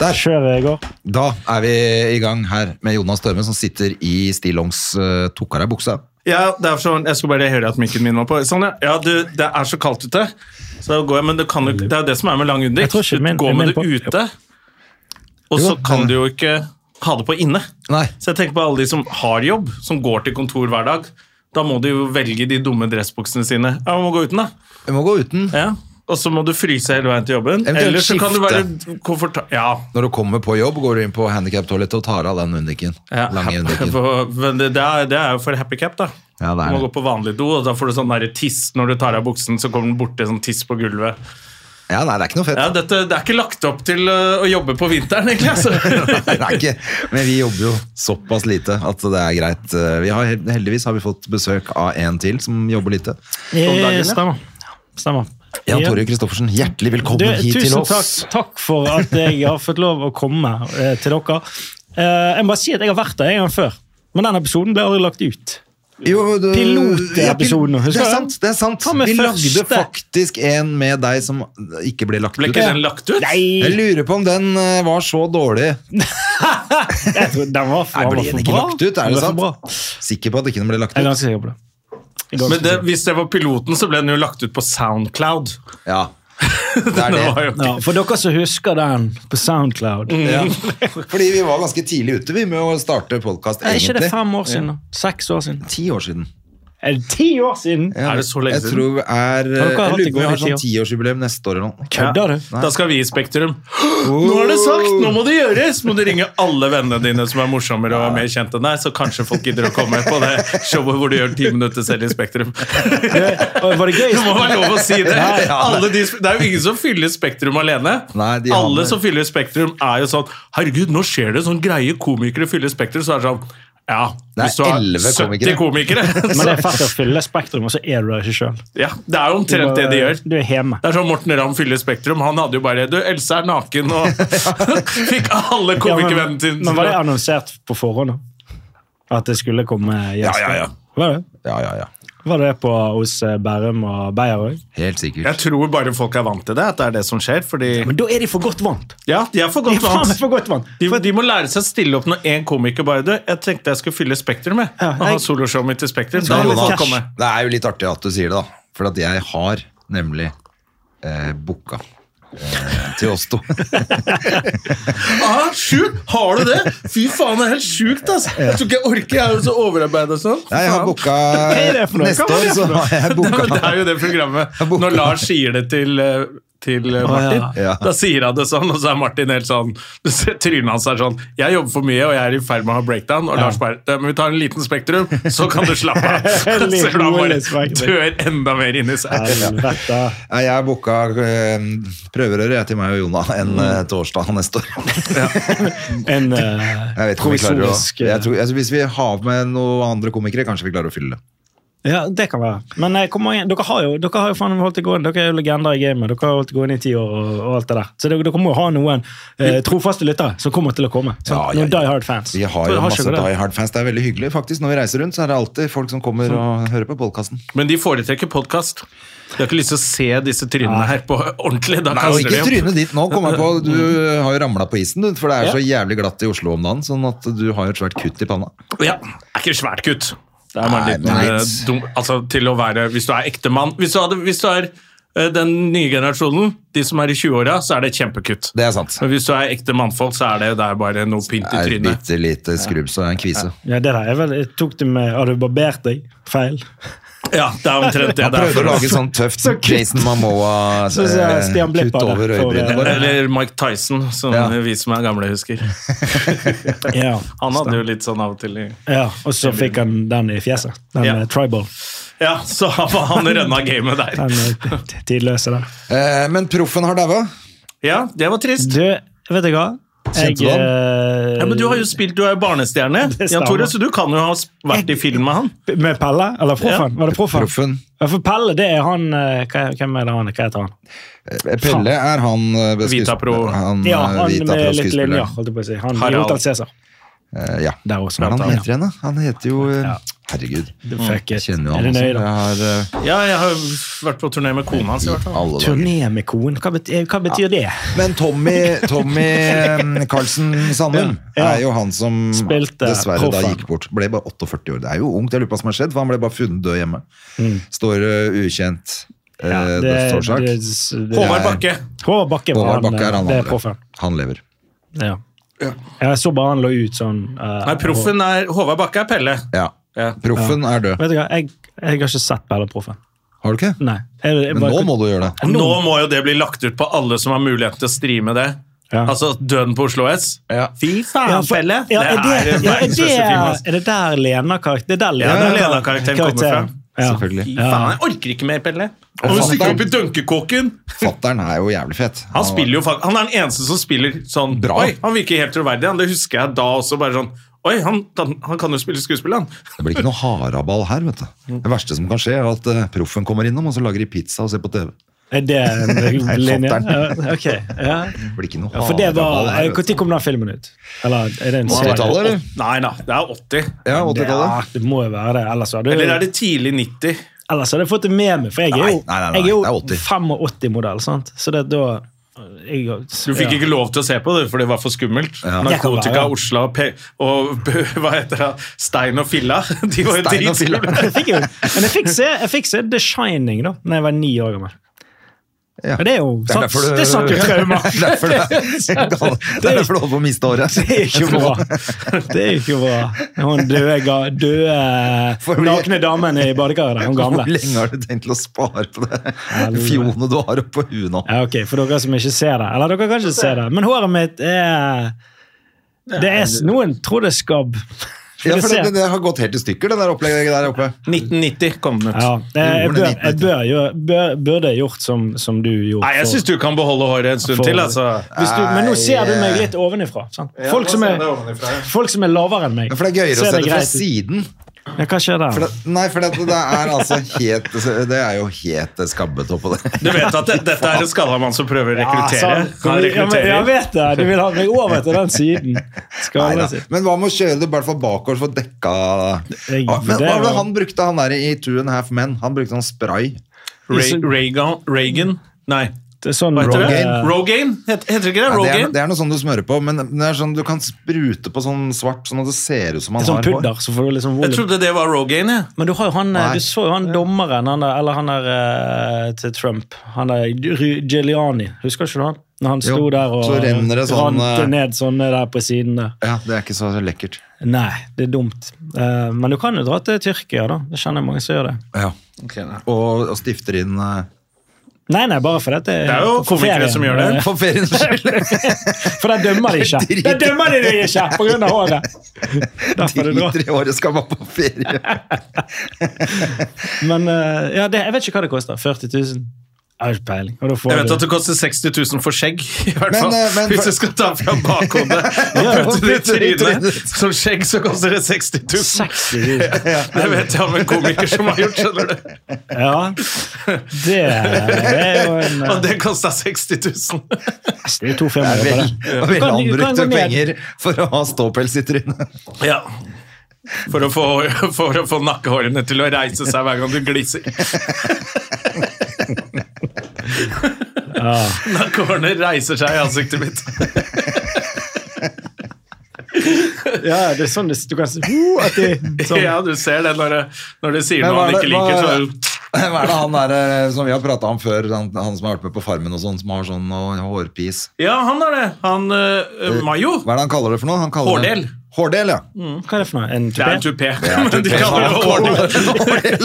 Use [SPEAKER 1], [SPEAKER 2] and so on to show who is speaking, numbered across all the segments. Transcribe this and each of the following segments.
[SPEAKER 1] Sjøve i går.
[SPEAKER 2] Da er vi i gang her med Jonas Dørme, som sitter i stillongs uh, tok av deg buksa.
[SPEAKER 3] Ja, det er sånn, Jeg skulle bare høre at mikken min var på. Sånn, ja. ja, du, Det er så kaldt ute, så da går jeg, men det, kan jo, det er jo det som er med lang
[SPEAKER 1] Jeg
[SPEAKER 3] undik.
[SPEAKER 1] tror ikke min-
[SPEAKER 3] Du går med
[SPEAKER 1] min
[SPEAKER 3] det
[SPEAKER 1] på-
[SPEAKER 3] ute, og så kan du jo ikke ha det på inne.
[SPEAKER 2] Nei.
[SPEAKER 3] Så jeg tenker på alle de som har jobb, som går til kontor hver dag. Da må du jo velge de dumme dressbuksene sine. Ja, man må gå uten, da.
[SPEAKER 2] Du må gå uten
[SPEAKER 3] Ja. Og så må du fryse hele veien til jobben.
[SPEAKER 2] Eventuelt
[SPEAKER 3] Eller så kan du være
[SPEAKER 2] skifte.
[SPEAKER 3] komfortabel Ja.
[SPEAKER 2] når du kommer på jobb. Går du inn på handikaptoalettet og tar av den undiken.
[SPEAKER 3] ja.
[SPEAKER 2] Lange undiken.
[SPEAKER 3] Men det, det, er, det er jo for happy cap, da.
[SPEAKER 2] Ja,
[SPEAKER 3] Du
[SPEAKER 2] det er
[SPEAKER 3] må gå
[SPEAKER 2] det.
[SPEAKER 3] på vanlig do, og da får du sånn der tiss når du tar av buksen. Så kommer den borti sånn tiss på gulvet.
[SPEAKER 2] Ja, nei, det er ikke noe fett.
[SPEAKER 3] Ja, dette, Det er ikke lagt opp til øh, å jobbe på vinteren, egentlig. altså.
[SPEAKER 2] Nei, det er ikke. Men vi jobber jo såpass lite at det er greit. Eh, Vi har, heldigvis har vi fått besøk av en til som jobber lite.
[SPEAKER 3] dagen, ja.
[SPEAKER 1] Eh, Stemmer. Stemmer.
[SPEAKER 2] Jan
[SPEAKER 1] Ja.
[SPEAKER 2] Torje Kristoffersen, hjertelig velkommen
[SPEAKER 1] Du,
[SPEAKER 2] hit til
[SPEAKER 1] tusen
[SPEAKER 2] oss.
[SPEAKER 1] takk, takk for at jeg har fått lov å komme eh, til dere. Eh, jeg må bare si at jeg har vært der en gang før, men den episoden ble aldri lagt ut.
[SPEAKER 2] Jo, du-
[SPEAKER 1] Pilotepisoden,
[SPEAKER 2] Ja, pil-
[SPEAKER 1] husker
[SPEAKER 2] Det er
[SPEAKER 1] du?
[SPEAKER 2] sant. det er sant.
[SPEAKER 1] Ta med
[SPEAKER 2] Vi
[SPEAKER 1] første.
[SPEAKER 2] lagde faktisk en med deg som ikke ble lagt
[SPEAKER 3] Ble
[SPEAKER 2] ut.
[SPEAKER 3] ikke den lagt ut?
[SPEAKER 2] Jeg
[SPEAKER 1] Nei,
[SPEAKER 2] lurer på om den eh, var så dårlig.
[SPEAKER 1] jeg tror den var for,
[SPEAKER 2] Nei,
[SPEAKER 1] den var
[SPEAKER 2] ble den
[SPEAKER 1] for
[SPEAKER 2] ikke
[SPEAKER 1] bra.
[SPEAKER 2] lagt ut? Er
[SPEAKER 1] Den
[SPEAKER 2] det
[SPEAKER 1] var for bra.
[SPEAKER 2] sant? Sikker på at ikke den ble lagt
[SPEAKER 1] Jeg er
[SPEAKER 2] ut?
[SPEAKER 1] ganske sikker på det. Jeg er ganske
[SPEAKER 3] Men det,
[SPEAKER 1] sikker på det.
[SPEAKER 3] hvis det var piloten, så ble den jo lagt ut på Soundcloud.
[SPEAKER 2] Ja. Det er
[SPEAKER 3] Det
[SPEAKER 2] det.
[SPEAKER 3] var jo
[SPEAKER 1] Ja, for dere som husker den på Soundcloud
[SPEAKER 3] Mm.
[SPEAKER 2] Ja. Fordi vi var ganske tidlig ute vi med å starte podkast,
[SPEAKER 1] Er ikke det
[SPEAKER 2] egentlig.
[SPEAKER 1] fem år siden? da? Seks år siden?
[SPEAKER 2] Ti år siden.
[SPEAKER 1] Er det ti år siden?
[SPEAKER 2] Ja,
[SPEAKER 3] Er det så lenge
[SPEAKER 2] jeg
[SPEAKER 3] siden?
[SPEAKER 2] Tror vi er,
[SPEAKER 1] Har
[SPEAKER 2] jeg
[SPEAKER 1] dere hatt det
[SPEAKER 2] lurer på om vi
[SPEAKER 1] gående
[SPEAKER 2] har
[SPEAKER 1] i
[SPEAKER 2] sånn
[SPEAKER 1] ti
[SPEAKER 2] tiårsjubileum neste år eller noe.
[SPEAKER 1] Kødder du?
[SPEAKER 3] Da skal vi i Spektrum.
[SPEAKER 2] Oh.
[SPEAKER 3] Nå er det sagt! Nå må det gjøres! Må du ringe alle vennene dine som er morsommere og mer kjent enn deg, så kanskje folk gidder å komme på det showet hvor du gjør ti minutter selv i Spektrum.
[SPEAKER 1] Oi, Var det gøy?
[SPEAKER 3] Det må være lov å si det.
[SPEAKER 2] Ja, ja.
[SPEAKER 3] Alle de, det er jo ingen som fyller Spektrum alene.
[SPEAKER 2] Nei, de
[SPEAKER 3] Alle
[SPEAKER 2] har-
[SPEAKER 3] som fyller Spektrum, er jo sånn Herregud, nå skjer det sånn greie komikere fyller Spektrum. Så er det sånn Ja,
[SPEAKER 2] Det er
[SPEAKER 3] hvis du har
[SPEAKER 2] 11
[SPEAKER 3] 70 komikere,
[SPEAKER 1] Men det
[SPEAKER 3] så
[SPEAKER 1] er fett å fylle Spektrum, og så er du der ikke sjøl.
[SPEAKER 3] Ja, det er jo omtrent det de gjør.
[SPEAKER 1] Du er hjemme.
[SPEAKER 3] Det er sånn Morten Ramm fyller Spektrum. Han hadde jo bare Du, Else er naken, og fikk alle
[SPEAKER 1] Ja, men-
[SPEAKER 3] komikervennene sine
[SPEAKER 1] Men var det annonsert på forhånd? da? At det skulle komme gjester?
[SPEAKER 3] Ja, ja, ja.
[SPEAKER 1] Var det,
[SPEAKER 2] Ja, ja, ja.
[SPEAKER 1] var det på hos eh, Bærum og Beyer òg?
[SPEAKER 2] Helt sikkert.
[SPEAKER 3] Jeg tror bare folk er vant til det, at det er det som skjer. Fordi
[SPEAKER 1] Men da er de for godt vant!
[SPEAKER 3] Ja, de er for
[SPEAKER 1] De
[SPEAKER 3] godt
[SPEAKER 1] er faen meg
[SPEAKER 3] vant.
[SPEAKER 1] for godt vant.
[SPEAKER 3] De, de må lære seg å stille opp når én komiker bare du, Jeg tenkte jeg skulle fylle Spektrum, jeg.
[SPEAKER 1] Ja,
[SPEAKER 3] Og ha
[SPEAKER 1] jeg-
[SPEAKER 3] soloshowet mitt i Spektrum. Da
[SPEAKER 2] Men
[SPEAKER 3] må folk
[SPEAKER 2] Jonas,
[SPEAKER 3] komme.
[SPEAKER 2] det er jo litt artig at du sier det, da. For at jeg har nemlig eh, booka eh, til oss to.
[SPEAKER 3] Ah, sjukt! Har du det? Fy faen, det er helt sjukt, altså. Jeg tror ikke jeg orker. Jeg er jo så overarbeida sånn.
[SPEAKER 2] Nei, jeg har booka
[SPEAKER 1] er det for noe?
[SPEAKER 2] Neste
[SPEAKER 1] Hva var
[SPEAKER 2] år
[SPEAKER 1] det
[SPEAKER 2] så har jeg booka
[SPEAKER 3] Men det er jo det programmet.
[SPEAKER 2] boka.
[SPEAKER 3] Når Lars sier det til, eh, til eh, Martin,
[SPEAKER 2] ja. Ja.
[SPEAKER 3] da sier han det sånn, og så er Martin helt sånn Du ser trynet hans er sånn Jeg jobber for mye, og jeg er i ferd med å ha breakdown. Og Lars bare «Ja, Men vi tar en liten Spektrum, så kan du slappe av. Så
[SPEAKER 1] Liten
[SPEAKER 3] ser du han bare
[SPEAKER 1] rolig Spektrum.
[SPEAKER 3] dør enda mer inni seg.
[SPEAKER 1] Helvete.
[SPEAKER 2] Nei, jeg har booka eh, prøverøret jeg til meg og Jona en
[SPEAKER 1] Mm.
[SPEAKER 2] eh, torsdag neste år.
[SPEAKER 1] En eh,
[SPEAKER 2] Jeg vet ikke om vi klarer å
[SPEAKER 1] provisorisk eh,
[SPEAKER 2] jeg tror, altså, Hvis vi har med noen andre komikere, kanskje vi klarer å fylle det.
[SPEAKER 1] Ja, det kan være. Men eh, hvor mange, dere har jo, dere har jo faen holdt det gående. Dere er jo legender i gamet. Dere har holdt det gående i ti år og, og alt det der. Så dere, dere må jo ha noen eh, trofaste lyttere som kommer til å komme. Sånn,
[SPEAKER 2] Ja, ja,
[SPEAKER 1] Noen Die Hard-fans.
[SPEAKER 2] Vi har
[SPEAKER 1] Så
[SPEAKER 2] jo
[SPEAKER 1] dere
[SPEAKER 2] masse
[SPEAKER 1] ikke det.
[SPEAKER 2] Die Hard-fans. Det er veldig hyggelig. faktisk. Når vi reiser rundt, så er det alltid folk som kommer og hører på podkasten.
[SPEAKER 3] Men de foretrekker podkast. De har ikke lyst til å se disse trynene her på ordentlig. Da
[SPEAKER 2] Nei, og
[SPEAKER 3] kaster de
[SPEAKER 2] ikke
[SPEAKER 3] opp.
[SPEAKER 2] trynet ditt nå, kom jeg på. Du
[SPEAKER 1] Mm.
[SPEAKER 2] har jo ramla på isen, du. For det er så jævlig glatt i Oslo om dagen, sånn at du har jo et svært kutt i panna.
[SPEAKER 3] Ja, er ikke svært kutt. Det er bare
[SPEAKER 2] Nei,
[SPEAKER 3] litt
[SPEAKER 2] men-
[SPEAKER 3] eh, dum, altså, til å være, Hvis du er ektemann hvis, du hadde- hvis du er eh, den nye generasjonen, de som er i 20-åra, så er det et kjempekutt.
[SPEAKER 2] Det er sant.
[SPEAKER 3] Men hvis du er ekte mannfolk, så er det der bare noe pynt i
[SPEAKER 2] Er et
[SPEAKER 3] trynet.
[SPEAKER 2] bitte lite skrubbs og en kvise.
[SPEAKER 1] Ja, det der er vel, jeg tok det med, Har du barbert deg? Feil.
[SPEAKER 3] Ja, det er omtrent det.
[SPEAKER 2] Han
[SPEAKER 3] det er
[SPEAKER 2] prøvde å
[SPEAKER 3] for
[SPEAKER 2] lage
[SPEAKER 3] oss.
[SPEAKER 2] sånn tøft
[SPEAKER 1] Så kutt.
[SPEAKER 2] Jason
[SPEAKER 1] Så ser jeg Stian Blipp
[SPEAKER 2] Mamoa-kutt
[SPEAKER 1] av
[SPEAKER 2] over
[SPEAKER 1] det, for-
[SPEAKER 2] øyebrynene våre.
[SPEAKER 3] Eller Mike Tyson, som
[SPEAKER 2] Ja.
[SPEAKER 3] vi som er gamle, husker.
[SPEAKER 1] Ja,
[SPEAKER 3] Han hadde jo litt sånn av og til i
[SPEAKER 1] ja Og så fikk han den i fjeset. Den
[SPEAKER 3] Ja.
[SPEAKER 1] eh, tribal.
[SPEAKER 3] Ja, så han, han rønna gamet der.
[SPEAKER 1] Den eh, t- tidløse der.
[SPEAKER 2] Eh, Men proffen har daua.
[SPEAKER 3] Ja, det var trist.
[SPEAKER 1] Du, vet du hva?
[SPEAKER 2] Kjente du
[SPEAKER 1] eh,
[SPEAKER 3] Ja, men du har jo spilt, du er jo barnestjerne,
[SPEAKER 1] Det
[SPEAKER 3] Jan Tore,
[SPEAKER 1] stemmer.
[SPEAKER 3] så du kan jo ha vært i film med han.
[SPEAKER 1] Med Pelle? Eller Proffen? Var det Proffen?
[SPEAKER 2] Proffen.
[SPEAKER 1] Ja, for Pelle, det er han eh, hva- Hvem er det han er? Hva heter han?
[SPEAKER 2] Pelle er han eh, ved
[SPEAKER 3] Vita
[SPEAKER 2] skuesp-
[SPEAKER 3] Pro.
[SPEAKER 2] Han, eh,
[SPEAKER 1] Ja, han med litt
[SPEAKER 2] skuespiller.
[SPEAKER 1] linjer, holdt jeg på å si. Han i
[SPEAKER 3] Harald.
[SPEAKER 1] Hotel Cæsar.
[SPEAKER 2] Eh, ja.
[SPEAKER 1] Der også,
[SPEAKER 2] Hva er det han
[SPEAKER 1] blant
[SPEAKER 2] heter igjen, da? Han heter jo eh, Herregud.
[SPEAKER 1] Fuck
[SPEAKER 2] Jeg
[SPEAKER 1] it.
[SPEAKER 2] kjenner jo
[SPEAKER 1] Er
[SPEAKER 2] han
[SPEAKER 1] det
[SPEAKER 2] også.
[SPEAKER 1] nøye, da?
[SPEAKER 2] Jeg har eh,
[SPEAKER 3] Ja, jeg har vært på turné med kona hans i hvert fall.
[SPEAKER 2] alle dager.
[SPEAKER 1] Turné med konen, hva betyr, hva betyr det?
[SPEAKER 2] Men Tommy, Tommy eh, Carlsen Sandum
[SPEAKER 1] Ja.
[SPEAKER 2] er jo han som
[SPEAKER 1] Spilte
[SPEAKER 2] dessverre da
[SPEAKER 1] proffen.
[SPEAKER 2] gikk bort. Ble bare 48 år. Det er jo ungt, jeg lurer på hva som har skjedd, for han ble bare funnet død hjemme. Står eh, ukjent uh,
[SPEAKER 1] Mm. Ja,
[SPEAKER 2] dødsårsak.
[SPEAKER 1] det- det-
[SPEAKER 3] Håvard Bakke.
[SPEAKER 1] Håvard Bakke, var eh,
[SPEAKER 2] Håvard Bakke er han
[SPEAKER 1] det er
[SPEAKER 2] andre.
[SPEAKER 1] proffen.
[SPEAKER 2] Han lever.
[SPEAKER 1] Ja. Jeg så bare han lå ut sånn eh,
[SPEAKER 3] Nei, proffen er Håvard Bakke er Pelle.
[SPEAKER 2] Ja.
[SPEAKER 3] Ja.
[SPEAKER 2] Proffen er
[SPEAKER 1] og-
[SPEAKER 2] død.
[SPEAKER 1] Vet du hva, jeg, jeg har ikke sett Pelle Proffen.
[SPEAKER 2] Har du ikke?
[SPEAKER 1] Nei. Jeg, jeg
[SPEAKER 2] Men nå må du gjøre det.
[SPEAKER 3] Nå må jo det bli lagt ut på alle som har muligheten til å streame det.
[SPEAKER 1] Ja.
[SPEAKER 3] Altså Døden på Oslo S. Fy faen,
[SPEAKER 1] ja, for,
[SPEAKER 3] Pelle!
[SPEAKER 1] ja, er,
[SPEAKER 3] en
[SPEAKER 1] det, ja, er,
[SPEAKER 3] verdensmeste film. ass.
[SPEAKER 1] det, er det der Lena karakter, det er der Lena,
[SPEAKER 3] Ja, det er Lena-karakteren kommer fra.
[SPEAKER 1] Ja.
[SPEAKER 2] Selvfølgelig.
[SPEAKER 3] Fy faen, jeg orker ikke mer, Pelle. Og du stikker opp i dunkekåken!
[SPEAKER 2] Fattern er jo jævlig fet.
[SPEAKER 3] Han, spiller jo, fak- han er den eneste som spiller sånn
[SPEAKER 2] Bra.
[SPEAKER 3] Oi, han virker helt troverdig. han. Det husker jeg da også. bare sånn Oi, han, han, han kan jo spille skuespill, han.
[SPEAKER 2] Det blir ikke noe haraball her, vet du.
[SPEAKER 1] Mm.
[SPEAKER 2] Det verste som kan skje, er at eh, proffen kommer innom, og så lager de pizza og ser på TV.
[SPEAKER 1] Er det
[SPEAKER 2] Nei,
[SPEAKER 1] en eh, linje?
[SPEAKER 2] fatteren.
[SPEAKER 1] Ja, ok, ja.
[SPEAKER 2] Det blir ikke noe
[SPEAKER 1] Ja, for det var,
[SPEAKER 2] haraball her, vet
[SPEAKER 1] Når
[SPEAKER 2] du.
[SPEAKER 1] kom den filmen ut? Eller er det en serie?
[SPEAKER 2] 80-tallet, eller?
[SPEAKER 3] Nei, nei, det er 80.
[SPEAKER 2] Ja,
[SPEAKER 1] Ja,
[SPEAKER 2] 80-tallet.
[SPEAKER 1] det må jo være det. Ellers hadde
[SPEAKER 3] Eller er det tidlig 90?
[SPEAKER 1] Ellers hadde jeg fått det med meg, for jeg er
[SPEAKER 2] Nei,
[SPEAKER 1] jo,
[SPEAKER 2] nei, nei, nei,
[SPEAKER 1] jeg
[SPEAKER 2] det
[SPEAKER 1] er
[SPEAKER 2] er
[SPEAKER 1] jo 85-modell. sant? Så det er da jeg,
[SPEAKER 3] Du fikk ikke lov til å se på det, for det var for skummelt.
[SPEAKER 1] Det kan
[SPEAKER 3] Narkotika,
[SPEAKER 1] være.
[SPEAKER 3] Osla og, pe og p- hva heter det, Stein og Filla. De var jo
[SPEAKER 2] Stein og Filla.
[SPEAKER 3] dritskumle.
[SPEAKER 1] Jeg fikk jo, men jeg fikk, se, jeg fikk se The Shining da når jeg var ni år gammel.
[SPEAKER 2] Ja.
[SPEAKER 1] Men det er jo
[SPEAKER 2] Det er
[SPEAKER 1] sant,
[SPEAKER 2] derfor du-
[SPEAKER 1] det satt jo traumer.
[SPEAKER 2] Det er derfor det det er derfor du holder på å miste håret.
[SPEAKER 1] Det er ikke bra. Det er ikke bra. Hun døde, ga- døde
[SPEAKER 2] For vi-
[SPEAKER 1] nakne damen i badekaret. der, Hun gamle.
[SPEAKER 2] Hvor lenge har du tenkt å spare på det fjonet du har oppå huet nå?
[SPEAKER 1] Ja, ok, For dere som ikke ser det. Eller dere kan ikke se det, men håret mitt er det er, Noen tror det er skabb.
[SPEAKER 2] Ja,
[SPEAKER 1] Skal vi
[SPEAKER 2] for
[SPEAKER 1] se.
[SPEAKER 2] det, det har gått helt i stykker, det der opplegget der oppe.
[SPEAKER 3] 1990 kom den ut.
[SPEAKER 1] Ja, jeg, jeg,
[SPEAKER 2] Gjorde det
[SPEAKER 1] bør,
[SPEAKER 2] litt
[SPEAKER 1] jeg bør, gjøre- bør, burde gjort som, som du gjorde.
[SPEAKER 3] Nei, jeg
[SPEAKER 1] for-
[SPEAKER 3] syns du kan beholde håret en stund
[SPEAKER 1] for-
[SPEAKER 3] til, altså.
[SPEAKER 1] Hvis du, men nå ser du meg litt ovenifra. Sant? Folk, som er, folk som er lavere enn meg.
[SPEAKER 2] Ja, For det er gøyere å
[SPEAKER 1] ser
[SPEAKER 2] se det fra
[SPEAKER 1] greit ut.
[SPEAKER 2] siden.
[SPEAKER 1] Ja, hva skjer
[SPEAKER 2] For
[SPEAKER 1] der?
[SPEAKER 2] det, nei, for det, det er altså helt Det er jo helt skabbete oppå det.
[SPEAKER 3] Du vet at det, dette er en skalla mann som prøver å rekruttere.
[SPEAKER 1] sant.
[SPEAKER 3] Han
[SPEAKER 1] Ja, men jeg
[SPEAKER 3] rekrutterer.
[SPEAKER 1] vet det! Du vil ha meg over til den siden. Skal
[SPEAKER 2] Neida.
[SPEAKER 1] jeg si.
[SPEAKER 2] Men hva med å kjøre det i hvert fall bakover for dekka
[SPEAKER 1] Jeg-
[SPEAKER 2] Hva men
[SPEAKER 1] det
[SPEAKER 2] hva var det
[SPEAKER 1] var-
[SPEAKER 2] han brukte, han der i Two and a Half Men? Han brukte sånn spray.
[SPEAKER 3] Ray, Reagan, Reagan? Nei,
[SPEAKER 1] Det er sånn
[SPEAKER 3] hva heter det?
[SPEAKER 1] eh,
[SPEAKER 3] Rogaine? Het- Heter det ikke det?
[SPEAKER 2] Ja, det, er,
[SPEAKER 3] Rogaine?
[SPEAKER 2] det er noe sånn du smører på, men det er sånn du kan sprute på sånn svart, sånn at det ser ut som
[SPEAKER 1] det
[SPEAKER 2] han
[SPEAKER 1] er sånn
[SPEAKER 2] har hår.
[SPEAKER 1] pudder, så får du liksom
[SPEAKER 3] Jeg
[SPEAKER 1] volum.
[SPEAKER 3] trodde det var Rogaine. jeg.
[SPEAKER 1] Men du, har jo han, eh,
[SPEAKER 2] Nei.
[SPEAKER 1] du så jo han dommeren, han der, eller han der eh, til Trump. Han der Ru- Giuliani. Husker ikke du han? Når han sto
[SPEAKER 2] Jo,
[SPEAKER 1] der og
[SPEAKER 2] så renner det sånn, eh,
[SPEAKER 1] rant ned sånne der på siden der.
[SPEAKER 2] Ja, det er ikke så lekkert.
[SPEAKER 1] Nei, det er dumt. Eh, men du kan jo dra til Tyrkia, da. Det kjenner jeg mange som gjør det.
[SPEAKER 2] Ja. og, og stifter inn eh,
[SPEAKER 1] Nei, nei, bare fordi at det
[SPEAKER 3] Det er jo
[SPEAKER 1] for
[SPEAKER 3] komikere
[SPEAKER 1] ferien.
[SPEAKER 3] som gjør det.
[SPEAKER 2] for feriens skyld.
[SPEAKER 1] For der dømmer de ikke. Der dømmer de deg ikke på grunn av håret! Derfor er det bra.
[SPEAKER 2] Driter i året, skal bare på ferie.
[SPEAKER 1] Men eh, ja, det, jeg vet ikke hva det koster. 40 000? Jeg har ikke peiling. Og da får
[SPEAKER 3] Jeg vet
[SPEAKER 1] du-
[SPEAKER 3] at det koster 60 000 for skjegg, i hvert
[SPEAKER 2] Men,
[SPEAKER 3] fall.
[SPEAKER 2] eh, men-
[SPEAKER 3] Hvis du skal ta fra bakhodet og putte det i
[SPEAKER 2] putte det i
[SPEAKER 3] trynet som skjegg, så koster det 60 000.
[SPEAKER 1] 60 000.
[SPEAKER 3] Det vet jeg om en komiker som har gjort, skjønner du.
[SPEAKER 1] Ja. Det, det er jo en
[SPEAKER 3] Og
[SPEAKER 1] eh,
[SPEAKER 3] det kosta 60 000.
[SPEAKER 1] Det er jo to
[SPEAKER 2] Det
[SPEAKER 1] firmaer
[SPEAKER 2] er
[SPEAKER 1] på
[SPEAKER 2] vel,
[SPEAKER 1] det.
[SPEAKER 2] det
[SPEAKER 1] Du
[SPEAKER 2] er vel
[SPEAKER 1] kan- du kan
[SPEAKER 2] anbrukte
[SPEAKER 1] gå ned.
[SPEAKER 2] penger for å ha ståpels i trynet.
[SPEAKER 3] Ja. For å, få, for å få nakkehårene til å reise seg hver gang du gliser. Nakkehårene reiser seg i ansiktet mitt.
[SPEAKER 1] Ja, det er sånn det, du kan si uh, at de, sånn.
[SPEAKER 3] Ja, du ser det når, du- når du sier
[SPEAKER 2] Men
[SPEAKER 3] noe
[SPEAKER 2] hva
[SPEAKER 3] han
[SPEAKER 2] er
[SPEAKER 3] ikke
[SPEAKER 2] det- hva
[SPEAKER 3] liker.
[SPEAKER 2] er
[SPEAKER 3] Så,
[SPEAKER 2] det- Hva er det han der eh, som vi har prata om før, han, han som har vært med på Farmen og sånn, som har sånn og hårpis?
[SPEAKER 3] ja, han er det. Han
[SPEAKER 2] Eh,
[SPEAKER 3] uh, Mayo.
[SPEAKER 2] Hva er det han kaller det for noe? Han kaller
[SPEAKER 3] Hårdel.
[SPEAKER 2] Det, hårdel, ja.
[SPEAKER 1] Hva er det for noe? En
[SPEAKER 3] Det er en
[SPEAKER 1] tupé?
[SPEAKER 3] tupé. Men de kaller det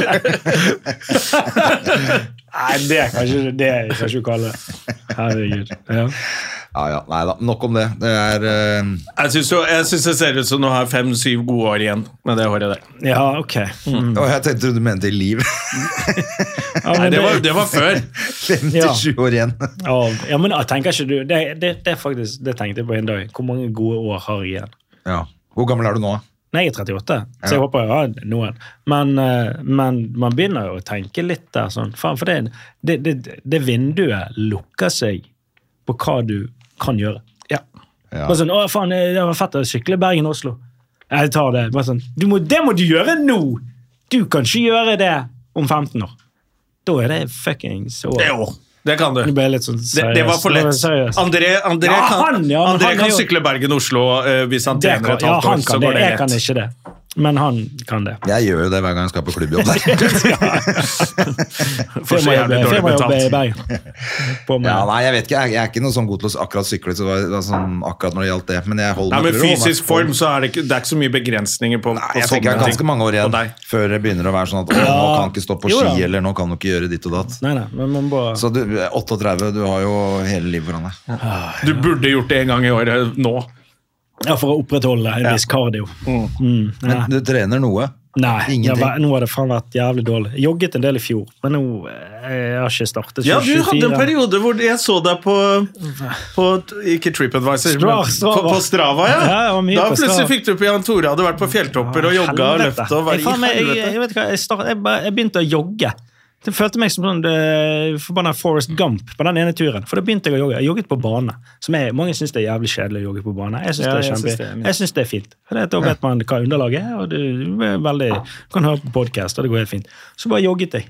[SPEAKER 3] hårdel.
[SPEAKER 1] Nei, det kan ikke det kan ikke du kalle det. Herregud. Ja.
[SPEAKER 2] Ja, ja, nei da. Nok om det. Det er eh,
[SPEAKER 3] Jeg syns jo- jeg syns det ser ut som du har fem-syv gode år igjen med det håret der.
[SPEAKER 1] Ja, ok. Mm.
[SPEAKER 2] Å, jeg tenkte du mente i liv.
[SPEAKER 1] Ja, men
[SPEAKER 3] Nei, det var, det var før.
[SPEAKER 2] 57
[SPEAKER 1] Ja.
[SPEAKER 2] år igjen.
[SPEAKER 1] Ja, ja, men jeg tenker ikke du det, det, det, er faktisk, det tenkte jeg på en dag. Hvor mange gode år har jeg igjen?
[SPEAKER 2] Ja. Hvor gammel er du nå?
[SPEAKER 1] Nei, jeg er 38, så jeg håper jeg har noen. Men, eh, men man begynner jo å tenke litt der. sånn, faen, For det, det, det, det vinduet lukker seg på hva du kan gjøre. Ja.
[SPEAKER 2] Ja.
[SPEAKER 1] Bare sånn, å faen, det var fett å sykle Bergen-Oslo. Jeg tar det. bare sånn, du må, Det må du gjøre nå! Du kan ikke gjøre det om 15 år. Da er det fuckings over.
[SPEAKER 3] Jo, det kan du.
[SPEAKER 1] Nå ble jeg litt sånn
[SPEAKER 3] Det, det var for
[SPEAKER 1] Nå ble jeg
[SPEAKER 3] lett.
[SPEAKER 1] seriøs.
[SPEAKER 3] André, André
[SPEAKER 1] Ja,
[SPEAKER 3] kan,
[SPEAKER 1] han, ja, men
[SPEAKER 3] André
[SPEAKER 1] han er
[SPEAKER 3] kan
[SPEAKER 1] jo-
[SPEAKER 3] sykle Bergen-Oslo eh, hvis han
[SPEAKER 1] Det
[SPEAKER 3] trener
[SPEAKER 1] kan,
[SPEAKER 3] et
[SPEAKER 1] ja,
[SPEAKER 3] halvt år,
[SPEAKER 1] han
[SPEAKER 3] så
[SPEAKER 1] kan det.
[SPEAKER 3] går det
[SPEAKER 1] Jeg kan
[SPEAKER 3] lett.
[SPEAKER 1] ikke det. Men han kan det.
[SPEAKER 2] Jeg gjør jo det hver gang jeg skal på klubbjobb.
[SPEAKER 3] For så jævlig dårlig
[SPEAKER 1] Firmajobb i
[SPEAKER 3] betalt.
[SPEAKER 1] Bergen. På meg.
[SPEAKER 2] ja, nei, jeg vet ikke. Jeg, jeg er ikke noe sånn god til å akkurat sykle, så det var, det var sånn akkurat når det gjaldt det. Men jeg holder
[SPEAKER 3] Nei,
[SPEAKER 2] meg
[SPEAKER 3] men
[SPEAKER 2] til å holde meg-
[SPEAKER 3] fysisk form, så er det ikke, det er ikke så mye begrensninger på,
[SPEAKER 2] Nei,
[SPEAKER 3] på
[SPEAKER 2] jeg tenker det er
[SPEAKER 3] sånne
[SPEAKER 2] ganske
[SPEAKER 3] ting.
[SPEAKER 2] mange år
[SPEAKER 3] På
[SPEAKER 2] igjen
[SPEAKER 3] deg.
[SPEAKER 2] før det begynner å være sånn at å, nå kan ikke stå på
[SPEAKER 1] Jo da.
[SPEAKER 2] ski, eller nå kan du ikke gjøre ditt og datt.
[SPEAKER 1] Nei, nei, men man bare
[SPEAKER 2] Så du, 38, du har jo hele livet foran deg.
[SPEAKER 3] Du burde gjort det en gang i året nå.
[SPEAKER 1] Ja, for å opprettholde en viss kardio. Mm, nei,
[SPEAKER 2] Men du trener noe.
[SPEAKER 1] nei jeg,
[SPEAKER 2] Ingenting.
[SPEAKER 1] var- nå har det faen vært jævlig dårlig. Jeg Jogget en del i fjor, men nå eh, jeg har ikke startet.
[SPEAKER 3] Ja, du hadde en
[SPEAKER 1] 24.
[SPEAKER 3] periode hvor jeg så deg på, på Ikke TripAdvisor,
[SPEAKER 1] Stra-
[SPEAKER 3] men på,
[SPEAKER 1] Strava.
[SPEAKER 3] på Strava. ja.
[SPEAKER 1] Ja, jeg var mye
[SPEAKER 3] da
[SPEAKER 1] på
[SPEAKER 3] plutselig
[SPEAKER 1] Strava.
[SPEAKER 3] fikk du på Jan Tore hadde vært på fjelltopper og jogga og
[SPEAKER 1] Helvete.
[SPEAKER 3] løfta. og var
[SPEAKER 1] Jeg, faen,
[SPEAKER 3] i
[SPEAKER 1] meg- jeg,
[SPEAKER 3] helvete.
[SPEAKER 1] jeg, vet ikke hva, jeg, start, jeg, bare- jeg begynte å jogge. Det følte meg som sånn eh, forbanna Forest Gump på den ene turen. For da begynte jeg å jogge. Jeg jogget på bane. Som jeg, mange syns det er jævlig kjedelig å jogge på bane. Jeg syns
[SPEAKER 3] Ja,
[SPEAKER 1] det, er
[SPEAKER 3] jeg
[SPEAKER 1] kjempe-
[SPEAKER 3] synes det er mye.
[SPEAKER 1] jeg synes det er fint. For det, da vet man hva underlaget er, og det er veldig, du kan høre på podkast, og det går helt fint. Så bare jogget jeg.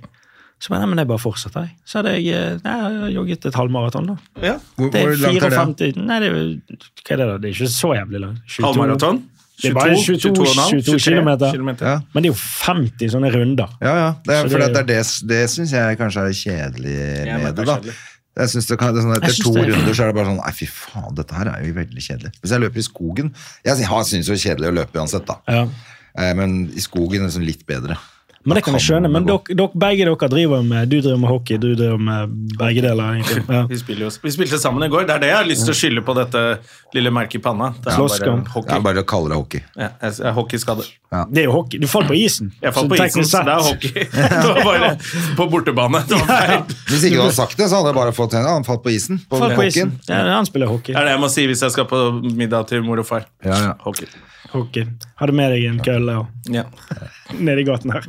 [SPEAKER 1] Så bare, nei, men jeg bare fortsetter, jeg. Så hadde jeg, eh, nei, jeg har jogget et halvmaraton, da.
[SPEAKER 3] Ja.
[SPEAKER 2] Hvor,
[SPEAKER 1] Det er
[SPEAKER 2] hvor langt er
[SPEAKER 1] 54
[SPEAKER 2] det?
[SPEAKER 1] Nei, det er, jo- hva er det, da? Det er ikke så jævlig langt. 22.
[SPEAKER 3] Halvmaraton?
[SPEAKER 1] Det er bare 22, 22 kilometer.
[SPEAKER 2] Ja.
[SPEAKER 1] Men det er jo 50 sånne runder.
[SPEAKER 2] Ja, ja. Det,
[SPEAKER 1] Så
[SPEAKER 2] er, for
[SPEAKER 1] det
[SPEAKER 2] det,
[SPEAKER 1] er
[SPEAKER 2] er det, det syns jeg kanskje er kjedelig
[SPEAKER 3] men det
[SPEAKER 2] med det,
[SPEAKER 3] er
[SPEAKER 2] da.
[SPEAKER 3] kjedelig.
[SPEAKER 2] Jeg synes det kan, det er sånn, etter
[SPEAKER 1] Jeg synes
[SPEAKER 2] to
[SPEAKER 1] det er-
[SPEAKER 2] runder så er det bare sånn Nei, fy faen, dette her er jo veldig kjedelig. Hvis jeg løper i skogen Jeg sy- har- synes jo det er kjedelig å løpe uansett, da.
[SPEAKER 1] Ja.
[SPEAKER 2] Eh, Men i skogen er det sånn litt bedre.
[SPEAKER 1] Men det kan jeg skjønne. Men dere, dere, begge dere driver med Du driver med hockey, du driver med begge deler. egentlig.
[SPEAKER 3] Vi,
[SPEAKER 1] Ja.
[SPEAKER 3] spiller jo, vi spilte sammen i går. Det er det jeg har lyst til å skylde på dette lille merket i panna. Det er bare
[SPEAKER 1] Slåsskamp.
[SPEAKER 2] Det
[SPEAKER 3] hockey.
[SPEAKER 2] er bare å kalle det hockey.
[SPEAKER 3] Ja, jeg- jeg er hockeyskade.
[SPEAKER 1] Det er jo hockey. Du falt på isen.
[SPEAKER 3] Jeg falt
[SPEAKER 1] Så
[SPEAKER 3] på isen, så
[SPEAKER 1] teknisk sett-
[SPEAKER 3] det er hockey. Det var bare på bortebane. Det var feil.
[SPEAKER 2] Hvis ikke du hadde sagt det, så hadde jeg bare fått en annen falt på isen. På
[SPEAKER 1] Falt på
[SPEAKER 2] hockeyen.
[SPEAKER 1] isen. Ja, han spiller hockey.
[SPEAKER 3] Det er det jeg må si hvis jeg skal på middag til mor og far.
[SPEAKER 2] Ja, ja.
[SPEAKER 3] Hockey.
[SPEAKER 1] hockey. Hadde med deg en kølle og
[SPEAKER 3] Ja.
[SPEAKER 1] nede i gaten her.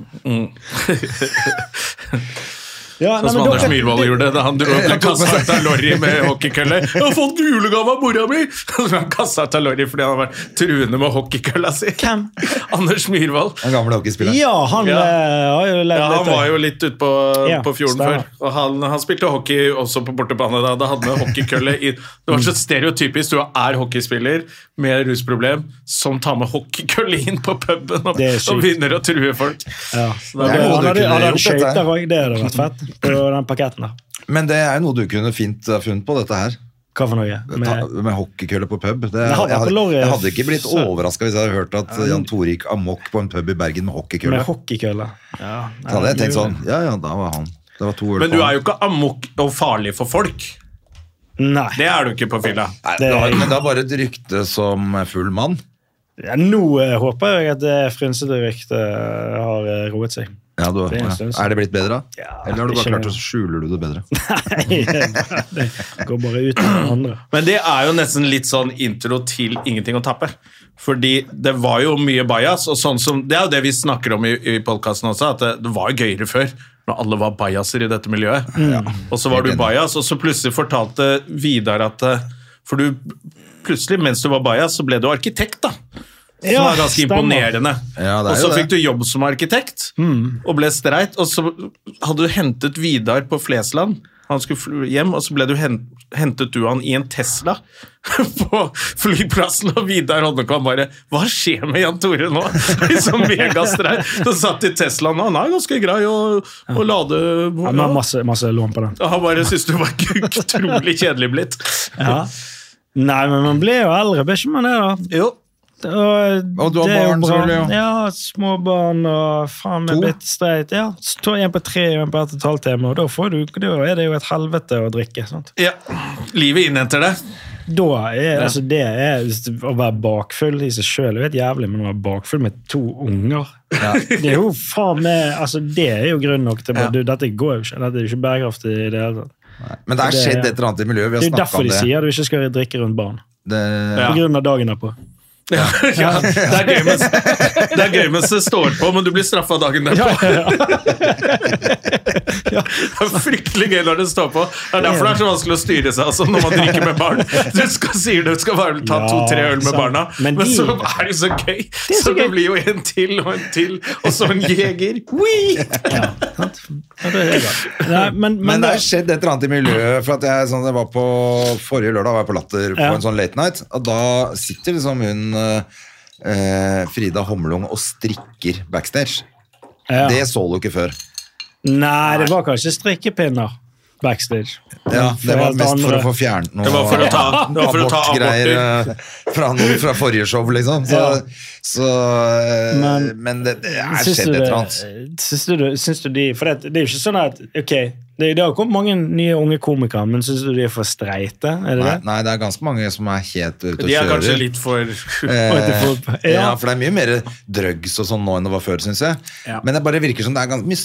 [SPEAKER 1] Ja,
[SPEAKER 3] Sånn
[SPEAKER 1] nei,
[SPEAKER 3] som
[SPEAKER 1] men
[SPEAKER 3] Anders
[SPEAKER 1] dere-
[SPEAKER 3] Myhrvold gjorde da han dro opp en kassa ut av Lorry med hockeykølle. 'Jeg har fått julegave av mora mi!' Så ble han kassa ut av Lorry fordi han har vært truende med hockeykølla si.
[SPEAKER 1] Hvem?
[SPEAKER 3] Anders Myhrvold.
[SPEAKER 2] Den gamle hockeyspilleren.
[SPEAKER 1] Ja, han
[SPEAKER 3] Ja.
[SPEAKER 1] eh, har jo levd
[SPEAKER 3] Ja, han
[SPEAKER 1] litt.
[SPEAKER 3] var jo litt ute på,
[SPEAKER 1] Ja,
[SPEAKER 3] på fjorden
[SPEAKER 1] stemmer.
[SPEAKER 3] før. Og han, han spilte hockey også på bortebane da. Da hadde han en hockeykølle i Det var så
[SPEAKER 1] Mm.
[SPEAKER 3] stereotypisk. Du er hockeyspiller med rusproblem som tar med hockeykølle inn på puben og,
[SPEAKER 1] Det er sykt.
[SPEAKER 3] og begynner å true folk.
[SPEAKER 1] Ja.
[SPEAKER 3] det
[SPEAKER 2] er
[SPEAKER 1] Han
[SPEAKER 2] noe du
[SPEAKER 1] hadde, han hadde
[SPEAKER 2] kunne gjort, dette her.
[SPEAKER 1] skøyter òg. Det hadde vært fett. På den parketten der.
[SPEAKER 2] Men det er jo noe du kunne fint ha funnet på, dette her.
[SPEAKER 1] Hva for noe?
[SPEAKER 2] Ta,
[SPEAKER 1] Med,
[SPEAKER 2] med hockeykølle på pub. Det,
[SPEAKER 1] hadde
[SPEAKER 2] jeg,
[SPEAKER 1] vært på
[SPEAKER 2] hadde,
[SPEAKER 1] Lorry.
[SPEAKER 2] jeg hadde ikke blitt
[SPEAKER 1] Så-
[SPEAKER 2] overraska hvis jeg hadde hørt at eh, Jan Tore gikk amok på en pub i Bergen med
[SPEAKER 1] med
[SPEAKER 2] hockeykølle.
[SPEAKER 1] hockeykølle. Ja,
[SPEAKER 2] Så hadde jeg tenkt sånn Ja, ja, da var han. Det var to øl
[SPEAKER 3] Men du er jo ikke amok og farlig for folk.
[SPEAKER 1] Nei.
[SPEAKER 3] Det er du ikke på fylla.
[SPEAKER 2] Nei,
[SPEAKER 1] Det-
[SPEAKER 2] det var, men det er bare et rykte som full mann.
[SPEAKER 1] Ja, nå eh, håper jeg at det frynsete ryktet har eh, roet seg.
[SPEAKER 2] Ja, du,
[SPEAKER 1] er en
[SPEAKER 2] ja.
[SPEAKER 1] stund siden.
[SPEAKER 2] Er det blitt bedre, da?
[SPEAKER 1] Ja,
[SPEAKER 2] Eller har du bare
[SPEAKER 1] ikke-
[SPEAKER 2] klart å skjule du det bedre?
[SPEAKER 1] Nei, det går bare ut over den andre.
[SPEAKER 3] Men det er jo nesten litt sånn intro til ingenting å tappe. Fordi det var jo mye bajas, og sånn som, det er jo det vi snakker om i, i podkasten også, at det, det var jo gøyere før. Når alle var bajaser i dette miljøet. Og så var du bajas, og så plutselig fortalte Vidar at eh, For du plutselig, mens du var bajas, så ble du arkitekt, da. Som
[SPEAKER 1] Ja,
[SPEAKER 3] var ganske
[SPEAKER 1] stemmer.
[SPEAKER 3] imponerende.
[SPEAKER 2] Ja, det er
[SPEAKER 3] og
[SPEAKER 2] jo
[SPEAKER 3] så
[SPEAKER 2] det.
[SPEAKER 3] fikk du jobb som arkitekt,
[SPEAKER 1] Mm.
[SPEAKER 3] og ble streit. Og så hadde du hentet Vidar på Flesland. Han skulle fly hjem, og så ble du hen- hentet du han i en Tesla på flyplassen, og Vidar Hodnekvam bare 'Hva skjer med Jan Tore nå?' Liksom megastreit. Så satt i Teslaen, og han er ganske grei å, å lade
[SPEAKER 1] Ja, men masse, masse lån på den.
[SPEAKER 3] Og Han bare syntes du var utrolig kjedelig blitt.
[SPEAKER 1] Ja. Nei, men man blir jo eldre, blir ikke man det, da?
[SPEAKER 3] Jo.
[SPEAKER 1] Og,
[SPEAKER 2] Og du har
[SPEAKER 1] det er jo
[SPEAKER 2] barn,
[SPEAKER 1] bra.
[SPEAKER 2] sa du, ja.
[SPEAKER 1] Ja, småbarn og faen meg
[SPEAKER 2] To?
[SPEAKER 1] blitt streit. Ja, så to, en på tre og en på ett og et halvt hjemme, og da, får du, da er det jo et helvete å drikke. Sant?
[SPEAKER 3] Ja. Livet innhenter det.
[SPEAKER 1] Da er, altså, det er Å være bakfull i seg sjøl er jo helt jævlig, men å være bakfull med to unger Det er jo faen meg altså, Det er jo grunn nok til bare,
[SPEAKER 2] Ja.
[SPEAKER 1] du, Dette går jo ikke. Dette er jo ikke bærekraftig i det hele tatt.
[SPEAKER 2] Men det har
[SPEAKER 1] Det-
[SPEAKER 2] skjedd et eller annet i miljøet. Vi
[SPEAKER 1] Det er jo
[SPEAKER 2] har snakket
[SPEAKER 1] derfor
[SPEAKER 2] om
[SPEAKER 1] de
[SPEAKER 2] det.
[SPEAKER 1] sier du ikke skal drikke rundt barn.
[SPEAKER 2] det
[SPEAKER 3] Ja.
[SPEAKER 1] På grunn av dagen derpå.
[SPEAKER 3] Ja, det, er gøy mens, det er gøy mens det står på, men du blir straffa dagen derpå. Det er fryktelig gøy når det står på. Det er derfor det er så vanskelig å styre seg altså, når man drikker med barn. Du skal, sier du skal bare ta
[SPEAKER 1] Ja,
[SPEAKER 3] to-tre øl med
[SPEAKER 1] sant.
[SPEAKER 3] barna,
[SPEAKER 1] Men
[SPEAKER 3] men,
[SPEAKER 1] de-
[SPEAKER 3] så er det så gøy.
[SPEAKER 1] er
[SPEAKER 3] så,
[SPEAKER 1] så
[SPEAKER 3] det
[SPEAKER 1] gøy.
[SPEAKER 3] blir jo en til og en til, og så en jeger. Wee!
[SPEAKER 1] Sant? Ja, det er bra. Nei, men,
[SPEAKER 2] Men
[SPEAKER 1] men
[SPEAKER 2] det
[SPEAKER 1] det,
[SPEAKER 2] har skjedd et eller annet i miljøet. For at jeg, sånn, jeg var på, forrige lørdag var jeg på Latter på
[SPEAKER 1] Ja.
[SPEAKER 2] en sånn late night, og da sitter liksom hun eh, eh, Frida Homlung og strikker backstage.
[SPEAKER 1] ja.
[SPEAKER 2] Det så du ikke før.
[SPEAKER 1] Nei, det var kanskje strikkepinner backstage.
[SPEAKER 2] Ja,
[SPEAKER 1] For
[SPEAKER 2] det var
[SPEAKER 1] helt
[SPEAKER 2] mest for å
[SPEAKER 1] andre-
[SPEAKER 2] få fjernet noe
[SPEAKER 3] Det var for å ta- det var for å ta
[SPEAKER 2] abortgreier eh, fra, noe fra forrige show, liksom. Så,
[SPEAKER 1] Ja.
[SPEAKER 2] så, eh, men,
[SPEAKER 1] Men-
[SPEAKER 2] det, det er
[SPEAKER 1] Syns
[SPEAKER 2] skjedd
[SPEAKER 1] du
[SPEAKER 2] et
[SPEAKER 1] det-
[SPEAKER 2] eller annet.
[SPEAKER 1] Syns du, det- syns du de For det, det er jo ikke sånn at Ok, det, det har kommet mange nye unge komikere, men syns du de er for streite? Er det
[SPEAKER 2] Nei,
[SPEAKER 1] det?
[SPEAKER 2] nei, det er ganske mange som er helt ute og kjører.
[SPEAKER 3] De er kanskje litt for
[SPEAKER 2] Eh,
[SPEAKER 1] Oi, det får-
[SPEAKER 2] ja.
[SPEAKER 1] ja.
[SPEAKER 2] for det er mye mer drugs og sånn nå enn det var før, syns jeg.
[SPEAKER 1] Ja.
[SPEAKER 2] Men det bare virker som det er ganske mye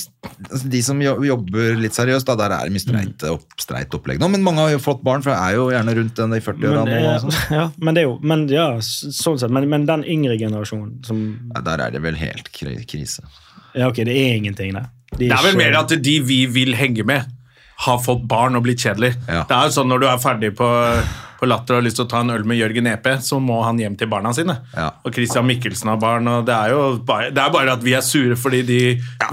[SPEAKER 2] altså, De som jo- jobber litt seriøst, da, der er det mye streit,
[SPEAKER 1] Mm.
[SPEAKER 2] opp, streit opplegg nå. Men mange har jo fått barn, for jeg er jo gjerne rundt den i 40-åra
[SPEAKER 1] Men,
[SPEAKER 2] nå. og
[SPEAKER 1] eh,
[SPEAKER 2] sånn.
[SPEAKER 1] ja, men det er jo men, ja, s- sånn sett, men, men den yngre generasjonen som
[SPEAKER 2] Nei, Der er det vel helt kri- krise.
[SPEAKER 1] Ja, ok, det er ingenting, det. De
[SPEAKER 3] Det er vel
[SPEAKER 1] ikke-
[SPEAKER 3] mer at de vi vil henge med, har fått barn og blitt kjedelig.
[SPEAKER 2] Ja.
[SPEAKER 3] Det er jo sånn når du er ferdig på, på Latter og har lyst til å ta en øl med Jørgen Epe, så må han hjem til barna sine.
[SPEAKER 2] Ja.
[SPEAKER 3] Og Christian Mikkelsen har barn, og det er jo bare, det er bare at vi er sure fordi de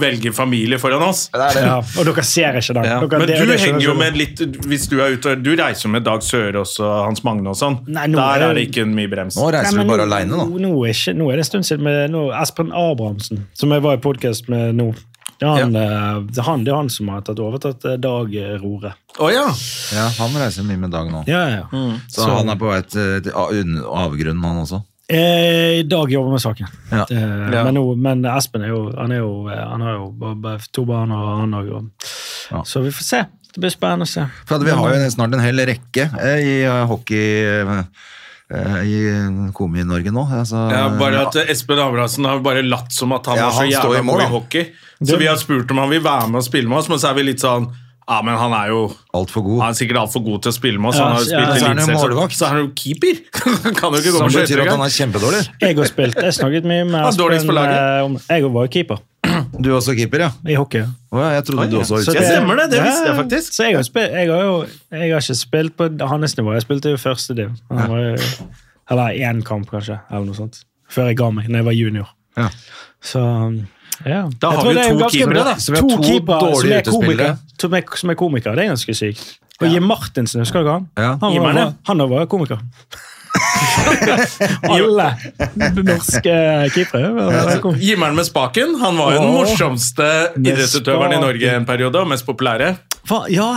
[SPEAKER 3] velger familie foran oss.
[SPEAKER 2] Det er det.
[SPEAKER 1] ja, Og dere ser ikke den.
[SPEAKER 2] Ja.
[SPEAKER 1] Dere,
[SPEAKER 3] Men du
[SPEAKER 1] det- det skjønner
[SPEAKER 3] henger jo
[SPEAKER 1] jeg.
[SPEAKER 3] med litt Hvis du er ute og Du reiser jo med Dag Sørås og Hans Magne og sånn.
[SPEAKER 1] Nei, nå
[SPEAKER 3] Der
[SPEAKER 1] er-
[SPEAKER 3] er det ikke mye brems.
[SPEAKER 2] Nå reiser
[SPEAKER 1] Nei, men
[SPEAKER 2] du bare
[SPEAKER 1] nå-
[SPEAKER 2] aleine, nå.
[SPEAKER 1] Nå, nå, er ikke, nå er det en stund siden med nå, Espen Abrahamsen, som jeg var i podkast med nå. Det er, han, eh, det, er han, det er han som har tatt overtatt eh, Dag Rore.
[SPEAKER 3] Å ja!
[SPEAKER 2] Ja, han reiser mye med Dag nå.
[SPEAKER 1] Ja, ja, ja.
[SPEAKER 3] Mm.
[SPEAKER 2] Så han er på vei til, til av- unn- avgrunnen, han også.
[SPEAKER 1] Eh, Dag jobber med saken.
[SPEAKER 2] Ja.
[SPEAKER 1] Det- Men, nå, men Espen er jo Han, er jo, eh, han har jo bare- bare to barn og han òg.
[SPEAKER 2] Ja.
[SPEAKER 1] Så vi får se. Det blir spennende å se.
[SPEAKER 2] For at vi har jo snart en hel rekke eh, i eh, hockey eh, eh, i Komi-Norge nå. Altså,
[SPEAKER 3] Ja, bare at Espen Abrahamsen har bare latt som at han
[SPEAKER 2] Ja,
[SPEAKER 3] var så
[SPEAKER 2] han står i
[SPEAKER 3] jævla
[SPEAKER 2] mål,
[SPEAKER 3] god i
[SPEAKER 2] da.
[SPEAKER 3] hockey. Så vi har spurt om han vil være med og spille med oss, men så er vi litt sånn Ja, men han er jo
[SPEAKER 2] Altfor eh, god.
[SPEAKER 3] han er sikkert altfor god til å spille med oss.
[SPEAKER 1] Ja,
[SPEAKER 3] han har jo
[SPEAKER 1] ja,
[SPEAKER 3] spilt
[SPEAKER 1] så
[SPEAKER 2] er han jo
[SPEAKER 3] eliteserien,
[SPEAKER 2] målvakt.
[SPEAKER 3] Så er han jo keeper! Han kan jo ikke gå
[SPEAKER 2] Som
[SPEAKER 3] på
[SPEAKER 2] betyr
[SPEAKER 3] skøyter
[SPEAKER 2] at han
[SPEAKER 3] engang.
[SPEAKER 2] er kjempedårlig.
[SPEAKER 1] Jeg har spilt, jeg snakket mye med
[SPEAKER 3] Han er dårligst på
[SPEAKER 1] Espen.
[SPEAKER 3] laget.
[SPEAKER 1] eh, om- Jeg var jo keeper
[SPEAKER 2] Du er også keeper, ja?
[SPEAKER 1] i hockey.
[SPEAKER 2] Å ja, jeg trodde du også var
[SPEAKER 1] Så
[SPEAKER 3] Ja,
[SPEAKER 2] utkeeper.
[SPEAKER 3] stemmer det. Det
[SPEAKER 1] Ja,
[SPEAKER 3] visste jeg faktisk.
[SPEAKER 1] Så jeg har, spil, jeg har jo jeg har ikke spilt på hans nivå. Jeg spilte jo første div. Han var jo- Eller én kamp, kanskje. Eller noe sånt. Før jeg ga meg, når jeg var junior.
[SPEAKER 2] Ja.
[SPEAKER 1] Så ja.
[SPEAKER 3] Da
[SPEAKER 1] Jeg
[SPEAKER 3] har
[SPEAKER 1] tror
[SPEAKER 3] vi
[SPEAKER 1] det er
[SPEAKER 3] to
[SPEAKER 1] ganske
[SPEAKER 3] keepere,
[SPEAKER 1] bra.
[SPEAKER 3] da.
[SPEAKER 2] Så vi har
[SPEAKER 1] to,
[SPEAKER 2] to
[SPEAKER 1] keepere som
[SPEAKER 2] dårlige
[SPEAKER 1] er
[SPEAKER 2] utespillere.
[SPEAKER 1] komikere. Som er, som er komikere. Det er ganske sykt. Og Jim Martinsen, husker du han?
[SPEAKER 2] Ja.
[SPEAKER 1] Han var,
[SPEAKER 3] Jimmerne.
[SPEAKER 1] han var komiker. Alle norske keepere. var komikere.
[SPEAKER 3] Gimmeren med spaken. Han var jo den
[SPEAKER 1] Åh.
[SPEAKER 3] morsomste
[SPEAKER 1] Med
[SPEAKER 3] idrettsutøveren i
[SPEAKER 1] spaken.
[SPEAKER 3] Norge en periode, og mest populære.
[SPEAKER 1] Faen, Ja.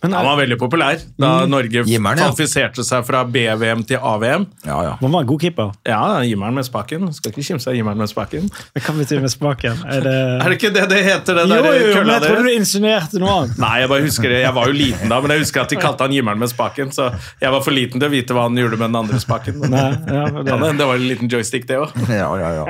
[SPEAKER 1] Men, eh,
[SPEAKER 3] Han var veldig populær da
[SPEAKER 2] Mm.
[SPEAKER 3] Norge
[SPEAKER 2] Gimmeren, ja.
[SPEAKER 3] kvalifiserte seg fra B-VM til A-VM.
[SPEAKER 2] Ja, ja.
[SPEAKER 1] han var en god keeper.
[SPEAKER 3] Ja, Gimmeren med spaken. Skal ikke kimse av Gimmeren med spaken.
[SPEAKER 1] Men Hva betyr med spaken? Er det
[SPEAKER 3] Er det ikke det det heter, den
[SPEAKER 1] Jo,
[SPEAKER 3] der
[SPEAKER 1] jo, jo, men
[SPEAKER 3] kølla
[SPEAKER 1] jeg trodde
[SPEAKER 3] deres?
[SPEAKER 1] du insinuerte noe annet.
[SPEAKER 3] Nei, jeg bare husker det. Jeg var jo liten da, men jeg husker at de kalte han Gimmeren med spaken. Så jeg var for liten til å vite hva han gjorde med den andre spaken. Men-
[SPEAKER 1] Nei, ja, for
[SPEAKER 3] Ja,
[SPEAKER 1] det,
[SPEAKER 3] men det var en liten joystick, det òg.
[SPEAKER 2] ja, ja, ja.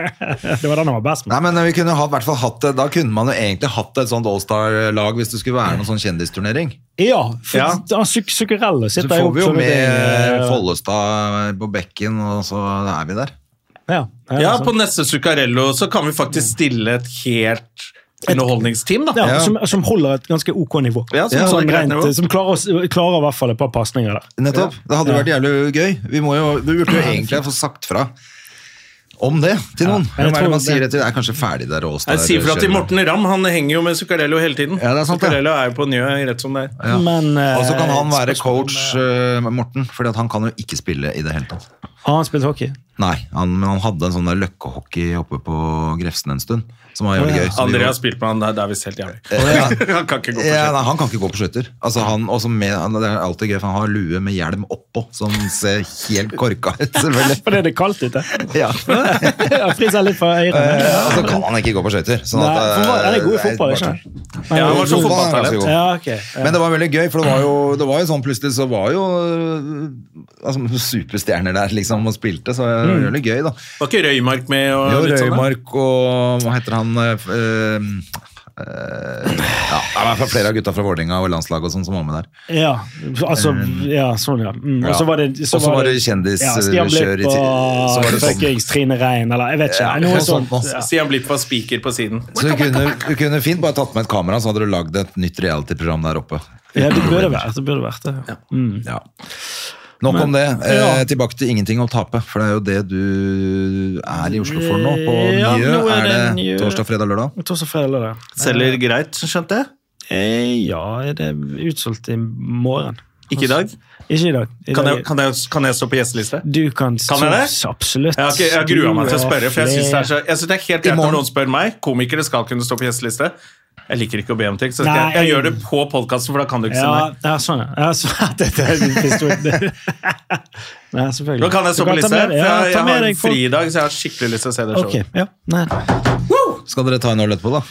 [SPEAKER 1] det var den han var best med.
[SPEAKER 2] Nei, men eh, vi kunne ha, i hvert fall hatt det. Da kunne man jo egentlig hatt et sånt Allstar-lag hvis det skulle være noen sånn kjendisturnering.
[SPEAKER 1] Ja, for
[SPEAKER 3] Ja.
[SPEAKER 1] han suk sukkerelle
[SPEAKER 2] Så
[SPEAKER 1] sitter
[SPEAKER 2] får
[SPEAKER 1] jo
[SPEAKER 2] vi jo
[SPEAKER 1] opp som
[SPEAKER 2] med
[SPEAKER 1] et, eh,
[SPEAKER 2] Follestad på bekken, og så er vi der.
[SPEAKER 1] Ja, ja,
[SPEAKER 3] Ja,
[SPEAKER 1] sånn.
[SPEAKER 3] på neste Zuccarello så kan vi faktisk stille et helt underholdningsteam, da.
[SPEAKER 1] ja,
[SPEAKER 2] ja.
[SPEAKER 1] som, som holder et ganske ok nivå.
[SPEAKER 3] Ja, som
[SPEAKER 2] Ja,
[SPEAKER 3] holder
[SPEAKER 1] Sånn
[SPEAKER 3] greit
[SPEAKER 1] rent,
[SPEAKER 3] nivå.
[SPEAKER 1] som klarer, oss- klarer i hvert fall et par pasninger der.
[SPEAKER 2] Nettopp. Det hadde vært jævlig gøy. Vi, må jo, vi burde jo egentlig få sagt fra om det til noen.
[SPEAKER 1] men jeg
[SPEAKER 2] Hvem er det
[SPEAKER 1] tror
[SPEAKER 2] man sier
[SPEAKER 1] det-
[SPEAKER 2] det til? Det er kanskje ferdig der, Allstar.
[SPEAKER 3] Jeg sier fra til Morten Ramm, han henger jo med Zuccarello hele tiden.
[SPEAKER 2] Ja, det er sant, det.
[SPEAKER 3] Zuccarello er jo på nye rett som det er.
[SPEAKER 2] Ja.
[SPEAKER 1] Men eh,
[SPEAKER 2] Og så kan han være coach, eh, Morten, Fordi at han kan jo ikke spille i det hele tatt.
[SPEAKER 1] Har han spilt hockey?
[SPEAKER 2] Nei, han, men han hadde en sånn der løkkehockey oppe på Grefsen en stund, som var jævlig gøy. så vi
[SPEAKER 3] André
[SPEAKER 2] gjorde-
[SPEAKER 3] har spilt med han, det er- det er visst helt jævlig.
[SPEAKER 2] ja.
[SPEAKER 3] Han kan ikke gå på
[SPEAKER 2] Ja,
[SPEAKER 3] skjønn.
[SPEAKER 2] nei, han kan ikke gå på skøyter. Altså, han, også med- han- det er alltid gøy, for han har lue med hjelm oppå, som ser helt korka ut, selvfølgelig.
[SPEAKER 1] Fordi det er kaldt ute.
[SPEAKER 2] Ja.
[SPEAKER 1] Friser litt for øyre.
[SPEAKER 2] Eh, Og så kan han ikke gå på skøyter. Sånn
[SPEAKER 1] Nei,
[SPEAKER 2] at, eh,
[SPEAKER 1] for hva- han er god i
[SPEAKER 2] det er
[SPEAKER 1] fotball,
[SPEAKER 2] bare
[SPEAKER 1] ikke
[SPEAKER 2] tull.
[SPEAKER 1] sant?
[SPEAKER 3] Ja, han var sånn så
[SPEAKER 2] Jo, han er ganske
[SPEAKER 3] fotballtalent.
[SPEAKER 2] god.
[SPEAKER 1] Ja, ok. Ja.
[SPEAKER 2] Men det var veldig gøy, for det var jo, det var jo sånn plutselig så var jo altså, superstjerner der, liksom, og spilte, så det
[SPEAKER 1] Mm.
[SPEAKER 2] var veldig gøy, da.
[SPEAKER 3] Var ikke Røymark med? og
[SPEAKER 2] Jo,
[SPEAKER 3] litt sånn, da?
[SPEAKER 2] Røymark og hva heter han eh, f- eh, eh, Ja, det var i hvert fall flere av gutta fra Vålerenga og landslaget og sånn som var med der.
[SPEAKER 1] Ja, altså, ja, sånn, ja. Mm. Og så var det, så
[SPEAKER 2] Eh, Og så var det kjendis- eh,
[SPEAKER 1] ja, Stian
[SPEAKER 2] kjør i
[SPEAKER 1] Blipp
[SPEAKER 2] ti- så var
[SPEAKER 1] og
[SPEAKER 2] det sånn.
[SPEAKER 1] fuckings Trine Rein, eller jeg vet ikke.
[SPEAKER 2] Ja, sånn
[SPEAKER 1] noe
[SPEAKER 2] noe
[SPEAKER 1] sånt.
[SPEAKER 2] sånt nå.
[SPEAKER 1] Ja.
[SPEAKER 3] Stian Blipp var spiker på siden.
[SPEAKER 2] Så du kunne, du kunne fint bare tatt med et kamera, så hadde du lagd et nytt reality-program der oppe.
[SPEAKER 1] Ja, det burde vært det. Burde vært det.
[SPEAKER 2] Ja. Nok om det. Eh, tilbake til ingenting å tape, for det er jo det du er i Oslo for nå. På
[SPEAKER 1] Ja,
[SPEAKER 2] Njø
[SPEAKER 1] nå er
[SPEAKER 2] er
[SPEAKER 1] det
[SPEAKER 2] det
[SPEAKER 1] Njø.
[SPEAKER 2] torsdag, fredag, lørdag.
[SPEAKER 1] Torsdag, fredag, lørdag.
[SPEAKER 3] Selger greit, skjønte jeg.
[SPEAKER 1] Eh, Ja, er det utsolgt i morgen?
[SPEAKER 3] Ikke i dag?
[SPEAKER 1] Ikke i dag. I
[SPEAKER 3] Kan
[SPEAKER 1] dag
[SPEAKER 3] jeg, kan jeg, kan jeg stå på gjesteliste?
[SPEAKER 1] Du kan,
[SPEAKER 3] Kan jeg det?
[SPEAKER 1] så- Absolutt.
[SPEAKER 3] Jeg, har ikke, jeg gruer meg til å
[SPEAKER 1] Du
[SPEAKER 3] spørre, for jeg synes det er,
[SPEAKER 1] flere-
[SPEAKER 3] så, jeg synes det er helt
[SPEAKER 2] I
[SPEAKER 3] greit
[SPEAKER 2] morgen.
[SPEAKER 3] når noen spør meg. Komikere skal kunne stå på gjesteliste. Jeg liker ikke å be om ting, så skal
[SPEAKER 1] Nei.
[SPEAKER 3] jeg, jeg gjør det på podkasten, for da kan du ikke si
[SPEAKER 1] Ja,
[SPEAKER 3] nei.
[SPEAKER 1] ja, sånn, ja. ja så, dette er din historie. Nei, selvfølgelig.
[SPEAKER 3] Nå kan jeg
[SPEAKER 1] Du
[SPEAKER 3] stå på
[SPEAKER 1] ta
[SPEAKER 3] liste.
[SPEAKER 1] med
[SPEAKER 3] for
[SPEAKER 1] deg- Ja,
[SPEAKER 3] Jeg,
[SPEAKER 1] ta
[SPEAKER 3] jeg
[SPEAKER 1] med
[SPEAKER 3] har
[SPEAKER 1] deg
[SPEAKER 3] en
[SPEAKER 1] folk.
[SPEAKER 3] fridag, så jeg har skikkelig lyst til å se det
[SPEAKER 1] Ok,
[SPEAKER 3] showet.
[SPEAKER 1] ja. Nei.
[SPEAKER 2] Skal dere ta en øl etterpå, da?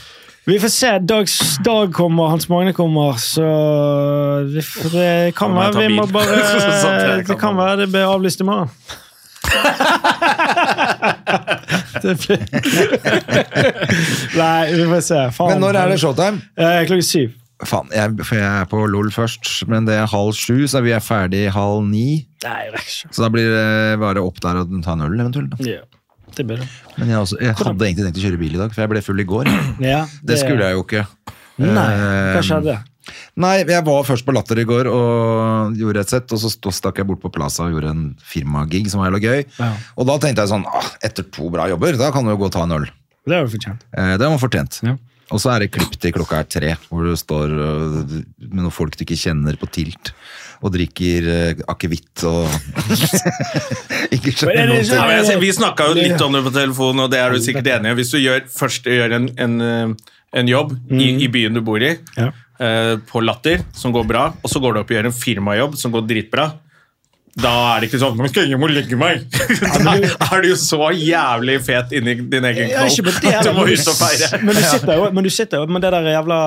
[SPEAKER 1] Vi får se. Dag, dag kommer, Hans Magne kommer, så vi får, Det kan
[SPEAKER 3] Da må jeg ta
[SPEAKER 1] være vi må
[SPEAKER 3] bil. Sånn at
[SPEAKER 1] bare
[SPEAKER 3] jeg kan
[SPEAKER 1] Det kan
[SPEAKER 3] komme.
[SPEAKER 1] være det blir avlyst i morgen. det blir Nei, vi får se. Faen.
[SPEAKER 2] Men når er det showtime?
[SPEAKER 1] Eh, Klokken syv.
[SPEAKER 2] Faen, jeg, for jeg er på LOL først, men det er halv sju, så vi er ferdig halv ni.
[SPEAKER 1] Nei, jeg rekker ikke.
[SPEAKER 2] Så da blir det bare opp der og ta en øl eventuelt. da.
[SPEAKER 1] Ja, det blir det.
[SPEAKER 2] Men jeg, også, jeg hadde egentlig tenkt å kjøre bil i dag, for jeg ble full i går.
[SPEAKER 1] Ja,
[SPEAKER 2] Det skulle jeg jo ikke.
[SPEAKER 1] Nei, hva
[SPEAKER 2] Eh,
[SPEAKER 1] skjedde?
[SPEAKER 2] Nei, jeg var først på Latter i går og gjorde et sett, og så stå- stakk jeg bort på Plaza og gjorde en firmagig som var jævla gøy.
[SPEAKER 1] Ja.
[SPEAKER 2] Og da tenkte jeg sånn, ah, etter to bra jobber, da kan du jo gå og ta en øl.
[SPEAKER 1] Det har du fortjent.
[SPEAKER 2] Eh, Det var fortjent.
[SPEAKER 1] Ja.
[SPEAKER 2] Og så er det klipp til klokka er tre, hvor du står øh, med noen folk du ikke kjenner på tilt, og drikker øh, akevitt og
[SPEAKER 1] Men er
[SPEAKER 2] Ikke skjønner
[SPEAKER 1] det
[SPEAKER 2] noe
[SPEAKER 1] ikke-
[SPEAKER 3] Ja,
[SPEAKER 2] til.
[SPEAKER 3] men jeg, sier- vi snakka jo litt om det på telefonen, og det er du sikkert enig i. Hvis du gjør, først gjør en, en, eh, en jobb i, i byen du bor i,
[SPEAKER 1] Mm. Ja.
[SPEAKER 3] eh, på Latter, som går bra, og så går du opp og gjør en firmajobb som går dritbra, da er det ikke sånn 'Nå skal jeg hjem og legge meg'. Da er du jo så jævlig fet inni din egen
[SPEAKER 1] Jeg er ikke på
[SPEAKER 3] kropp
[SPEAKER 1] det,
[SPEAKER 3] at du må
[SPEAKER 1] men
[SPEAKER 3] ut og feire.
[SPEAKER 1] Men du sitter jo men, du sitter, jo- men det der jævla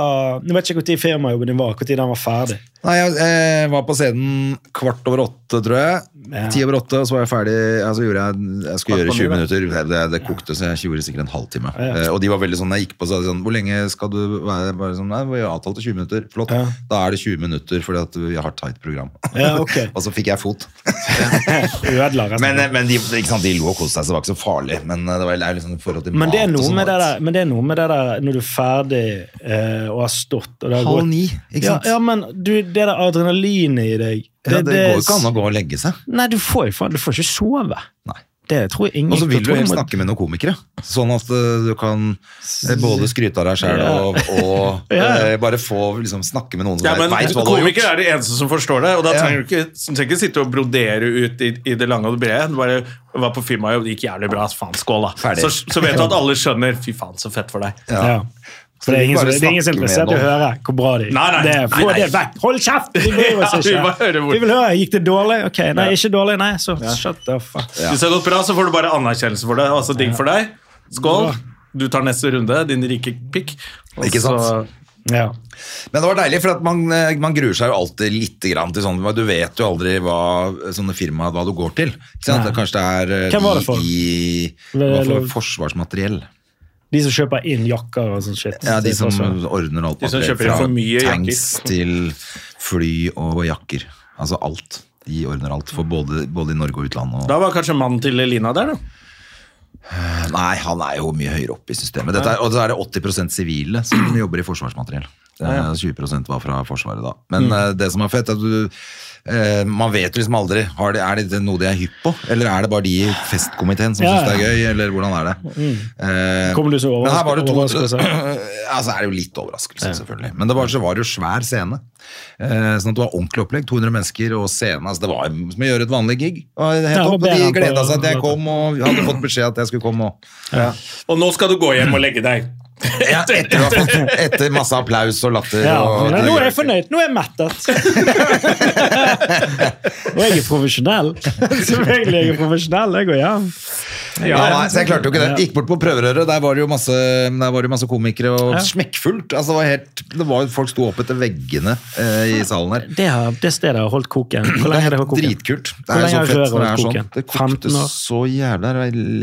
[SPEAKER 1] Jeg vet ikke når firmajobben din var, når den var ferdig.
[SPEAKER 2] Nei, jeg eh, var på scenen kvart over åtte, tror jeg.
[SPEAKER 1] Ja.
[SPEAKER 2] Ti over åtte, og så var jeg ferdig. Altså, gjorde jeg, jeg skulle
[SPEAKER 3] Kvart på
[SPEAKER 2] gjøre 20
[SPEAKER 3] ni,
[SPEAKER 2] minutter. Det, det kokte, så jeg gjorde sikkert en halvtime.
[SPEAKER 1] Ja.
[SPEAKER 2] Eh, Og de var veldig sånn, jeg gikk på og sa sånn Hvor lenge skal du være? Bare sånn, Nei, vi har avtalt til 20 minutter. Flott.
[SPEAKER 1] Ja.
[SPEAKER 2] Da er det 20 minutter, fordi at vi har tight program.
[SPEAKER 1] Ja, ok.
[SPEAKER 2] og så fikk jeg fot.
[SPEAKER 1] Ødela resten.
[SPEAKER 2] Men, eh, men de, ikke sant, de lo og koste seg, så det var ikke så farlig. Men det var det er liksom i forhold til
[SPEAKER 1] Men det, er
[SPEAKER 2] mat og
[SPEAKER 1] noe
[SPEAKER 2] sånn,
[SPEAKER 1] med det
[SPEAKER 2] at-
[SPEAKER 1] der, men det er noe med det der når du er ferdig eh, og har stått og det har
[SPEAKER 2] Halv
[SPEAKER 1] gått-
[SPEAKER 2] ni, ikke sant?
[SPEAKER 1] Ja, ja men du, det der adrenalinet i deg
[SPEAKER 2] Ja, det, går jo ikke an å gå og legge seg.
[SPEAKER 1] Nei, du får jo faen, du får ikke sove.
[SPEAKER 2] Nei.
[SPEAKER 1] Det tror jeg ingen
[SPEAKER 2] Og så vil
[SPEAKER 1] jeg
[SPEAKER 2] du
[SPEAKER 1] tror jeg
[SPEAKER 2] helst
[SPEAKER 1] må-
[SPEAKER 2] snakke med noen komikere, sånn at eh, du kan eh, både skryte av deg sjæl
[SPEAKER 1] Ja.
[SPEAKER 2] og, og
[SPEAKER 1] Ja.
[SPEAKER 2] eh, bare få liksom, snakke med noen som
[SPEAKER 3] Ja, men
[SPEAKER 2] vet hva du har
[SPEAKER 3] Komikere er
[SPEAKER 2] gjort.
[SPEAKER 3] de eneste som forstår det, og da
[SPEAKER 2] Ja.
[SPEAKER 3] trenger du ikke, du trenger ikke sitte og brodere ut i, i det lange og det brede. Du bare var på firmajobb, det gikk jævlig bra. ass, Faen, skål, da.
[SPEAKER 2] Ferdig.
[SPEAKER 3] Så, så vet du at alle skjønner. Fy faen, så fett for deg.
[SPEAKER 1] Ja. For det er ingen som det er ingen som er interessert i å høre hvor bra det gikk.
[SPEAKER 3] Nei, nei,
[SPEAKER 1] det,
[SPEAKER 3] nei,
[SPEAKER 1] få
[SPEAKER 3] nei.
[SPEAKER 1] det vekk! Hold kjeft! Vi bryr oss
[SPEAKER 3] Ja, vi
[SPEAKER 1] ikke.
[SPEAKER 3] bare hører hvor-
[SPEAKER 1] vi vil høre. Gikk det dårlig? Ok, nei, ikke dårlig. Nei, så shut the fuck.
[SPEAKER 3] Hvis det har gått bra, så får du bare anerkjennelse for det. Altså, digg for deg. Skål. Du tar neste runde, din rike pikk. Og
[SPEAKER 2] Ikke
[SPEAKER 3] så-
[SPEAKER 2] sant?
[SPEAKER 1] Ja.
[SPEAKER 2] Men det var deilig, for at man, eh, man gruer seg jo alltid litt grann til sånn Du vet jo aldri hva eh, sånne firma hva du går til. Ikke sant?
[SPEAKER 1] Nei.
[SPEAKER 2] Kanskje det er eh,
[SPEAKER 1] Hvem var det for?
[SPEAKER 2] I, i, det var for forsvarsmateriell.
[SPEAKER 1] De som kjøper inn jakker og sånn shit.
[SPEAKER 2] Ja, de som
[SPEAKER 1] Det er også-
[SPEAKER 2] ordner alt.
[SPEAKER 3] De som
[SPEAKER 2] materiell,
[SPEAKER 3] kjøper inn
[SPEAKER 2] fra
[SPEAKER 3] for mye
[SPEAKER 2] tanks til fly og jakker. Altså alt. De ordner alt, for både, både i Norge og utlandet. Og...
[SPEAKER 3] Da var kanskje mannen til Lina der, da.
[SPEAKER 2] Nei, han er jo mye høyere oppe i systemet. Dette er, og så er det 80 sivile som jobber i forsvarsmateriell. Det er 20 var fra Forsvaret da. Men
[SPEAKER 1] Mm.
[SPEAKER 2] eh, det som er fett, er at du eh, Man vet jo liksom aldri. Har de, er det noe de er hypp på, eller er det bare de i festkomiteen som
[SPEAKER 1] Ja,
[SPEAKER 2] syns
[SPEAKER 1] ja.
[SPEAKER 2] det
[SPEAKER 1] Mm.
[SPEAKER 2] er gøy, eller hvordan er det? Eh,
[SPEAKER 1] Kommer du så
[SPEAKER 2] men her var det to,
[SPEAKER 1] overraskelse?
[SPEAKER 2] altså, er det jo litt overraskelse, selvfølgelig. Men det var, så var det jo svær scene. Eh, sånn at det var ordentlig opplegg. 200 mennesker og scene. Altså, det var jo som å gjøre et vanlig gig. Og, helt
[SPEAKER 1] Ja, det var
[SPEAKER 2] opp, og de
[SPEAKER 1] bedre på-
[SPEAKER 2] gleda seg til jeg kom, og vi hadde fått beskjed at jeg skulle komme. Og,
[SPEAKER 3] Og nå skal du gå hjem og legge deg.
[SPEAKER 2] ja, etter, å ha fått- etter masse applaus og latter.
[SPEAKER 1] Ja,
[SPEAKER 2] og,
[SPEAKER 1] men nå er jeg fornøyd. Nå er jeg mettet. og jeg er profesjonell. Selvfølgelig er jeg profesjonell. Jeg går hjem.
[SPEAKER 2] Ja, nei, så jeg klarte jo ikke det. Gikk bort på prøverøret, der var det jo masse, der var det jo masse komikere og smekkfullt. Altså, det var helt, det var, jo- folk sto opp etter veggene eh, i salen her.
[SPEAKER 1] Det, har, det stedet har holdt koken. Hvor
[SPEAKER 2] Det
[SPEAKER 1] lenge
[SPEAKER 2] er
[SPEAKER 1] har det holdt koken?
[SPEAKER 2] dritkult. Det
[SPEAKER 1] Hvor
[SPEAKER 2] er
[SPEAKER 1] lenge
[SPEAKER 2] jo så
[SPEAKER 1] har
[SPEAKER 2] fett
[SPEAKER 1] røret
[SPEAKER 2] når det er
[SPEAKER 1] vært
[SPEAKER 2] sånn.
[SPEAKER 1] koken?
[SPEAKER 2] Det kokte
[SPEAKER 1] 15 år?
[SPEAKER 2] så jævla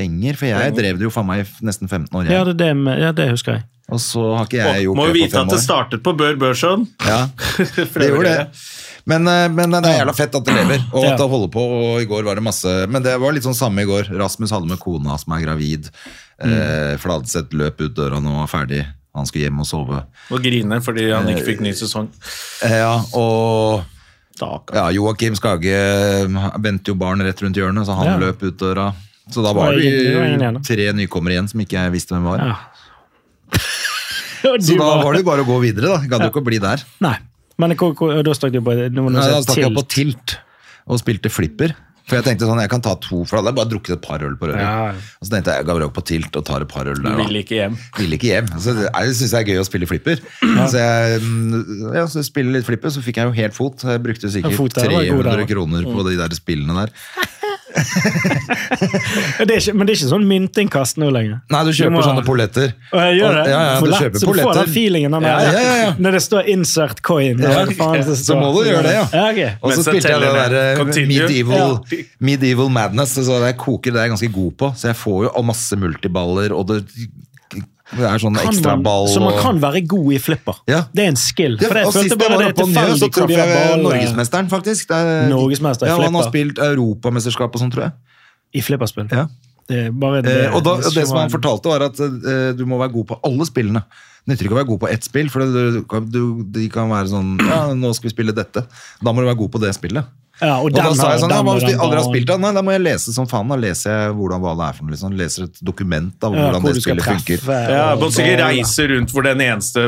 [SPEAKER 2] lenger, for jeg drev det jo faen meg i nesten 15 år.
[SPEAKER 1] Ja,
[SPEAKER 2] Jeg.
[SPEAKER 1] det, er det, med- ja, det husker jeg.
[SPEAKER 2] Og så har ikke jeg
[SPEAKER 3] Må jo
[SPEAKER 2] gjort det
[SPEAKER 3] vite
[SPEAKER 2] på
[SPEAKER 3] at
[SPEAKER 2] fem
[SPEAKER 3] det
[SPEAKER 2] år.
[SPEAKER 3] startet på Bør Børson.
[SPEAKER 2] Ja, det gjorde det. Men, eh, men det er jævla fett at det lever, og at det holder på. Og i går var det masse Men det var litt sånn samme i går. Rasmus hadde med kona som er gravid.
[SPEAKER 1] Mm.
[SPEAKER 2] Eh, Fladseth løp ut døra nå og var ferdig. Han skulle hjem og sove.
[SPEAKER 3] Og griner fordi han ikke fikk ny sesong.
[SPEAKER 2] Eh, ja, og
[SPEAKER 3] Stakkar.
[SPEAKER 2] ja, Joakim Skage eh, venter jo barn rett rundt hjørnet, så han
[SPEAKER 1] Ja.
[SPEAKER 2] løp ut døra. Så da
[SPEAKER 1] var
[SPEAKER 2] var det
[SPEAKER 1] ingen- det var ingen igjen, da.
[SPEAKER 2] jo tre nykommere igjen som ikke jeg visste hvem var.
[SPEAKER 1] Ja. Og
[SPEAKER 2] Så
[SPEAKER 1] du
[SPEAKER 2] da
[SPEAKER 1] bare-
[SPEAKER 2] var det jo bare å gå videre, da. Gadd jo ikke å bli der.
[SPEAKER 1] Nei. Men hvor, hvor, da stakk du på nå må du
[SPEAKER 2] Nei,
[SPEAKER 1] si
[SPEAKER 2] da stakk jeg
[SPEAKER 1] til.
[SPEAKER 2] på tilt og spilte flipper. For jeg tenkte sånn, jeg kan ta to, for da hadde jeg bare drukket et par øl på røret.
[SPEAKER 1] Ja.
[SPEAKER 2] Og så tenkte jeg, jeg går over på tilt og tar et par øl der.
[SPEAKER 3] Vil ikke hjem.
[SPEAKER 2] Vil ikke hjem. Så det er- synes jeg er gøy å spille flipper. Så jeg mm, ja, så spiller litt flipper, så fikk jeg jo helt fot. Jeg brukte
[SPEAKER 1] Ja, fot
[SPEAKER 2] sikkert
[SPEAKER 1] der var Mm. god der,
[SPEAKER 2] 300
[SPEAKER 1] da.
[SPEAKER 2] kroner på de der spillene der.
[SPEAKER 1] Det er ikke, men det er ikke sånn myntinnkast nå lenger.
[SPEAKER 2] Nei, du kjøper
[SPEAKER 1] må-
[SPEAKER 2] sånne polletter.
[SPEAKER 1] Å, jeg gjør det?
[SPEAKER 2] Ja, ja,
[SPEAKER 1] For
[SPEAKER 2] du
[SPEAKER 1] lett,
[SPEAKER 2] kjøper
[SPEAKER 1] så du får
[SPEAKER 2] polletter.
[SPEAKER 1] den feelingen når,
[SPEAKER 2] Ja, ja, ja, ja.
[SPEAKER 1] når det står 'insert coin'. eller
[SPEAKER 2] Ja,
[SPEAKER 1] hva faen det
[SPEAKER 2] så
[SPEAKER 1] står.
[SPEAKER 2] må du gjøre det, ja.
[SPEAKER 1] ok.
[SPEAKER 2] Og så
[SPEAKER 3] Mens jeg
[SPEAKER 2] spilte jeg det
[SPEAKER 3] teller
[SPEAKER 2] der
[SPEAKER 3] ned.
[SPEAKER 2] eh,
[SPEAKER 3] Continue.
[SPEAKER 2] medieval,
[SPEAKER 3] Ja.
[SPEAKER 2] medieval Madness, så det koker det er jeg ganske god på. Så jeg får jo og masse multiballer, og det, det er
[SPEAKER 1] Kan
[SPEAKER 2] sånn
[SPEAKER 1] man-
[SPEAKER 2] ekstraball.
[SPEAKER 1] så man
[SPEAKER 2] og-
[SPEAKER 1] kan være god i flipper.
[SPEAKER 2] Ja.
[SPEAKER 1] Det er en skill.
[SPEAKER 2] Ja,
[SPEAKER 1] For jeg
[SPEAKER 2] og sist
[SPEAKER 1] følte
[SPEAKER 2] jeg
[SPEAKER 1] bare
[SPEAKER 2] var
[SPEAKER 1] det er
[SPEAKER 2] oppe på Njø,
[SPEAKER 1] tilfeldig
[SPEAKER 2] så
[SPEAKER 1] hvor
[SPEAKER 2] traff
[SPEAKER 1] de har
[SPEAKER 2] jeg
[SPEAKER 1] ball,
[SPEAKER 2] Norgesmesteren, faktisk. Det er-
[SPEAKER 1] Norgesmester i
[SPEAKER 2] ja, Han har
[SPEAKER 1] flipper.
[SPEAKER 2] spilt europamesterskap og sånt, tror jeg.
[SPEAKER 1] eh, i flipperspill.
[SPEAKER 2] Ja.
[SPEAKER 1] Det er bare det, sånn-
[SPEAKER 2] Eh, og da, og det som han
[SPEAKER 1] så-
[SPEAKER 2] fortalte, var at eh, du må være god på alle spillene. Det nytter ikke å være god på ett spill, for det, du, kan- du, de kan være sånn Ja, nå skal vi spille dette. Da må du være god på det spillet.
[SPEAKER 1] Ja, og,
[SPEAKER 2] Og
[SPEAKER 1] den
[SPEAKER 2] da sa
[SPEAKER 1] har-
[SPEAKER 2] jeg sånn,
[SPEAKER 1] den
[SPEAKER 2] ja, hva hvis
[SPEAKER 1] og
[SPEAKER 2] de
[SPEAKER 1] den
[SPEAKER 2] aldri har
[SPEAKER 1] og-
[SPEAKER 2] spilt det? Nei, da må jeg lese som faen. Da leser jeg hvordan hva det er for noe. Liksom. Leser et dokument av
[SPEAKER 1] Ja, hvor
[SPEAKER 2] hvordan
[SPEAKER 1] du
[SPEAKER 2] det
[SPEAKER 1] skal
[SPEAKER 2] spillet
[SPEAKER 1] treffe,
[SPEAKER 2] funker.
[SPEAKER 1] og-
[SPEAKER 3] Ja, må sikkert
[SPEAKER 1] og-
[SPEAKER 3] reise rundt hvor den eneste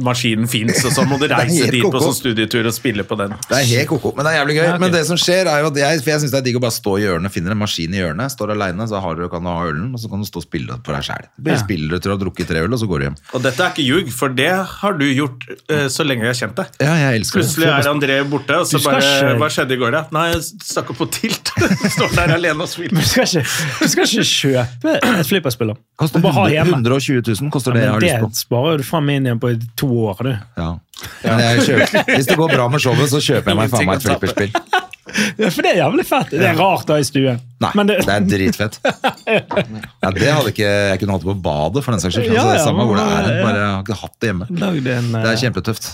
[SPEAKER 3] maskinen fins, og så må du reise
[SPEAKER 2] helt
[SPEAKER 3] dit på
[SPEAKER 2] koko.
[SPEAKER 3] sånn studietur og spille på den.
[SPEAKER 2] Det er helt koko, men det er jævlig gøy. Men det som skjer er jo at jeg, for jeg synes det er digg å bare stå i hjørnet, finner en maskin i hjørnet, står alene, så har du, kan du ha ølen, og så kan du stå og spille på deg selv. Du
[SPEAKER 1] Ja.
[SPEAKER 2] spiller til du har drukket tre øl, og så går du hjem.
[SPEAKER 3] Og dette er ikke ljug, for det har du gjort eh, så lenge jeg har kjent deg.
[SPEAKER 2] Ja, jeg elsker
[SPEAKER 3] Plutselig
[SPEAKER 2] det.
[SPEAKER 3] er André borte, og så
[SPEAKER 1] Du skal
[SPEAKER 3] bare
[SPEAKER 1] ikke-
[SPEAKER 3] Hva skjedde i går, da? Nei, jeg stakk opp på tilt. Står der alene og
[SPEAKER 1] Men
[SPEAKER 3] spiller.
[SPEAKER 1] du skal ikke, du skal ikke kjøpe et flipperspill. da.
[SPEAKER 2] Koster
[SPEAKER 1] Og bare ha
[SPEAKER 2] 100,
[SPEAKER 1] hjemme.
[SPEAKER 2] 120 000, koster det jeg
[SPEAKER 1] Men
[SPEAKER 2] har lyst på.
[SPEAKER 1] det sparer du fram inn igjen på to år. du.
[SPEAKER 2] Ja. Men jeg kjøper, hvis det går bra med showet, så kjøper jeg meg faen meg et
[SPEAKER 3] Ingenting å tape.
[SPEAKER 2] flipperspill.
[SPEAKER 1] Ja, For det er jævlig fett. Det er rart da i stuen.
[SPEAKER 2] Nei,
[SPEAKER 1] Men
[SPEAKER 2] det,
[SPEAKER 1] det,
[SPEAKER 2] er dritfett. Ja, det hadde ikke, jeg kunne hatt det på badet, for den saks skyld.
[SPEAKER 1] Ja,
[SPEAKER 2] Altså, det
[SPEAKER 1] ja,
[SPEAKER 2] er samme
[SPEAKER 1] men-
[SPEAKER 2] hvor det er, bare jeg har ikke hatt det hjemme.
[SPEAKER 1] Lag det en, eh,
[SPEAKER 2] Det er kjempetøft.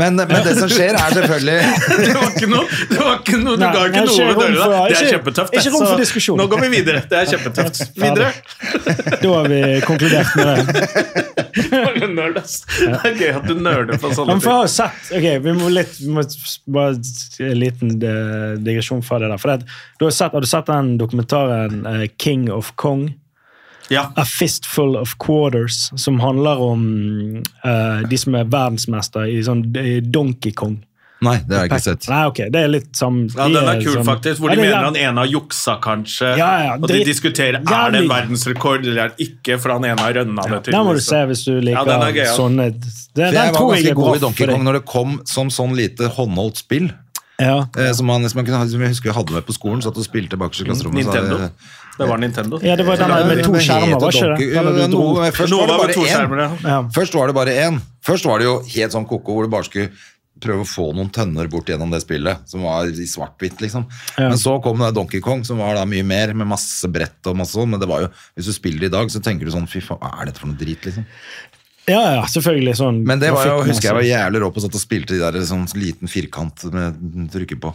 [SPEAKER 2] Men, men det som skjer, er selvfølgelig
[SPEAKER 3] Det var ikke noe, det var ikke noe du
[SPEAKER 1] Nei,
[SPEAKER 3] ga ikke
[SPEAKER 1] jeg
[SPEAKER 3] noe ved
[SPEAKER 1] ser rom
[SPEAKER 3] dørene.
[SPEAKER 1] for-
[SPEAKER 3] Det er
[SPEAKER 1] ikke-
[SPEAKER 3] kjempetøft. det.
[SPEAKER 1] ikke rom for
[SPEAKER 3] Så
[SPEAKER 1] diskusjon.
[SPEAKER 3] Nå går vi videre. Det er kjempetøft. Videre.
[SPEAKER 1] eh, da har vi konkludert med det.
[SPEAKER 3] Bare nerd, ass. Det er gøy at du nerder på sånne
[SPEAKER 1] Men
[SPEAKER 3] ting.
[SPEAKER 1] for jeg har sett, ok, Vi må litt, vi må s- bare s- en liten eh, digresjon fra det der. For det, at du har, sett, har du sett den dokumentaren eh, King of Kong?
[SPEAKER 3] Ja.
[SPEAKER 1] A Fistful of Quarters, som handler om eh, de som er verdensmester i sånn i Donkey Kong.
[SPEAKER 2] Nei, det har jeg ikke sett.
[SPEAKER 1] Nei, ok, det er litt som...
[SPEAKER 3] Ja, Den er kul,
[SPEAKER 1] som-
[SPEAKER 3] faktisk. Hvor
[SPEAKER 1] Ja,
[SPEAKER 3] de
[SPEAKER 1] det er
[SPEAKER 3] mener
[SPEAKER 1] jæv-
[SPEAKER 3] han ene har juksa, kanskje.
[SPEAKER 1] Ja, ja,
[SPEAKER 3] Og de
[SPEAKER 1] dritt-
[SPEAKER 3] diskuterer er det
[SPEAKER 1] jævlig-
[SPEAKER 3] en verdensrekord eller er det ikke, for han ene har rønna det.
[SPEAKER 1] Den må du
[SPEAKER 3] tydeligvis.
[SPEAKER 1] se hvis du liker
[SPEAKER 3] den er gøy, ja.
[SPEAKER 1] sånne det- Den,
[SPEAKER 2] For jeg var
[SPEAKER 1] tror jeg
[SPEAKER 2] ganske
[SPEAKER 1] er bra
[SPEAKER 2] god i Donkey
[SPEAKER 1] for
[SPEAKER 2] Kong
[SPEAKER 1] deg.
[SPEAKER 2] når det kom som sånn lite håndholdt spill.
[SPEAKER 1] Ja.
[SPEAKER 2] eh, Som, man, som, man kunne, ha- som jeg husker jeg hadde med på skolen. Satt og spilte bakerst i klasserommet. så-
[SPEAKER 3] Nintendo. Det var Nintendo.
[SPEAKER 1] ja, det var den der med to
[SPEAKER 2] Men
[SPEAKER 1] skjermer,
[SPEAKER 2] heter
[SPEAKER 1] var ikke det? Den
[SPEAKER 2] Donkey- Ja,
[SPEAKER 1] der du dro.
[SPEAKER 2] noe- Først
[SPEAKER 3] Noe
[SPEAKER 2] var det
[SPEAKER 3] var med
[SPEAKER 2] bare
[SPEAKER 3] to
[SPEAKER 2] én.
[SPEAKER 3] skjermer, ja.
[SPEAKER 1] Ja.
[SPEAKER 2] Først var det bare én. Først var det jo helt sånn koko hvor du bare skulle prøve å få noen tønner bort gjennom det spillet, som var i svart-hvitt, liksom.
[SPEAKER 1] Ja.
[SPEAKER 2] Men så kom det Donkey Kong, som var da mye mer, med masse brett og masse sånn, men det var jo, hvis du spiller i dag, så tenker du sånn, fy faen, hva er dette for noe drit, liksom?
[SPEAKER 1] ja, ja, selvfølgelig. Sånn,
[SPEAKER 2] Men det var jo,
[SPEAKER 1] grafikkmessig.
[SPEAKER 2] husker jeg var jævlig rå på, satt og spilte de der sånn liten firkant med trykker på.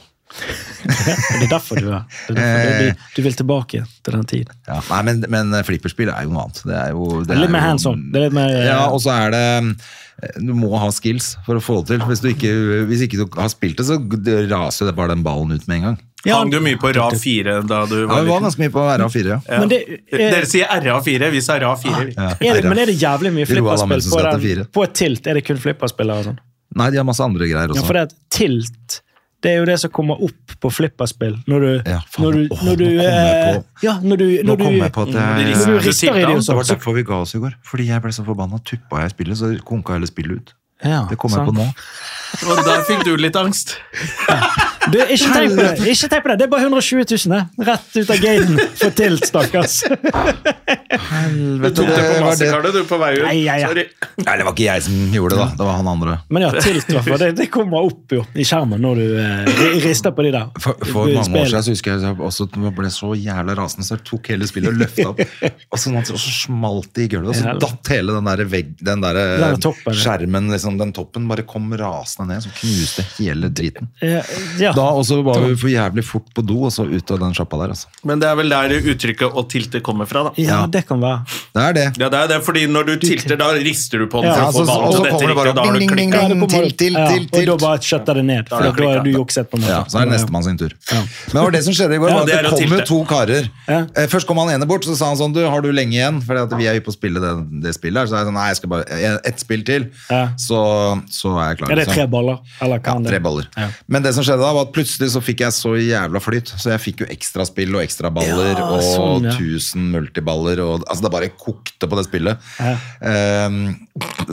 [SPEAKER 1] Men Det er derfor du er det er derfor du, du, du vil tilbake til den tiden.
[SPEAKER 2] Ja. Nei, men, men eh, flipperspill er jo noe annet. Det er jo, det
[SPEAKER 1] Det er litt
[SPEAKER 2] er
[SPEAKER 1] mer
[SPEAKER 2] jo-
[SPEAKER 1] hands on. Det er litt mer, eh,
[SPEAKER 2] Ja, og så er det eh, Du må ha skills for å få det til. Hvis, du ikke, hvis ikke du har spilt det, så raser jo det bare den ballen ut med en gang.
[SPEAKER 1] Ja.
[SPEAKER 3] Hang du mye på RA4 da du
[SPEAKER 2] Ja,
[SPEAKER 3] var
[SPEAKER 2] vi var
[SPEAKER 3] liten?
[SPEAKER 2] ganske mye på RA4, ja.
[SPEAKER 3] Ja.
[SPEAKER 1] Men det eh, er-
[SPEAKER 3] Dere sier RA4, vi sa RA4. vi.
[SPEAKER 1] er det, men er det jævlig mye
[SPEAKER 2] Roald
[SPEAKER 1] flipperspill
[SPEAKER 2] Amundsen
[SPEAKER 1] på,
[SPEAKER 2] skal til
[SPEAKER 1] den,
[SPEAKER 2] fire.
[SPEAKER 1] på tilt? Er det kun flipperspillere og sånn?
[SPEAKER 2] Nei, de har masse andre greier
[SPEAKER 1] Ja, for
[SPEAKER 2] også.
[SPEAKER 1] det at tilt det er jo det som kommer opp på flipperspill når du
[SPEAKER 2] Ja, faen.
[SPEAKER 1] når du,
[SPEAKER 2] Åh,
[SPEAKER 1] når du,
[SPEAKER 2] nå kom jeg
[SPEAKER 1] eh,
[SPEAKER 2] på-
[SPEAKER 1] ja, når du,
[SPEAKER 2] Nå
[SPEAKER 1] når du Mm,
[SPEAKER 2] kom jeg på at
[SPEAKER 3] de
[SPEAKER 2] jeg
[SPEAKER 3] rister-
[SPEAKER 1] når du
[SPEAKER 3] du
[SPEAKER 1] rister i
[SPEAKER 3] tilter den,
[SPEAKER 1] det og
[SPEAKER 2] Det
[SPEAKER 1] sånn,
[SPEAKER 2] var
[SPEAKER 1] så
[SPEAKER 2] derfor vi ga oss i går. Fordi jeg ble så forbanna. Tuppa jeg spillet, så konka hele spillet ut.
[SPEAKER 1] Ja,
[SPEAKER 2] Det kom jeg
[SPEAKER 1] sant.
[SPEAKER 2] på nå.
[SPEAKER 3] Og der fikk du litt angst.
[SPEAKER 1] Du, ikke tenk på det! ikke tenk på Det Det er bare 120 000, det. Rett ut av gaten. Få til, stakkars.
[SPEAKER 3] Du tok det på
[SPEAKER 2] var det.
[SPEAKER 3] mastercardet, du, på vei ut.
[SPEAKER 1] Nei, ja, ja.
[SPEAKER 3] Sorry.
[SPEAKER 2] Nei, det var ikke jeg som gjorde det, da. Det var han andre.
[SPEAKER 1] Men ja, tilt, i hvert fall. Det, det kommer opp jo, i skjermen når du eh, ri- rister på de der.
[SPEAKER 2] For, for
[SPEAKER 1] Du
[SPEAKER 2] mange år
[SPEAKER 1] spiller.
[SPEAKER 2] siden så husker jeg at jeg også ble så jævla rasende, så jeg tok hele spillet og løfta opp. Og så, og så smalt det i gulvet, og så
[SPEAKER 1] Ja.
[SPEAKER 2] datt hele den der, vegg, den der,
[SPEAKER 1] Den der toppen, ja.
[SPEAKER 2] skjermen, liksom, den toppen, bare kom rasende ned, så knuste hele driten.
[SPEAKER 1] Eh, Ja.
[SPEAKER 2] Da også var vi for jævlig fort på do, og så ut av den sjappa der, altså.
[SPEAKER 3] Men det er vel der uttrykket 'å tilte' kommer fra, da.
[SPEAKER 1] ja, det kan være.
[SPEAKER 2] Det er det.
[SPEAKER 3] Ja, det er det, fordi når du tilter, da rister du på den.
[SPEAKER 1] Ja,
[SPEAKER 3] for å
[SPEAKER 2] så,
[SPEAKER 3] få ballen,
[SPEAKER 2] og så
[SPEAKER 3] og dette
[SPEAKER 2] kommer det
[SPEAKER 3] riktig,
[SPEAKER 2] bare
[SPEAKER 3] da har du
[SPEAKER 2] ding,
[SPEAKER 3] klikket.
[SPEAKER 2] ding,
[SPEAKER 1] Ja, det
[SPEAKER 2] ding,
[SPEAKER 1] kommer
[SPEAKER 2] til,
[SPEAKER 1] opp.
[SPEAKER 2] til,
[SPEAKER 1] Ja,
[SPEAKER 2] til,
[SPEAKER 1] Og da
[SPEAKER 2] til.
[SPEAKER 1] bare shutter det ned,
[SPEAKER 3] Da
[SPEAKER 1] for
[SPEAKER 3] er
[SPEAKER 1] da
[SPEAKER 3] det
[SPEAKER 1] er du
[SPEAKER 3] klikket.
[SPEAKER 1] jukset. på en måte.
[SPEAKER 2] Ja, så er det nestemann sin tur. Men det var det som skjedde i går.
[SPEAKER 1] Ja,
[SPEAKER 2] var at
[SPEAKER 3] det
[SPEAKER 2] det,
[SPEAKER 3] er å
[SPEAKER 2] kom jo
[SPEAKER 3] tilte.
[SPEAKER 2] to karer.
[SPEAKER 1] Ja.
[SPEAKER 2] Eh, Først kom han ene bort, så sa han sånn Du, har du lenge igjen? Fordi at vi er jo på å spille det, det spillet her. Så er jeg sånn Nei, jeg skal bare eh, Ett spill til,
[SPEAKER 1] Ja.
[SPEAKER 2] så, så er jeg klar.
[SPEAKER 1] Er det
[SPEAKER 2] liksom.
[SPEAKER 1] tre baller? Eller hva
[SPEAKER 2] Ja,
[SPEAKER 1] er det?
[SPEAKER 2] tre baller.
[SPEAKER 1] Ja.
[SPEAKER 2] Men det som skjedde da, var at plutselig så fikk jeg så jævla flyt. Så jeg fikk jo ekstraspill og ekstraballer
[SPEAKER 1] Ja,
[SPEAKER 2] og
[SPEAKER 1] sånn, ja.
[SPEAKER 2] 1000 multiballer og Altså, det bare kokte på det spillet.
[SPEAKER 1] Ja.
[SPEAKER 2] Ehm,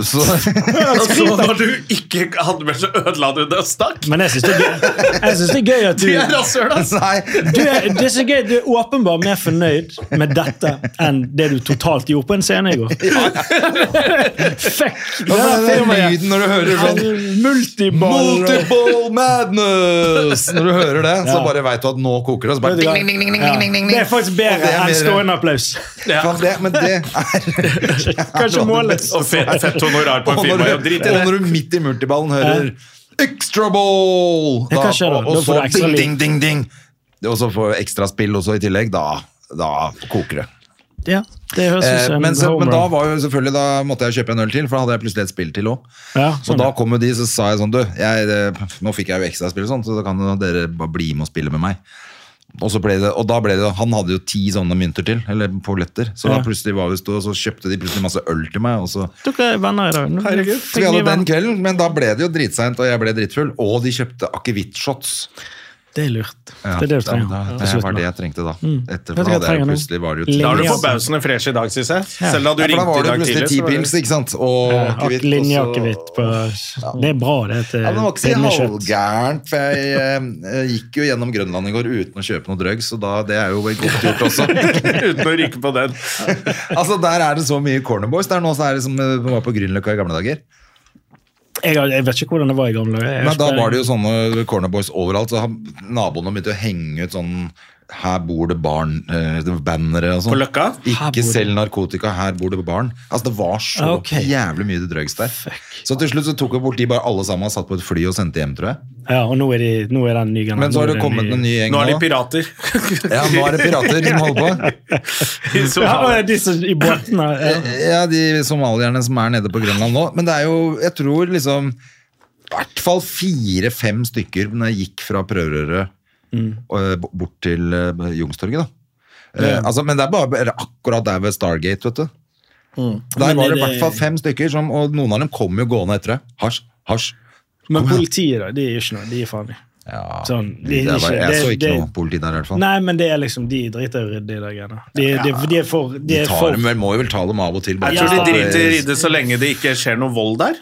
[SPEAKER 2] så
[SPEAKER 3] Og så Altså, når du ikke hadde med, så ødela du det og stakk.
[SPEAKER 1] Men jeg syns det, er gøy- jeg synes det er gøy at du
[SPEAKER 3] Det er rasshøl, ass.
[SPEAKER 2] Nei.
[SPEAKER 1] du er, det er så gøy, du er åpenbart mer fornøyd med dette enn det du totalt gjorde på en scene i går. Fuck! Det
[SPEAKER 2] Ja,
[SPEAKER 1] er
[SPEAKER 2] men den der
[SPEAKER 1] filmen.
[SPEAKER 2] lyden når du hører sånn
[SPEAKER 1] Multiballer. og-
[SPEAKER 2] Multiple madness! Når du hører det, så
[SPEAKER 1] Ja.
[SPEAKER 2] bare veit du at nå koker det. og Så
[SPEAKER 1] Vet du hva?
[SPEAKER 2] bare,
[SPEAKER 1] Ja. Det er faktisk
[SPEAKER 2] Og
[SPEAKER 1] bedre
[SPEAKER 2] det er
[SPEAKER 1] enn
[SPEAKER 2] bedre.
[SPEAKER 1] stående applaus.
[SPEAKER 3] Ja.
[SPEAKER 2] Faen, det, men det er
[SPEAKER 1] Kanskje målet.
[SPEAKER 3] Og fett, fett honorar på en
[SPEAKER 2] Og
[SPEAKER 3] film.
[SPEAKER 2] når
[SPEAKER 3] Ja,
[SPEAKER 2] du,
[SPEAKER 3] drit i
[SPEAKER 2] og når
[SPEAKER 3] det.
[SPEAKER 2] du midt i multiballen hører Extra ball!
[SPEAKER 1] Ja, hva skjer da?
[SPEAKER 2] og, og
[SPEAKER 1] Da får
[SPEAKER 2] så
[SPEAKER 1] du ekstra
[SPEAKER 2] ding,
[SPEAKER 1] liv.
[SPEAKER 2] ding, ding, ding! Og så får du ekstra spill også i tillegg. Da, da koker det.
[SPEAKER 1] Ja, det høres ut
[SPEAKER 2] Eh,
[SPEAKER 1] som
[SPEAKER 2] men,
[SPEAKER 1] en
[SPEAKER 2] så, men
[SPEAKER 1] home
[SPEAKER 2] da
[SPEAKER 1] run.
[SPEAKER 2] var jo selvfølgelig Da måtte jeg kjøpe en øl til, for da hadde jeg plutselig et spill til òg.
[SPEAKER 1] Ja,
[SPEAKER 2] Så
[SPEAKER 1] sånn,
[SPEAKER 2] da
[SPEAKER 1] ja.
[SPEAKER 2] kom jo de, så sa jeg sånn, du, jeg, eh, nå fikk jeg jo ekstraspill og sånn, så da kan jo dere bare bli med og spille med meg. Og, så ble det, og da ble det, han hadde jo ti sånne mynter til, eller polletter, så
[SPEAKER 1] Ja.
[SPEAKER 2] da plutselig var vi stå, og så kjøpte de plutselig masse øl til meg, og så,
[SPEAKER 1] Dere er venner i dag. Nå-
[SPEAKER 3] Herregud.
[SPEAKER 2] så vi hadde den kvelden, men da ble det jo dritseint, og jeg ble dritfull, og de kjøpte akevittshots.
[SPEAKER 1] Det er lurt. Det er det du trenger.
[SPEAKER 2] Da, da,
[SPEAKER 1] på
[SPEAKER 2] det
[SPEAKER 1] slutten
[SPEAKER 2] var
[SPEAKER 1] da.
[SPEAKER 2] det jeg trengte da.
[SPEAKER 1] Vet du hva jeg
[SPEAKER 2] Etter, for da hadde jeg
[SPEAKER 1] trenger nå?
[SPEAKER 2] plutselig var det jo
[SPEAKER 1] Linje.
[SPEAKER 3] Da er du
[SPEAKER 1] Ja.
[SPEAKER 3] forbausende fresh i dag, syns jeg. Selv om du
[SPEAKER 2] Ja, for da
[SPEAKER 3] ringte i
[SPEAKER 2] var det
[SPEAKER 3] dag
[SPEAKER 2] plutselig
[SPEAKER 3] tidlig. så
[SPEAKER 2] ti
[SPEAKER 3] var det-
[SPEAKER 2] pils, ikke sant? Og akevitt, og så-
[SPEAKER 1] Linjeakevitt på Det er bra, det. Til,
[SPEAKER 2] Ja, men det var ikke så
[SPEAKER 1] til kjøtt.
[SPEAKER 2] halvgærent, for jeg eh, gikk jo gjennom Grønland i går uten å kjøpe noe drugs, så da, det er jo godt gjort også.
[SPEAKER 3] Uten å ryke på den.
[SPEAKER 2] altså, Der er det så mye cornerboys. Det er nå så er det som eh, var på Grünerløkka i gamle dager.
[SPEAKER 1] Jeg, har- jeg vet ikke hvordan det var i gamle dager. Jeg
[SPEAKER 2] Men da
[SPEAKER 1] husker-
[SPEAKER 2] var det jo sånne cornerboys overalt, så han- naboene begynte å henge ut sånn her bor det barn, eh, det var bannere og sånn.
[SPEAKER 3] På Løkka?
[SPEAKER 1] Her bor
[SPEAKER 2] Ikke
[SPEAKER 1] det-
[SPEAKER 2] selg narkotika, her bor det barn. Altså Det var så
[SPEAKER 1] Ah, ok.
[SPEAKER 2] jævlig mye drugs der. Så til slutt så tok jo politiet bare alle sammen og satt på et fly og sendte hjem, tror jeg.
[SPEAKER 1] Ja, og nå er, de, nå er den nye gangen.
[SPEAKER 2] Men så har det kommet en ny gjeng
[SPEAKER 3] Nå er de pirater.
[SPEAKER 2] Ja, nå er det pirater som holder på.
[SPEAKER 3] I Somalia.
[SPEAKER 1] Ja, og de som i båtene. Ja.
[SPEAKER 2] Ja, de somalierne som er nede på Grønland nå. Men det er jo, jeg tror liksom I hvert fall fire-fem stykker når jeg gikk fra Prøverøret
[SPEAKER 1] Mm.
[SPEAKER 2] og, eh, b- bort til eh, Youngstorget, da. Eh, altså, men det er bare eller akkurat der ved Stargate, vet du. Der
[SPEAKER 1] Mm. Men
[SPEAKER 2] var
[SPEAKER 1] er
[SPEAKER 2] det i
[SPEAKER 1] det-
[SPEAKER 2] hvert fall fem stykker, som, og noen av dem kom jo gående etter deg. Hasj, hasj.
[SPEAKER 1] Men politiet, da, de er jo ikke noe. De er faen i.
[SPEAKER 2] Ja,
[SPEAKER 1] Sånn,
[SPEAKER 2] det
[SPEAKER 1] de-
[SPEAKER 2] er bare,
[SPEAKER 1] ikke-
[SPEAKER 2] jeg
[SPEAKER 1] det-
[SPEAKER 2] så ikke
[SPEAKER 1] det-
[SPEAKER 2] noe politi der, i hvert fall.
[SPEAKER 1] Nei, men det er liksom de driter i å rydde i de greiene. De, de, de er for De
[SPEAKER 2] De
[SPEAKER 1] er
[SPEAKER 2] tar
[SPEAKER 1] for
[SPEAKER 2] dem vel, må jo vel ta dem av og til. bare
[SPEAKER 3] Jeg tror
[SPEAKER 1] Ja.
[SPEAKER 3] de driter i å rydde så lenge det ikke skjer noe vold der.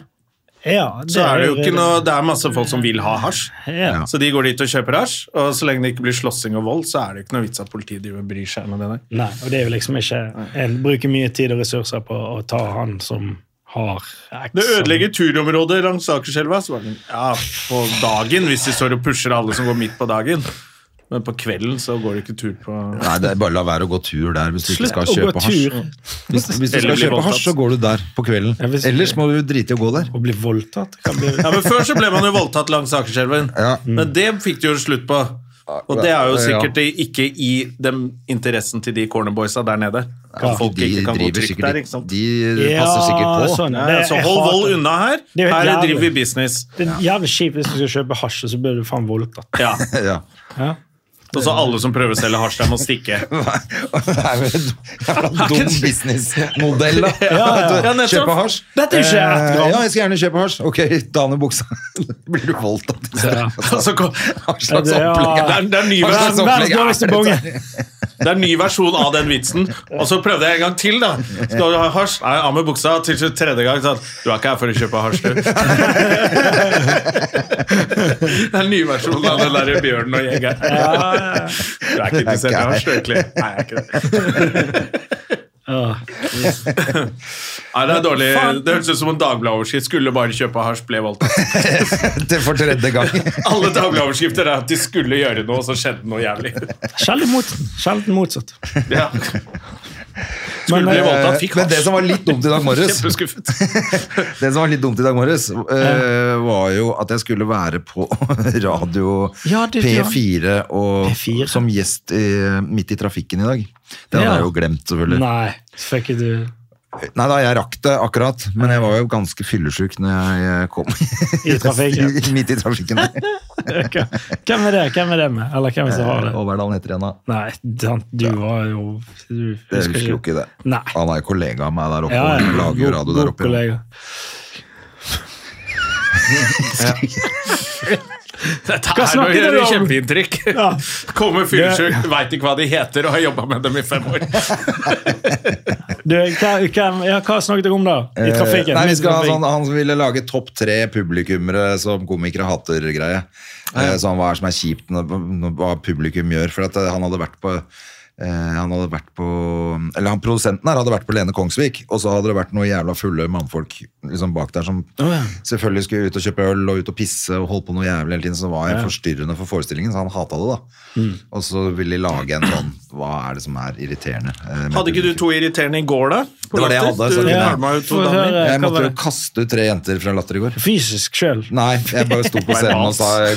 [SPEAKER 1] Ja,
[SPEAKER 3] Så er det jo ikke
[SPEAKER 1] rydde.
[SPEAKER 3] noe Det er masse folk som vil ha hasj.
[SPEAKER 1] ja.
[SPEAKER 3] Så de går dit og kjøper hasj, og så lenge det ikke blir slåssing og vold, så er det ikke noe vits at politiet driver og bryr seg med det der.
[SPEAKER 1] Nei, og det er jo liksom ikke En bruker mye tid og ressurser på å ta han som har X.
[SPEAKER 2] Sånn.
[SPEAKER 3] Det ødelegger turområdet langs Akerselva. Så var det, ja, på dagen, hvis de står og pusher alle som går midt på dagen. Men på kvelden så går det ikke tur på
[SPEAKER 2] Nei, det er bare la være å gå tur der hvis du ikke
[SPEAKER 1] Slutt
[SPEAKER 2] skal
[SPEAKER 1] å gå
[SPEAKER 2] kjøpe hasj.
[SPEAKER 1] tur
[SPEAKER 2] Hvis, hvis du
[SPEAKER 3] Eller bli
[SPEAKER 2] skal kjøpe
[SPEAKER 3] voldtatt.
[SPEAKER 2] hasj, så går du der på kvelden.
[SPEAKER 1] Ja, hvis-
[SPEAKER 2] Ellers må du drite i å gå der.
[SPEAKER 1] og bli voldtatt. Kan bli...
[SPEAKER 3] Ja, men Før så ble man jo voldtatt langs Akerselven.
[SPEAKER 2] Ja. Mm.
[SPEAKER 3] Men det fikk de jo slutt på. Og det er jo sikkert ikke i den interessen til de cornerboysa der nede. At folk
[SPEAKER 2] de
[SPEAKER 3] ikke kan gå
[SPEAKER 2] driver
[SPEAKER 3] trygt
[SPEAKER 2] sikkert
[SPEAKER 3] der,
[SPEAKER 2] ikke-
[SPEAKER 3] ikke sant?
[SPEAKER 2] De
[SPEAKER 1] Ja,
[SPEAKER 2] passer sikkert på.
[SPEAKER 1] sånn,
[SPEAKER 3] Ja,
[SPEAKER 1] det-
[SPEAKER 3] ja, så
[SPEAKER 1] jeg
[SPEAKER 3] hold
[SPEAKER 1] hater
[SPEAKER 3] vold
[SPEAKER 1] det.
[SPEAKER 3] unna her.
[SPEAKER 1] Det er jo helt
[SPEAKER 3] Her
[SPEAKER 1] jævlig.
[SPEAKER 3] driver vi business.
[SPEAKER 1] Det er jævlig kjipt hvis du skal kjøpe hasj, og så blir du faen voldtatt.
[SPEAKER 3] Ja.
[SPEAKER 2] Ja.
[SPEAKER 1] Ja.
[SPEAKER 3] Og så alle som prøver å selge hasj, der må stikke.
[SPEAKER 2] Det er jo en jævla dum businessmodell, da.
[SPEAKER 1] ja.
[SPEAKER 3] Ja, nettopp.
[SPEAKER 2] Kjøpe hasj.
[SPEAKER 1] Dette er ikke rett
[SPEAKER 2] Eh,
[SPEAKER 1] gram.
[SPEAKER 2] Ja, jeg skal gjerne kjøpe hasj. Ok, ta ned buksa. Blir du voldtatt? Altså, i stedet.
[SPEAKER 3] Og så kom-
[SPEAKER 2] Hva slags
[SPEAKER 1] Det er-
[SPEAKER 2] opplegg
[SPEAKER 3] Det er, det er ny
[SPEAKER 2] Hva slags
[SPEAKER 1] Verdens
[SPEAKER 2] opplegg er
[SPEAKER 1] dårligste
[SPEAKER 2] det?
[SPEAKER 1] bonge.
[SPEAKER 3] Det er en ny versjon av den vitsen. Og så prøvde jeg en gang til, da. Skal du ha hasj? Nei, av med buksa. Til slutt tredje gang sa han du er ikke her for å kjøpe hasj, du. Det er en ny versjon av den der bjørnen og jegeren. Du er ikke interessert i hasj, du, egentlig? Nei, jeg er ikke det.
[SPEAKER 1] Åh.
[SPEAKER 3] Nei, det er dårlig. Det høres ut som en Dagbladet-overskrift. Skulle bare kjøpe hasj, ble voldtatt.
[SPEAKER 2] Til for tredje gang.
[SPEAKER 3] Alle Dagbladet-overskrifter er at de skulle gjøre noe, og så skjedde noe jævlig.
[SPEAKER 1] Sjelden mot- sjelden motsatt.
[SPEAKER 3] Ja. Skulle
[SPEAKER 1] Men,
[SPEAKER 3] bli
[SPEAKER 1] eh,
[SPEAKER 3] voldtatt, fikk
[SPEAKER 2] Men det som var litt dumt i dag morges,
[SPEAKER 3] Kjempeskuffet.
[SPEAKER 2] det som var litt dumt i dag morges eh, var jo at jeg skulle være på radio
[SPEAKER 1] Ja, det-
[SPEAKER 2] P4 og,
[SPEAKER 1] P4.
[SPEAKER 2] som gjest i, midt i trafikken i dag. Det hadde
[SPEAKER 1] Ja.
[SPEAKER 2] jeg jo glemt, selvfølgelig. Nei.
[SPEAKER 1] Nei, fikk ikke du
[SPEAKER 2] da, jeg rakk det akkurat, men jeg var jo ganske fyllesyk når jeg kom
[SPEAKER 1] I trafikken.
[SPEAKER 2] midt i trafikken.
[SPEAKER 1] Ok. Hvem er det Hvem er det med? Eller hvem er det som har det?
[SPEAKER 2] Overdalen heter igjen da.
[SPEAKER 1] Nei, sant, du var jo du
[SPEAKER 2] Jeg husker jo ikke det.
[SPEAKER 1] Nei.
[SPEAKER 2] Han er jo kollega av meg der oppe
[SPEAKER 1] Ja, ja.
[SPEAKER 2] og lager jo
[SPEAKER 1] God-
[SPEAKER 2] radio
[SPEAKER 1] god
[SPEAKER 2] der oppe.
[SPEAKER 1] kollega.
[SPEAKER 3] Dette
[SPEAKER 1] Hva
[SPEAKER 3] er noe
[SPEAKER 1] snakker dere om?
[SPEAKER 3] kjempeinntrykk.
[SPEAKER 1] Ja.
[SPEAKER 3] Kommer fyllesyk, veit ikke hva de heter og har jobba med dem i fem år.
[SPEAKER 1] Du, hva, hvem, ja, hva snakket dere om da? I
[SPEAKER 2] Eh,
[SPEAKER 1] trafikken?
[SPEAKER 2] Nei, vi
[SPEAKER 1] Midt i
[SPEAKER 2] skal ha
[SPEAKER 1] trafikken.
[SPEAKER 2] sånn, Han ville lage topp tre publikummere som komikere hater-greie. Eh, Sånn hva er som er kjipt, når- når- hva publikum gjør. For at eh, han hadde vært på eh, han hadde vært på Eller han produsenten her hadde vært på Lene Kongsvik, og så hadde det vært noen jævla fulle mannfolk liksom bak der som selvfølgelig skulle ut og kjøpe øl og ut og pisse og holde på noe jævlig hele tiden. Så det var jeg forstyrrende for forestillingen, så han hata det, da.
[SPEAKER 1] Mm.
[SPEAKER 2] Og så ville de lage en sånn Hva er det som er irriterende? eh, med
[SPEAKER 3] Hadde ikke du
[SPEAKER 2] publikum?
[SPEAKER 3] to irriterende i går, da? På
[SPEAKER 2] Det var det jeg
[SPEAKER 3] Latter?
[SPEAKER 2] hadde, så
[SPEAKER 3] Du
[SPEAKER 2] kunne jeg-
[SPEAKER 3] pælma ut to
[SPEAKER 1] Få
[SPEAKER 3] damer.
[SPEAKER 1] høre,
[SPEAKER 2] Jeg
[SPEAKER 1] eh, hva
[SPEAKER 2] måtte
[SPEAKER 1] var
[SPEAKER 2] jo
[SPEAKER 1] det?
[SPEAKER 2] kaste ut tre jenter fra Latter i går.
[SPEAKER 1] Fysisk sjøl.
[SPEAKER 2] Nei, jeg bare sto på scenen og sa eh,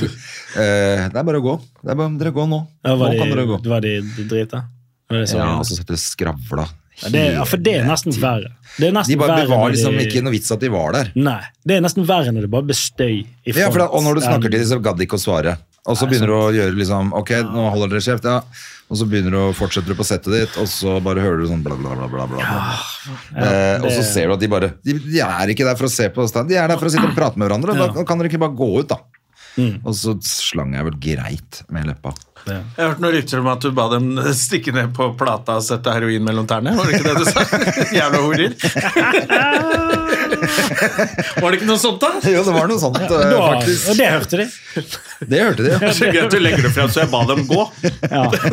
[SPEAKER 2] Det er bare å gå. Det er bare, dere går nå.
[SPEAKER 1] Ja,
[SPEAKER 2] nå
[SPEAKER 1] var,
[SPEAKER 2] kan dere
[SPEAKER 1] de-
[SPEAKER 2] gå.
[SPEAKER 1] var de de drita? Var det sånn?
[SPEAKER 2] Ja, altså, og så satt de og skravla.
[SPEAKER 1] Ja, det, ja, for det er nesten verre. Det er
[SPEAKER 2] De
[SPEAKER 1] nesten
[SPEAKER 2] bare
[SPEAKER 1] verre
[SPEAKER 2] det var
[SPEAKER 1] når
[SPEAKER 2] liksom
[SPEAKER 1] de-
[SPEAKER 2] ikke noe vits at de var der.
[SPEAKER 1] Nei, det er nesten verre når det bare blir støy. i
[SPEAKER 2] Ja, for da,
[SPEAKER 1] front
[SPEAKER 2] og når du snakker til
[SPEAKER 1] enn-
[SPEAKER 2] dem, så gadd de ikke å svare. Og så begynner du å gjøre liksom Ok, nå holder dere kjeft, ja. Og så begynner du å fortsette på settet ditt, og så bare hører du sånn bla, bla, bla. bla, bla. eh, og så
[SPEAKER 1] det-
[SPEAKER 2] ser du at de bare de, de er ikke der for å se på stand, de er der for å sitte og prate med hverandre. og Da kan dere ikke bare gå ut, da.
[SPEAKER 1] Mm.
[SPEAKER 2] Og så slang jeg vel greit med leppa.
[SPEAKER 3] Jeg har hørt noen rykter om at du ba dem stikke ned på plata og sette heroin mellom tærne. Var det ikke det du sa? Jævla horer. Var det ikke noe sånt, da?
[SPEAKER 2] Jo, det var noe sånt, eh,
[SPEAKER 1] Da,
[SPEAKER 2] faktisk.
[SPEAKER 1] og det hørte de.
[SPEAKER 2] Det hørte de, ja.
[SPEAKER 3] Så gøy at du legger det frem, så jeg ba dem gå.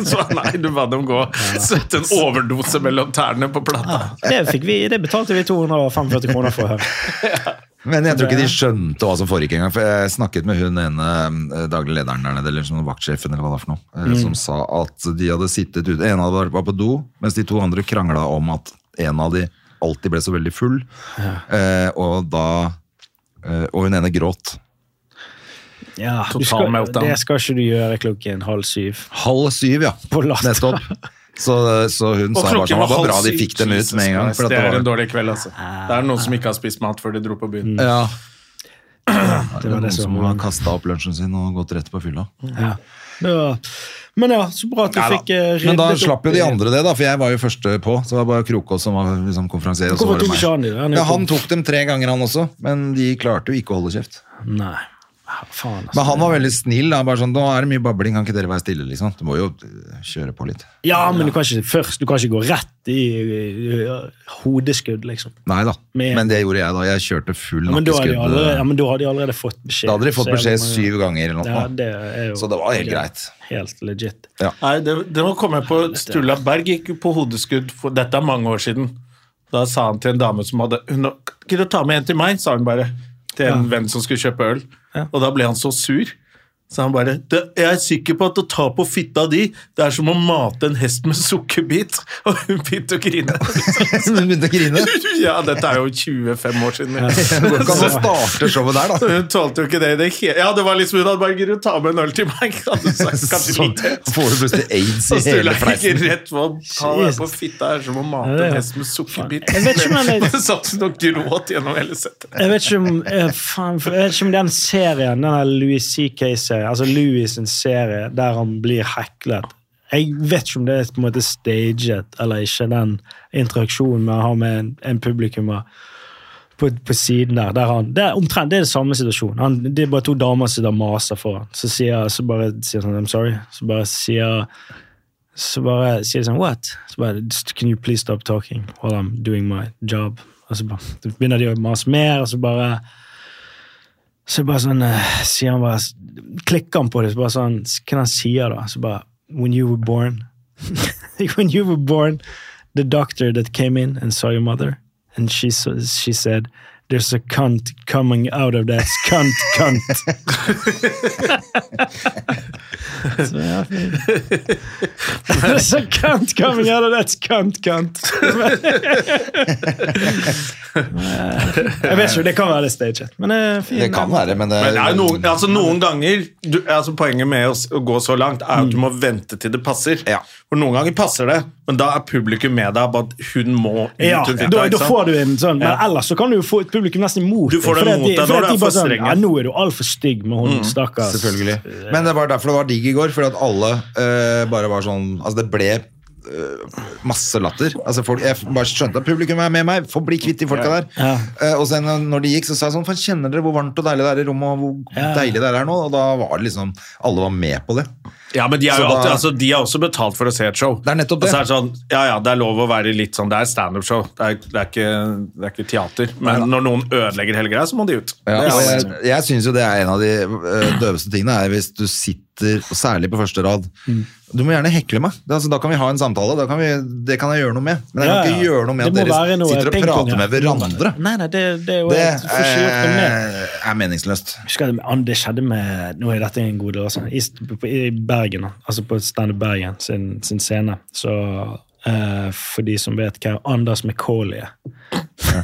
[SPEAKER 3] Så nei, du ba dem gå. Sette en overdose mellom tærne på plata.
[SPEAKER 1] Det, fikk vi, det betalte vi 245 kroner for. her.
[SPEAKER 2] Men jeg tror ikke de skjønte hva som foregikk engang. For jeg snakket med hun ene eh, daglig lederen der nede, eller som vaktsjefen, eller hva det er for noe,
[SPEAKER 3] Mm.
[SPEAKER 2] eh, som sa at de hadde sittet ute. En av dem var på do, mens de to andre krangla om at en av de alltid ble så veldig full. Eh, og da eh, Og hun ene gråt.
[SPEAKER 1] Ja, du
[SPEAKER 3] Total
[SPEAKER 1] skal,
[SPEAKER 3] meltdown.
[SPEAKER 1] det skal ikke du gjøre klokken halv syv.
[SPEAKER 2] Halv syv, ja.
[SPEAKER 1] På latter.
[SPEAKER 2] Nettopp. Så, så hun
[SPEAKER 3] Og
[SPEAKER 2] sa bare
[SPEAKER 3] klokken
[SPEAKER 2] sånn, det
[SPEAKER 3] var
[SPEAKER 2] var
[SPEAKER 3] halv
[SPEAKER 2] bra de
[SPEAKER 3] syv.
[SPEAKER 2] fikk dem ut
[SPEAKER 3] Jesus
[SPEAKER 2] med en gang.
[SPEAKER 3] Christ,
[SPEAKER 2] For at
[SPEAKER 3] det
[SPEAKER 2] det
[SPEAKER 3] er en
[SPEAKER 2] var,
[SPEAKER 3] dårlig kveld, altså.
[SPEAKER 2] Ah.
[SPEAKER 3] Det er noen som ikke har spist mat før de dro på byen.
[SPEAKER 2] ja,
[SPEAKER 1] Det var
[SPEAKER 2] noen
[SPEAKER 1] det som
[SPEAKER 2] som har kasta opp lunsjen sin og gått rett på fylla.
[SPEAKER 1] ja. Ja. Men ja, så bra at du
[SPEAKER 3] Ja da.
[SPEAKER 1] fikk eh, ryddet
[SPEAKER 2] Men da
[SPEAKER 1] opp
[SPEAKER 2] slapp jo
[SPEAKER 1] i-
[SPEAKER 2] de andre det, da, for jeg var jo første på. Så det var bare Krokås som var liksom, konferansier. og så
[SPEAKER 1] Hvorfor
[SPEAKER 2] var det
[SPEAKER 1] tok
[SPEAKER 2] meg.
[SPEAKER 1] ikke han de? Han er jo
[SPEAKER 2] ja, han
[SPEAKER 1] kom-
[SPEAKER 2] tok dem tre ganger, han også, men de klarte jo ikke å holde kjeft.
[SPEAKER 1] Nei. Ja, Faen, altså.
[SPEAKER 2] Men han var veldig snill. da, bare sånn, 'Nå er det mye babling, kan ikke dere være stille?' liksom. Du må jo eh, kjøre på litt.
[SPEAKER 1] Ja, men du kan ikke først, du kan ikke gå rett i, i, i hodeskudd, liksom.
[SPEAKER 2] Nei da,
[SPEAKER 1] Men-
[SPEAKER 2] men det gjorde jeg da. Jeg kjørte full
[SPEAKER 1] Ja, men, da har de
[SPEAKER 2] nakkeskudd. eh.
[SPEAKER 1] allerede, ja, men da har de allerede fått beskjed.
[SPEAKER 2] da hadde de fått
[SPEAKER 1] Så
[SPEAKER 2] beskjed
[SPEAKER 1] jeg må-
[SPEAKER 2] syv ganger eller
[SPEAKER 1] Ja,
[SPEAKER 2] noe.
[SPEAKER 1] det er jo
[SPEAKER 2] Så det var helt greit.
[SPEAKER 1] Helt legit.
[SPEAKER 3] Nei, det, det må komme på Sturla Berg gikk jo på hodeskudd for Dette er mange år siden. Da sa han til en dame som hadde hun, Gidder du ta med en til meg? sa hun bare. Til en venn som skulle kjøpe øl. Og da ble han så sur. Så han bare «Det- Jeg er sikker på at å ta på fitta di, det er som å mate en hest med sukkerbit. Og hun begynte å grine.
[SPEAKER 2] Hun begynte å grine.
[SPEAKER 3] Ja, dette er jo 25 år siden.
[SPEAKER 2] Det går ikke an å starte showet der,
[SPEAKER 3] Så
[SPEAKER 2] da.
[SPEAKER 3] Hun tålte jo ikke det i det hele Ja, det var liksom hun hadde bare Gidder du ta med en øl til meg? Hadde sagt, kanskje
[SPEAKER 1] Sånn.
[SPEAKER 2] Så
[SPEAKER 3] litt.
[SPEAKER 2] får du plutselig aids
[SPEAKER 3] Så
[SPEAKER 2] i hele
[SPEAKER 3] Sturla
[SPEAKER 2] fleisen.
[SPEAKER 3] gikk rett på ta deg på fitta her som å mate
[SPEAKER 1] Ja, ja.
[SPEAKER 3] en hest med sukkerbit.
[SPEAKER 1] Jeg vet ikke om jeg-
[SPEAKER 3] Hun satt hun og gråt gjennom hele settet.
[SPEAKER 1] Jeg vet ikke om, eh, faen, for jeg vet ikke om den serien, den der Louis C.K.-serien, altså Louis' sin serie der han blir heklet Jeg vet ikke om det er på en måte staged eller ikke, den interaksjonen man har med en, en publikummer på, på siden der. der han, det er omtrent det er den samme situasjonen. Han, det er bare sånn, to damer som sitter og maser foran. Så sier så bare sier han, I'm sorry. Så bare sier Så bare sier de sånn What? Så bare "Just, Can you please stop talking while I'm doing my job? Og så bare, så begynner de å mase mer, og så bare Så bare sånn eh, sier han bare Klikker han på det, så bare sånn Hva han sier da? Så bare When you were born When you were born, the doctor that came in and saw your mother, and she, s- she said There's a cunt coming out of that cunt cunt. Så, ja, fint. There's a cunt coming out of that cunt cunt. Jeg vet ikke, det kan være det staged, men det er fint.
[SPEAKER 2] Det kan være, men,
[SPEAKER 3] Men det er jo noen, altså noen ganger du, altså Poenget med å s- å gå så langt er at
[SPEAKER 1] Mm.
[SPEAKER 3] du må vente til det passer.
[SPEAKER 2] Ja.
[SPEAKER 3] For noen ganger passer det, men da er publikum med deg på at hun må ut.
[SPEAKER 1] Ja,
[SPEAKER 3] hun fikk deg,
[SPEAKER 1] da, da
[SPEAKER 3] ikke sant?
[SPEAKER 1] får du en sånn, men
[SPEAKER 3] Ja.
[SPEAKER 1] ellers så kan du jo få et publikum nesten imot
[SPEAKER 3] Du får
[SPEAKER 1] deg,
[SPEAKER 3] det
[SPEAKER 1] fordi at
[SPEAKER 3] mot
[SPEAKER 1] de-
[SPEAKER 3] deg
[SPEAKER 1] fordi
[SPEAKER 3] når
[SPEAKER 1] at
[SPEAKER 3] du
[SPEAKER 1] de
[SPEAKER 3] er for
[SPEAKER 1] bare sånn,
[SPEAKER 3] streng. Mm,
[SPEAKER 1] Ja, nå er du altfor stygg med hun, stakkars.
[SPEAKER 2] Men det var derfor det var digg i går, for at alle eh, bare var sånn Altså, det ble eh, masse latter. Altså folk, jeg bare skjønte at publikum er med meg. Få bli kvitt de folka der.
[SPEAKER 1] Ja.
[SPEAKER 2] Eh, og så en- når de gikk, så sa jeg sånn Faen, kjenner dere hvor varmt og deilig det er i rommet, og hvor
[SPEAKER 1] Ja.
[SPEAKER 2] deilig det er her nå? Og da var det liksom Alle var med på det.
[SPEAKER 3] Ja, men de er, jo
[SPEAKER 2] Så da-
[SPEAKER 3] alltid, altså, de er også betalt for å se et show.
[SPEAKER 2] Det er nettopp det.
[SPEAKER 3] Og så er det sånn, ja, ja, det er lov å være litt sånn, det er standup-show, det, er- det, er ikke- det er ikke teater. Men når noen ødelegger hele greia, så må de ut.
[SPEAKER 2] Ja,
[SPEAKER 3] Det er
[SPEAKER 2] og jeg
[SPEAKER 3] sånn.
[SPEAKER 2] jeg syns jo det er en av de eh, døveste tingene, er hvis du sitter, og særlig på første rad
[SPEAKER 1] Mm.
[SPEAKER 2] Du må gjerne hekle meg. Det, er altså, da kan vi ha en samtale. Da kan vi, det kan jeg gjøre noe med. Men jeg
[SPEAKER 1] Ja, ja.
[SPEAKER 2] kan ikke gjøre noe
[SPEAKER 1] Det
[SPEAKER 2] med at
[SPEAKER 1] må
[SPEAKER 2] dere
[SPEAKER 1] være noe
[SPEAKER 2] sitter og
[SPEAKER 1] ping-pong, ja.
[SPEAKER 2] prater med hverandre.
[SPEAKER 1] Nei, nei, det, det er jo
[SPEAKER 2] Det
[SPEAKER 1] helt- du får ikke gjort noe med.
[SPEAKER 2] eh, er meningsløst.
[SPEAKER 1] husker jeg, an- det skjedde med Nå er dette en god del, altså. I, st- på- I Bergen, da. altså på Standup Bergen sin, sin scene. Så eh, for de som vet hva Anders McCauley er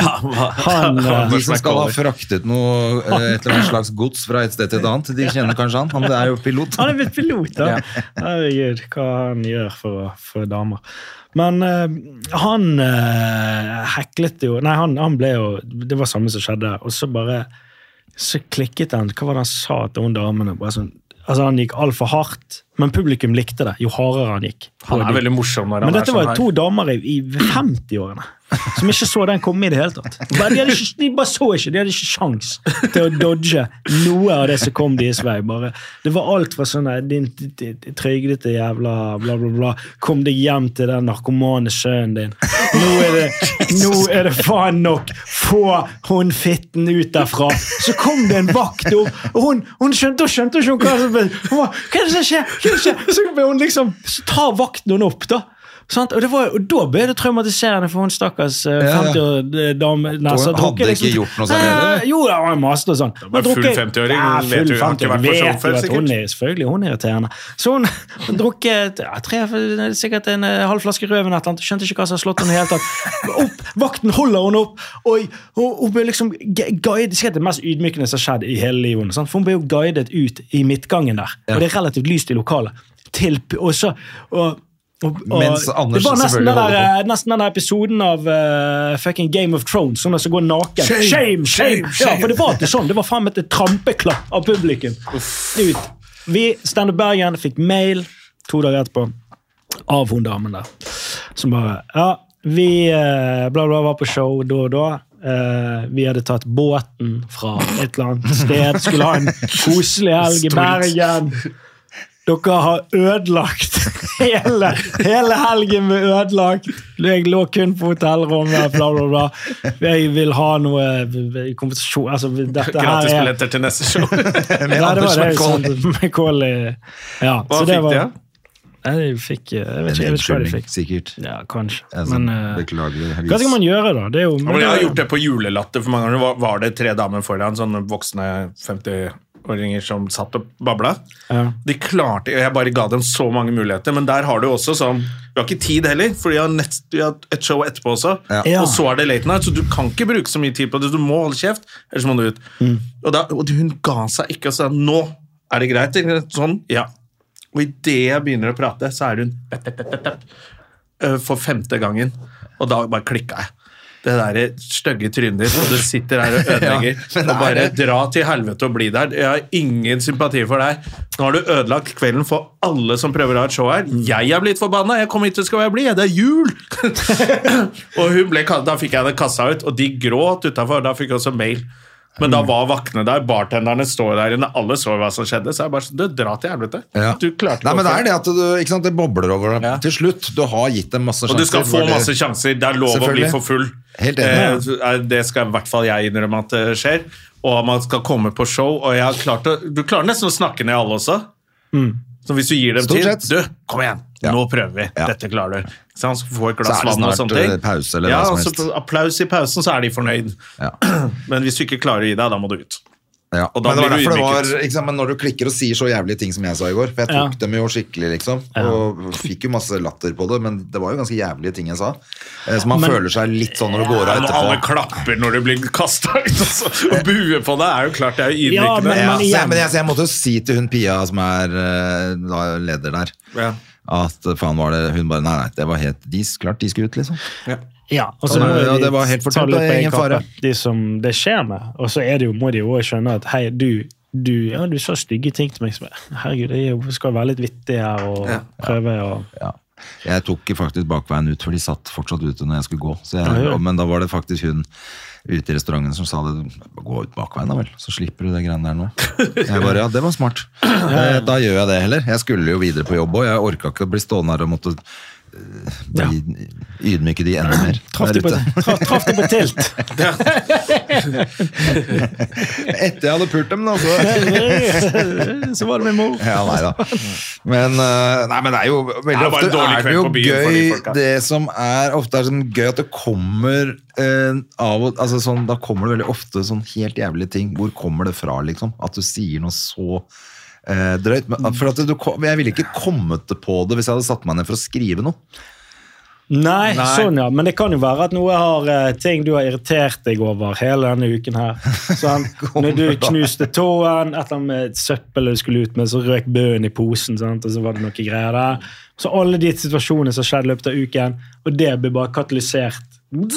[SPEAKER 3] Ja, hva-
[SPEAKER 1] han, eh,
[SPEAKER 2] De som skal ha fraktet noe, eh, et eller annet slags gods fra et sted til et annet, de kjenner kanskje han. Han er jo pilot.
[SPEAKER 1] Han er blitt pilot, da! Herregud, hva han gjør for, å- for damer. Men eh, han eh, heklet jo Nei, han, han ble jo Det var samme som skjedde. Og så bare så klikket han. Hva var det han sa til hun damen? Bare sånn, altså Han gikk altfor hardt, men publikum likte det jo hardere han gikk.
[SPEAKER 3] Han er veldig morsom når han
[SPEAKER 1] Men
[SPEAKER 3] er
[SPEAKER 1] dette
[SPEAKER 3] sånn
[SPEAKER 1] var
[SPEAKER 3] her.
[SPEAKER 1] to damer i, i 50-årene som ikke så den komme i det hele tatt. Bare, de, hadde ikke, de bare så ikke, de hadde ikke sjans til å dodge noe av det som kom deres vei. Bare, det var alt fra sånn her, din t- t- t- trygdete jævla bla, bla, bla. Kom deg hjem til den narkomane sønnen din. Nå er det, nå er det faen nok! Få hun fitten ut derfra! Så kom det en vakt opp, og hun, hun skjønte og skjønte ikke hva som Hun bare, hva er det som skjer? Hva er det som skjer? Så, ble hun liksom, så tar vakten henne opp, da. Sant? Og, det var, og da ble det traumatiserende for hun stakkars eh,
[SPEAKER 2] Ja, ja.
[SPEAKER 1] 50 år dame.
[SPEAKER 2] Og hun
[SPEAKER 1] som
[SPEAKER 2] hadde
[SPEAKER 1] drukket
[SPEAKER 2] ikke gjort noe særlig,
[SPEAKER 1] Eh,
[SPEAKER 2] eller?
[SPEAKER 1] Jo, da, hun maste og sånn.
[SPEAKER 3] Men
[SPEAKER 1] Hun drukket-
[SPEAKER 3] full 50-åring
[SPEAKER 1] Ja,
[SPEAKER 3] vet
[SPEAKER 1] full
[SPEAKER 3] jo- har ikke
[SPEAKER 1] 50-åring
[SPEAKER 3] vært på show
[SPEAKER 1] vet
[SPEAKER 3] før,
[SPEAKER 1] jo at hun
[SPEAKER 3] sikkert.
[SPEAKER 1] er selvfølgelig hun er irriterende. Så hun har drukket ja, tre, sikkert en eh, halv flaske rødvin eller et eller annet. Skjønte ikke hva som har slått henne i det hele tatt. Opp, vakten holder henne opp, og hun- hun blir liksom gu- guidet. Sikkert det mest ydmykende som har skjedd i hele livet. hennes, Sant? For hun ble jo guidet ut i midtgangen der, og det er relativt lyst i lokalet. Til, og så, og, og, og,
[SPEAKER 2] Mens Anders
[SPEAKER 1] det var nesten
[SPEAKER 2] selvfølgelig
[SPEAKER 1] den, der,
[SPEAKER 2] holder
[SPEAKER 1] eh, nesten den der episoden av eh, fucking Game of Thrones, sånn som går naken. Shame, shame, Ja, for det var ikke sånn. Det var faen meg et trampeklapp av publikum. Ut. Vi, Standup Bergen, fikk mail to dager etterpå av hun damen der. Som bare Ja, vi eh, bla, bla, var på show da og da. Eh, vi hadde tatt båten fra et eller annet sted. Skulle ha en koselig helg i Bergen. Dere har ødelagt hele, hele helgen med ødelagt. Jeg lå kun på hotellrommet, bla, bla, bla. Jeg vil ha noe kompensasjon altså, Dette her er
[SPEAKER 3] Gratisbilletter til neste show.
[SPEAKER 2] Med
[SPEAKER 1] Nei, det
[SPEAKER 2] Anders
[SPEAKER 1] var det,
[SPEAKER 2] McCauley.
[SPEAKER 1] sant, McCauley. Ja,
[SPEAKER 3] Hva
[SPEAKER 1] så det
[SPEAKER 3] fikk
[SPEAKER 1] var-
[SPEAKER 3] de, da?
[SPEAKER 1] Nei, de fikk eh, Jeg vet ikke, jeg
[SPEAKER 2] En
[SPEAKER 1] vet ikke hva de
[SPEAKER 2] unnskyldning,
[SPEAKER 1] fikk.
[SPEAKER 2] sikkert.
[SPEAKER 1] Ja, kanskje.
[SPEAKER 2] Altså,
[SPEAKER 1] Men eh,
[SPEAKER 2] beklageligvis.
[SPEAKER 1] hva skal man gjøre, da? Det er jo,
[SPEAKER 3] Ja, men jeg har gjort det på julelatter for mange ganger. Var, var det tre damer foran, sånne voksne 50-åringer som satt og babla?
[SPEAKER 1] Ja.
[SPEAKER 3] De klarte, Jeg bare ga dem så mange muligheter, men der har du også sånn Du har ikke tid heller, for de har, nett, de har et show etterpå også.
[SPEAKER 1] Ja.
[SPEAKER 3] Og så er det late night, så du kan ikke bruke så mye tid på det. Du må holde kjeft, ellers må du ut.
[SPEAKER 1] Mm.
[SPEAKER 3] Og, da, og hun ga seg ikke og sa nå er det greit. tenkte jeg. Sånn, ja. Og idet jeg begynner å prate, så er hun pep, pep, pep, pep, pep, eh, for femte gangen. Og da bare klikka jeg. Det der stygge trynet ditt, og du sitter her og ødelegger.
[SPEAKER 2] Ja, men det
[SPEAKER 3] og bare
[SPEAKER 2] er det.
[SPEAKER 3] dra til helvete og bli der. Jeg har ingen sympati for deg. Nå har du ødelagt kvelden for alle som prøver å ha et show her. Jeg er blitt forbanna! Jeg kommer hit og skal være blid! Det er jul! og hun ble, kalt- da fikk jeg henne kassa ut, og de gråt utafor. Da fikk jeg også mail. Men
[SPEAKER 2] Mm.
[SPEAKER 3] da var vaktene der, bartenderne står der inne, alle så hva som skjedde. Så jeg bare sånn Du, dra til helvete.
[SPEAKER 2] Ja.
[SPEAKER 3] Du klarte
[SPEAKER 2] Nei, men det
[SPEAKER 3] å-
[SPEAKER 2] er det at du, ikke sant, det bobler over deg til slutt. Du har gitt dem masse
[SPEAKER 3] Og
[SPEAKER 2] sjanser.
[SPEAKER 3] du skal få
[SPEAKER 2] for det-
[SPEAKER 3] masse sjanser. Det er lov å bli
[SPEAKER 2] Selvfølgelig.
[SPEAKER 3] for full.
[SPEAKER 2] Helt enig.
[SPEAKER 3] Eh, det skal i hvert fall jeg innrømme at det skjer. Og man skal komme på show, og jeg har klart å Du klarer nesten å snakke ned alle også.
[SPEAKER 1] Mm.
[SPEAKER 3] Så hvis du gir dem
[SPEAKER 2] Stort
[SPEAKER 3] tid
[SPEAKER 2] sett.
[SPEAKER 3] Du, kom igjen!
[SPEAKER 2] Ja.
[SPEAKER 3] Nå prøver vi!
[SPEAKER 2] Ja.
[SPEAKER 3] Dette klarer du. Ikke sant? Så får du et
[SPEAKER 2] Så
[SPEAKER 3] glass
[SPEAKER 2] er det
[SPEAKER 3] vann og
[SPEAKER 2] snart,
[SPEAKER 3] sånne ting.
[SPEAKER 2] eh, pause eller
[SPEAKER 3] ja,
[SPEAKER 2] hva som
[SPEAKER 3] og
[SPEAKER 2] helst.
[SPEAKER 3] så applaus i pausen, så er de fornøyd.
[SPEAKER 2] Ja.
[SPEAKER 3] Men hvis du ikke klarer å gi deg, da må du ut.
[SPEAKER 2] Ja.
[SPEAKER 3] Og da
[SPEAKER 2] Men det var
[SPEAKER 3] blir du
[SPEAKER 2] derfor det var
[SPEAKER 3] ydmyket.
[SPEAKER 2] ikke sant, Men når du klikker og sier så jævlige ting som jeg sa i går For jeg tok
[SPEAKER 1] Ja.
[SPEAKER 2] dem jo skikkelig, liksom. Og fikk jo masse latter på det, men det var jo ganske jævlige ting jeg sa. Eh, Så man
[SPEAKER 1] Men-
[SPEAKER 2] føler seg litt sånn når du går av
[SPEAKER 3] Når alle
[SPEAKER 2] etterpå.
[SPEAKER 3] klapper når du blir kasta ut, og så- og buer på deg, er jo klart det er jo
[SPEAKER 1] Ja,
[SPEAKER 3] ydmykende.
[SPEAKER 1] men-
[SPEAKER 2] Ja, så jeg,
[SPEAKER 1] igjen-
[SPEAKER 2] men jeg, så jeg måtte jo si til hun Pia, som er eh, da leder der,
[SPEAKER 3] Ja.
[SPEAKER 2] at eh, faen var det Hun bare Nei, nei, det var helt de, Klart de skulle ut, liksom.
[SPEAKER 1] Ja, og så
[SPEAKER 2] Ja,
[SPEAKER 1] må
[SPEAKER 2] ja,
[SPEAKER 1] jo de
[SPEAKER 2] det var helt fortjent,
[SPEAKER 1] ta litt
[SPEAKER 2] det
[SPEAKER 1] på
[SPEAKER 2] er
[SPEAKER 1] egen
[SPEAKER 2] ingen fare.
[SPEAKER 1] kappe, De som det skjer med. Og så er det jo, må de jo også skjønne at hei, du, du, ja, du sa stygge ting til meg. som jeg- Herregud, jeg er jo- skal være litt vittig her og prøve å
[SPEAKER 2] Ja. Jeg tok faktisk bakveien ut, for de satt fortsatt ute når jeg skulle gå. Så jeg,
[SPEAKER 1] Ja, ja.
[SPEAKER 2] Men da var det faktisk hun ute i restauranten som sa det. Gå ut bakveien, da vel, så slipper du det greiene der nå. Jeg bare, ja, det var smart. Eh, Da gjør jeg det heller. Jeg skulle jo videre på jobb òg. Jeg orka ikke å bli stående her og måtte eh, bli, ydmyke de enda mer
[SPEAKER 1] Traff de på,
[SPEAKER 2] der ute.
[SPEAKER 1] traf, traf de på tilt!
[SPEAKER 2] Etter jeg hadde pult dem, da. Så.
[SPEAKER 1] Så var det min mor.
[SPEAKER 2] Ja, nei da. Men, eh, nei, men det er jo veldig
[SPEAKER 3] Det er bare
[SPEAKER 2] ofte
[SPEAKER 3] en dårlig
[SPEAKER 2] er det
[SPEAKER 3] kveld
[SPEAKER 2] jo
[SPEAKER 3] på byen for de folka.
[SPEAKER 2] gøy Det som er ofte er sånn gøy at det kommer eh, av og altså sånn, Da kommer det veldig ofte sånn helt jævlige ting. Hvor kommer det fra, liksom? At du sier noe så eh, drøyt. Men, for at du, kom- jeg ville ikke kommet på det hvis jeg hadde satt meg ned for å skrive noe.
[SPEAKER 1] Nei, sånn ja. Men det kan jo være at noe har eh, ting du har irritert deg over hele denne uken her. Sånn, når du knuste tåen, et eller annet med søppelet du skulle ut med, så røk bøen i posen, sant? og så var det noe greier der. Så alle de situasjonene som skjedde i løpet av uken, og det blir bare katalysert rett